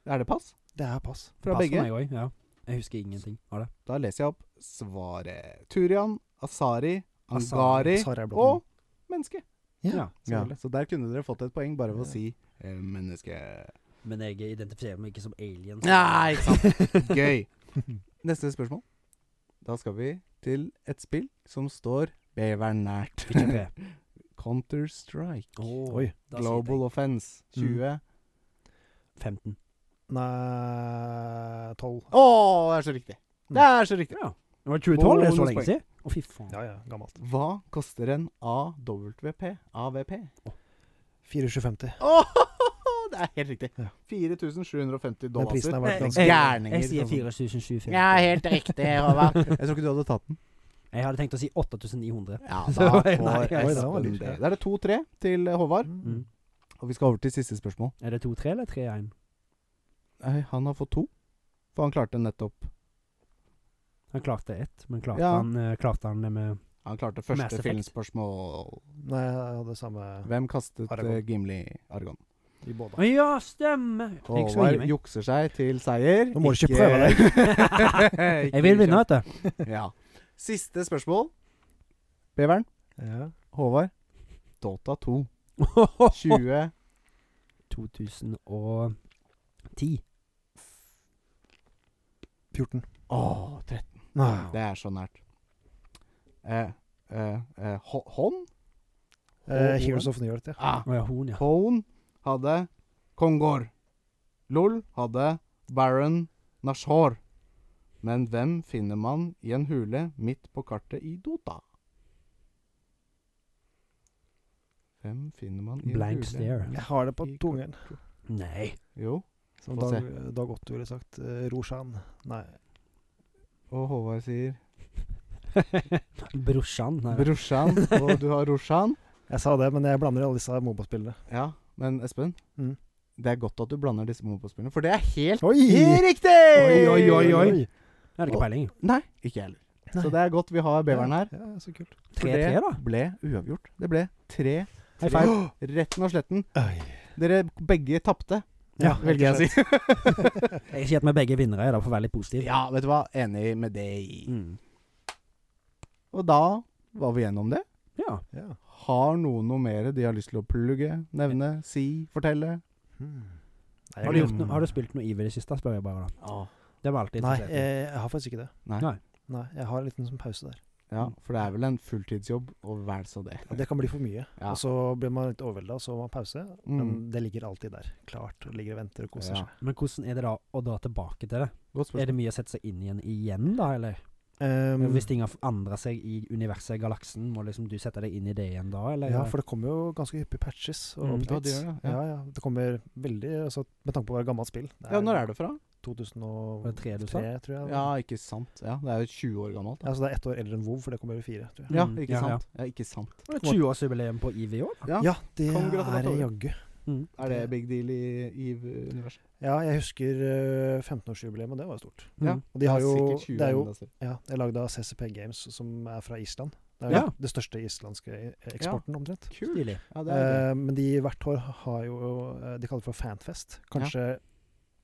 Er det pass? det er pass. Fra Pass for begge? meg også, ja. Jeg husker ingenting av det. Da leser jeg opp svaret. Turian, Asari, Asari, Angari Svar er blå. og menneske. ja, Ja. Ja, selvfølgelig. så der kunne dere fått et poeng bare ved å Ja. si eh, menneske. Men jeg identifiserer meg ikke som alien. så- Nei, ikke sant. Gøy. Neste spørsmål. Da skal vi til et spill som står beveren nært. Witcher 3. Counter-Strike. Åh, Oi. da sier Global Offense Mm. 20. jeg 15. Nei, tolv. Å, det er så riktig! Det er så riktig. Ja. Det var 2012, det er så Bonuspoeng. lenge siden. Å, fy faen. Ja, ja, gammelt. Hva koster en AWP? AVP? 4750. Åh, det er helt riktig. Ja. 4750 Den prisen dollar. har vært Jeg, ganske Eh, jeg, Gærninger, jeg sier liksom. 4750. Ja, helt riktig, Håvard. Jeg tror ikke du hadde tatt den. Jeg hadde tenkt å si 8900. Ja, da får Nei, oi, det var Espen lurt, det. ja. Da er det 2-3 til eh, Håvard. Mm. Mm. Og vi skal over til siste spørsmål. Er det 2-3 eller 3-1? Nei, han har fått to. For han klarte nettopp Han klarte ett, men klarte, Ja. han, eh, klarte han det med Han klarte Mass første Effect. filmspørsmål. Nei, jeg hadde samme Hvem kastet Aragon. eh, Gimli Argon? i Å både. ja, stemmer! Jeg skal gi Håvard meg. jukser seg til seier. Nå må du ikke prøve deg. deg. Jeg vil vinne, vet du. Ja. Siste spørsmål. Beveren. Ja. Håvard. Dota 2. 20 2010. 14. Åh, 13. Nei. Det er så nært. Eh, eh, eh, hå- hånd? Eh, Heroes of New York, ja. Ah, Å ja, hun, ja. Hone hadde Kongor. LOL hadde Baron Nashor. Men hvem finner man i en hule midt på kartet i Dota? Hvem finner man i en Blank hule? stare. Jeg har det på I tungen. Nei. Jo, Som Få se. Dag, Dag Otto ville sagt. eh, Roshan. Nei. og Håvard sier Brorsan. nei. Brorsan, og du har Roshan. Jeg sa det, men jeg blander alle disse Moba-spillene. Ja, men Espen, Mm. det er godt at du blander disse monopospillene, for det er helt Oi! riktig! Oi, oi, oi. Jeg hadde ikke peiling. Nei, ikke jeg heller. Så Nei. det er godt vi har beveren her. Ja, ja, så kult. For 3-3, det da. ble uavgjort. Det ble tre High feil. five. Retten og sletten. Oi. Dere begge tapte, Ja, velger jeg å si. Jeg sier at vi er begge vinnere i dag, for å være litt positiv. Ja, vet du hva. Enig med deg. Mm. Og da var vi gjennom det. ja. Ja. Har noen noe mer de har lyst til å plugge, nevne, si, fortelle? Hmm. Nei, Har du, gjort noe- har du spilt noe Evil i det siste, spør jeg bare. da Det var alltid Nei, interessert i. eh. jeg, jeg har faktisk ikke det. Nei. Nei. Nei, Jeg har en liten sånn pause der. Ja, for det er vel en fulltidsjobb, og vel så det. Ja, Det kan bli for mye. Ja. Og så blir man litt overvelda, og så har man pause. Men Mm. det ligger alltid der, klart. Og ligger og venter og koser Ja. seg. Men hvordan er det da å dra tilbake til det? Godt Er spørsmål. det mye å sette seg inn igjen igjen, da, eller? Ehm, Hvis ting har forandret seg i universet, galaksen, må liksom du sette deg inn i det igjen da, eller? ja, for det kommer jo ganske hyppige patches og Mm. Ja, det gjør updates. det. Ja. Ja. Ja, Det kommer veldig altså, Med tanke på å være gammelt spill. Det ja, når er det fra? 2003, Var det tre du sa? tror jeg. Ja, ikke sant. Ja, det er jo 20 år gammelt. Ja, så Altså, det er ett år eldre enn WoW, for det kommer i fire. Tror jeg. Ja, Mm, ikke ja, sant. Ja, ikke sant. Det er 20-årsjubileum på IV i år. Ja. Ja, det er Kongratulerer. jaggu. Er det big deal i Eve-universet? Ja, jeg husker eh, 15-årsjubileet, og det var jo stort. Ja. Mm. Og de har Det er jo, sikkert 20 det er jo enda større. ja, Det er lagd av CCP Games, som er fra Island. Det er jo Ja. det største islandske e- eksporten, omtrent. Kult. Stilig. Ja, det er gøy. Eh, men de hvert år har jo eh, De kaller det for Fanfest. Kanskje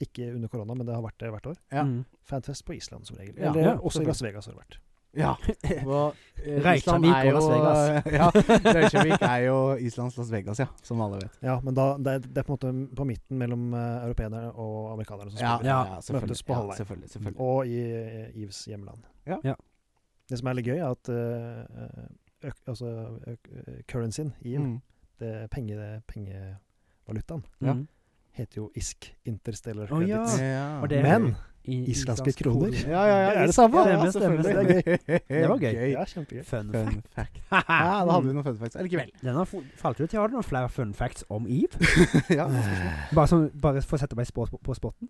ikke under korona, men det har vært det hvert år. Ja. Mm. Fanfest på Island, som regel. Ja. Eller Ja, også selvfølgelig. i Las Vegas har det vært. Ja. Og, eh, Reykjavik Island og er jo- eh, Las Vegas. ja, Reykjavik er jo Islands Las Vegas, ja. Som alle vet. Ja, men da, det, er, det er på en måte på midten mellom eh, europeerne og amerikanerne som Ja, ja, spiller. Ja. ja selvfølgelig. Møtes på ja, halvveien. selvfølgelig, selvfølgelig. Og i eh, Yves hjemland. Ja. Ja. Det som er litt gøy, er at eh, øk, altså, øk, eh, currencyen i Mm. det penge, pengevalutaen Ja. Mm. heter jo ISK, Interstellar Å, ja. Credits. Ja. Og det- Men I- Islandske islandsk kroner. kode. ja, ja, ja, Det er det visst. samme. Ja, Stemmer, ja, stemmer, selvfølgelig. stemmer. Det var gøy. det er kjempegøy. Fun fact. Fun fact. Ja, da hadde vi noen fun facts. Allikevel. Den har fo- falt ut. Har du noen flere fun facts om Eve? ja, Bare, sånn, bare for å sette meg på, på spotten?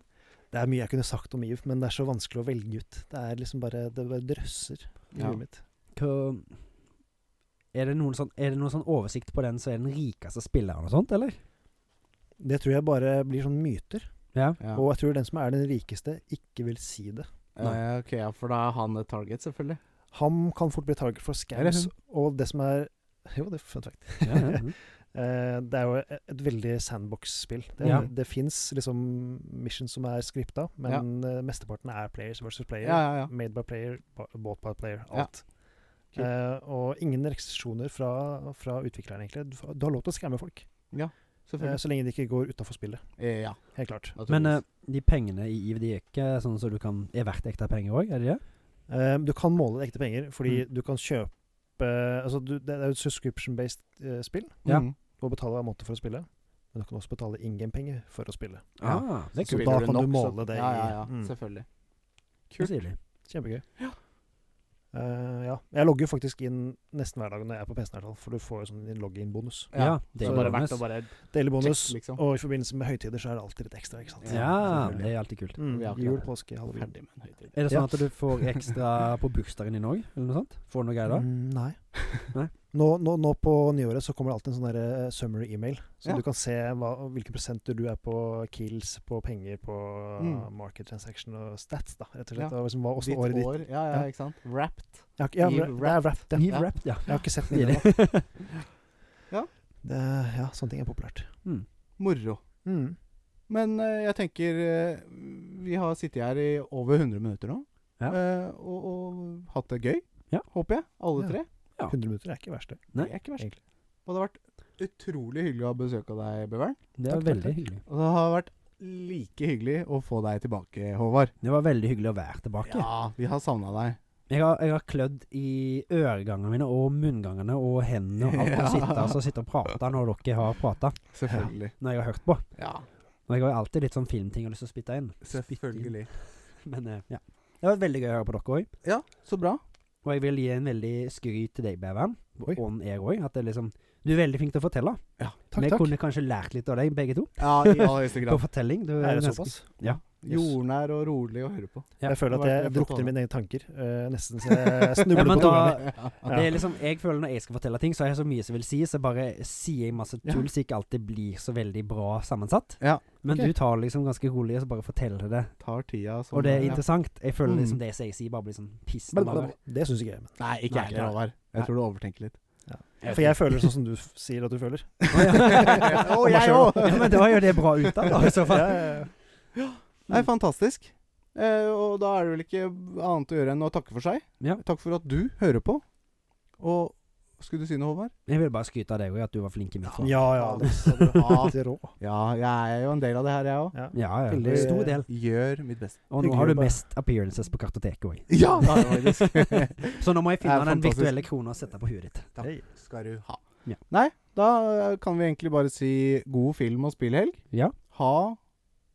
Det er mye jeg kunne sagt om Yves, men det er så vanskelig å velge ut. Det er liksom bare Det bare drøsser i Ja. huet mitt. Hva- Er det, noen sånn, er det noen sånn oversikt på den som er den rikeste spilleren og sånt, eller? Det tror jeg bare blir sånn myter. Ja. ja. Og jeg tror den som er den rikeste, ikke vil si det. Eh, ok, ja, for da er han et target, selvfølgelig. Han kan fort bli target for Eller scams, hun. og det som er Jo, det er fun fact. ja, ja, ja. Eh, det er jo et, et veldig sandbox-spill. Det, Ja. det fins liksom missions som er skripta, men eh, mesteparten er players versus player. Ja, ja, ja. Made by player, ba- bought by player, Ja. alt. Kult. Eh, og ingen restriksjoner fra, fra utvikleren, egentlig. Du, f- du har lov til å skamme folk, eh, Selvfølgelig. så lenge de ikke går utafor spillet. Eh, ja, Helt klart. Men eh, naturligvis. de pengene i IV, de er ikke sånn som du kan Er verdt ekte penger òg, er de det? Eh, du kan måle ekte penger, fordi Mm. du kan kjøpe altså du, Det er jo et subscription-based eh, spill. ja. Mm. Du må betale hver måned for å spille, men du kan også betale in-game-penger for å spille. Ja. Ah, det er Så kult. Spiller da kan du nok, så- måle det Ja, i- ja, ja. Mm. Selvfølgelig. Det Kult. er stilig. Kjempegøy. Eh, ja. Jeg logger jo faktisk inn nesten hver dag når jeg er på PC-en, i hvert fall, for du får jo sånn login-bonus. Ja, det Så er bare bonus. verdt å bare Deilig bonus. Check, liksom. Og i forbindelse med høytider så er det alltid litt ekstra, ikke sant. Ja, Selvfølgelig. det er alltid kult. Mm, Vi har ikke jul, det. påske, halloween. Ferdig med en høytid. Er det Ja. sånn at du får ekstra på bursdagen din òg, eller noe sånt? Får du noe greier da? Mm, nei. Nei? Nå, nå, nå på nyåret så kommer det alltid en sånn der eh, summary email, så Ja. du kan se hva, hvilke prosenter du er på kills, på penger, på eh, Mm. market transaction og stats, da, rett og Ja. slett. Og liksom, hva, Ditt åssen året ditt år, ja, ja, Ja. ikke sant? Wrapped. Jeg har ikke- ja, Eve det er wrapped, ja. Eve Ja. Wrapped, ja. Jeg har ikke sett den ennå. Stilig. Det- Ja, sånne ting er populært. Moro. Mm. Men eh, jeg tenker eh, Vi har sittet her i over 100 minutter nå. Ja. eh, og, og hatt det gøy, Ja. håper jeg. Alle Ja. tre. Ja. 100 minutter er ikke verst, det. Nei, det er ikke verst. egentlig. Og det har vært utrolig hyggelig å ha besøk av deg, Bøveren. Det var Takk, takk, veldig takk. hyggelig. Og det har vært like hyggelig å få deg tilbake, Håvard. Det var veldig hyggelig å være tilbake. Ja, vi har savna deg. Jeg, har, jeg har klødd i øregangene mine og munngangene og hendene og alt. Ja. Og sitte, altså, sitte og prate når dere har prata, Selvfølgelig. når jeg har hørt på. Ja, Og jeg har jo alltid litt sånn filmting jeg har lyst til å spytte inn. selvfølgelig. Men eh, ja. Det var veldig gøy å høre på dere òg. Ja, så bra. Og jeg vil gi en veldig skryt til deg, Bevern. Oi. Og jeg òg. At det liksom Du er veldig flink til å fortelle. Takk, Vi takk. kunne kanskje lært litt av deg, begge to. Ja, i aller høyeste På grad. fortelling. Du Er det ganske- såpass? Yes. Jordnær og rolig å høre på. Ja, jeg føler det at var jeg veldig flott å drukner ha. mine egne tanker. eh, nesten så jeg Ja, snubler men på tunga mi. da, Ja. det er liksom, jeg føler Når jeg skal fortelle ting, så har jeg så mye som vil si, så bare sier jeg masse Ja. tull som ikke alltid blir så veldig bra sammensatt. Ja. Men Ok. du tar liksom ganske rolig og så bare forteller det. Tar tida som Og det er Ja. interessant. Jeg føler Mm. liksom det som jeg sier, bare blir sånn piss. Sånn, Men, noen ganger. det syns ikke jeg. Men. Nei, ikke Nei, jeg heller, nei. Håvard. Nei. Jeg tror du overtenker litt. For jeg føler sånn som du f- sier at du føler. Å, Om meg jeg selv. òg! ja, men da er jo det bra ut av det, i så Ja, fall. ja, ja. Nei, fantastisk. Eh, og da er det vel ikke annet å gjøre enn å takke for seg. Ja. Takk for at du hører på. Og Skulle du si noe, Håvard? Jeg vil bare skryte av deg òg, at du var flink i mitt fag. Ja, ja. faen. det skal du ha til rå. Ja, jeg er jo en del av det her, jeg òg. Ja. Ja, ja. Veldig- Stor del. Gjør mitt beste. Og nå hyggelig har du å bare- mest appearances på kartoteket òg. Ja! det har jeg faktisk. Så nå må jeg finne Det er den fantastisk. virtuelle krona og sette på huet ditt. Takk Hei. skal du ha. Ja. Nei, da eh, kan vi egentlig bare si god film- og spillhelg. Ja. Ha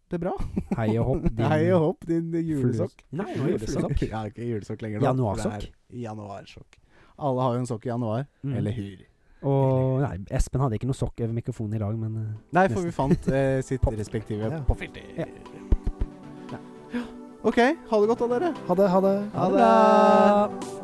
det bra. Hei og hopp, din Hei og hopp, din julesokk. Nei, nå er det Julesokk. sånn? julesokk. Ja, ikke julesokk lenger. nå, for det Januarsokk. er Januarsokk. Alle har jo en sokk i januar. Mm. Eller hyr. Og nei, Espen hadde ikke noe sokk over mikrofonen i dag, men eh, Nei, for Nesten. vi fant eh, sitt respektive Ja. påfilter. Ja. Ja. OK. Ha det godt, da, dere. Ha det, ha det. Ha det.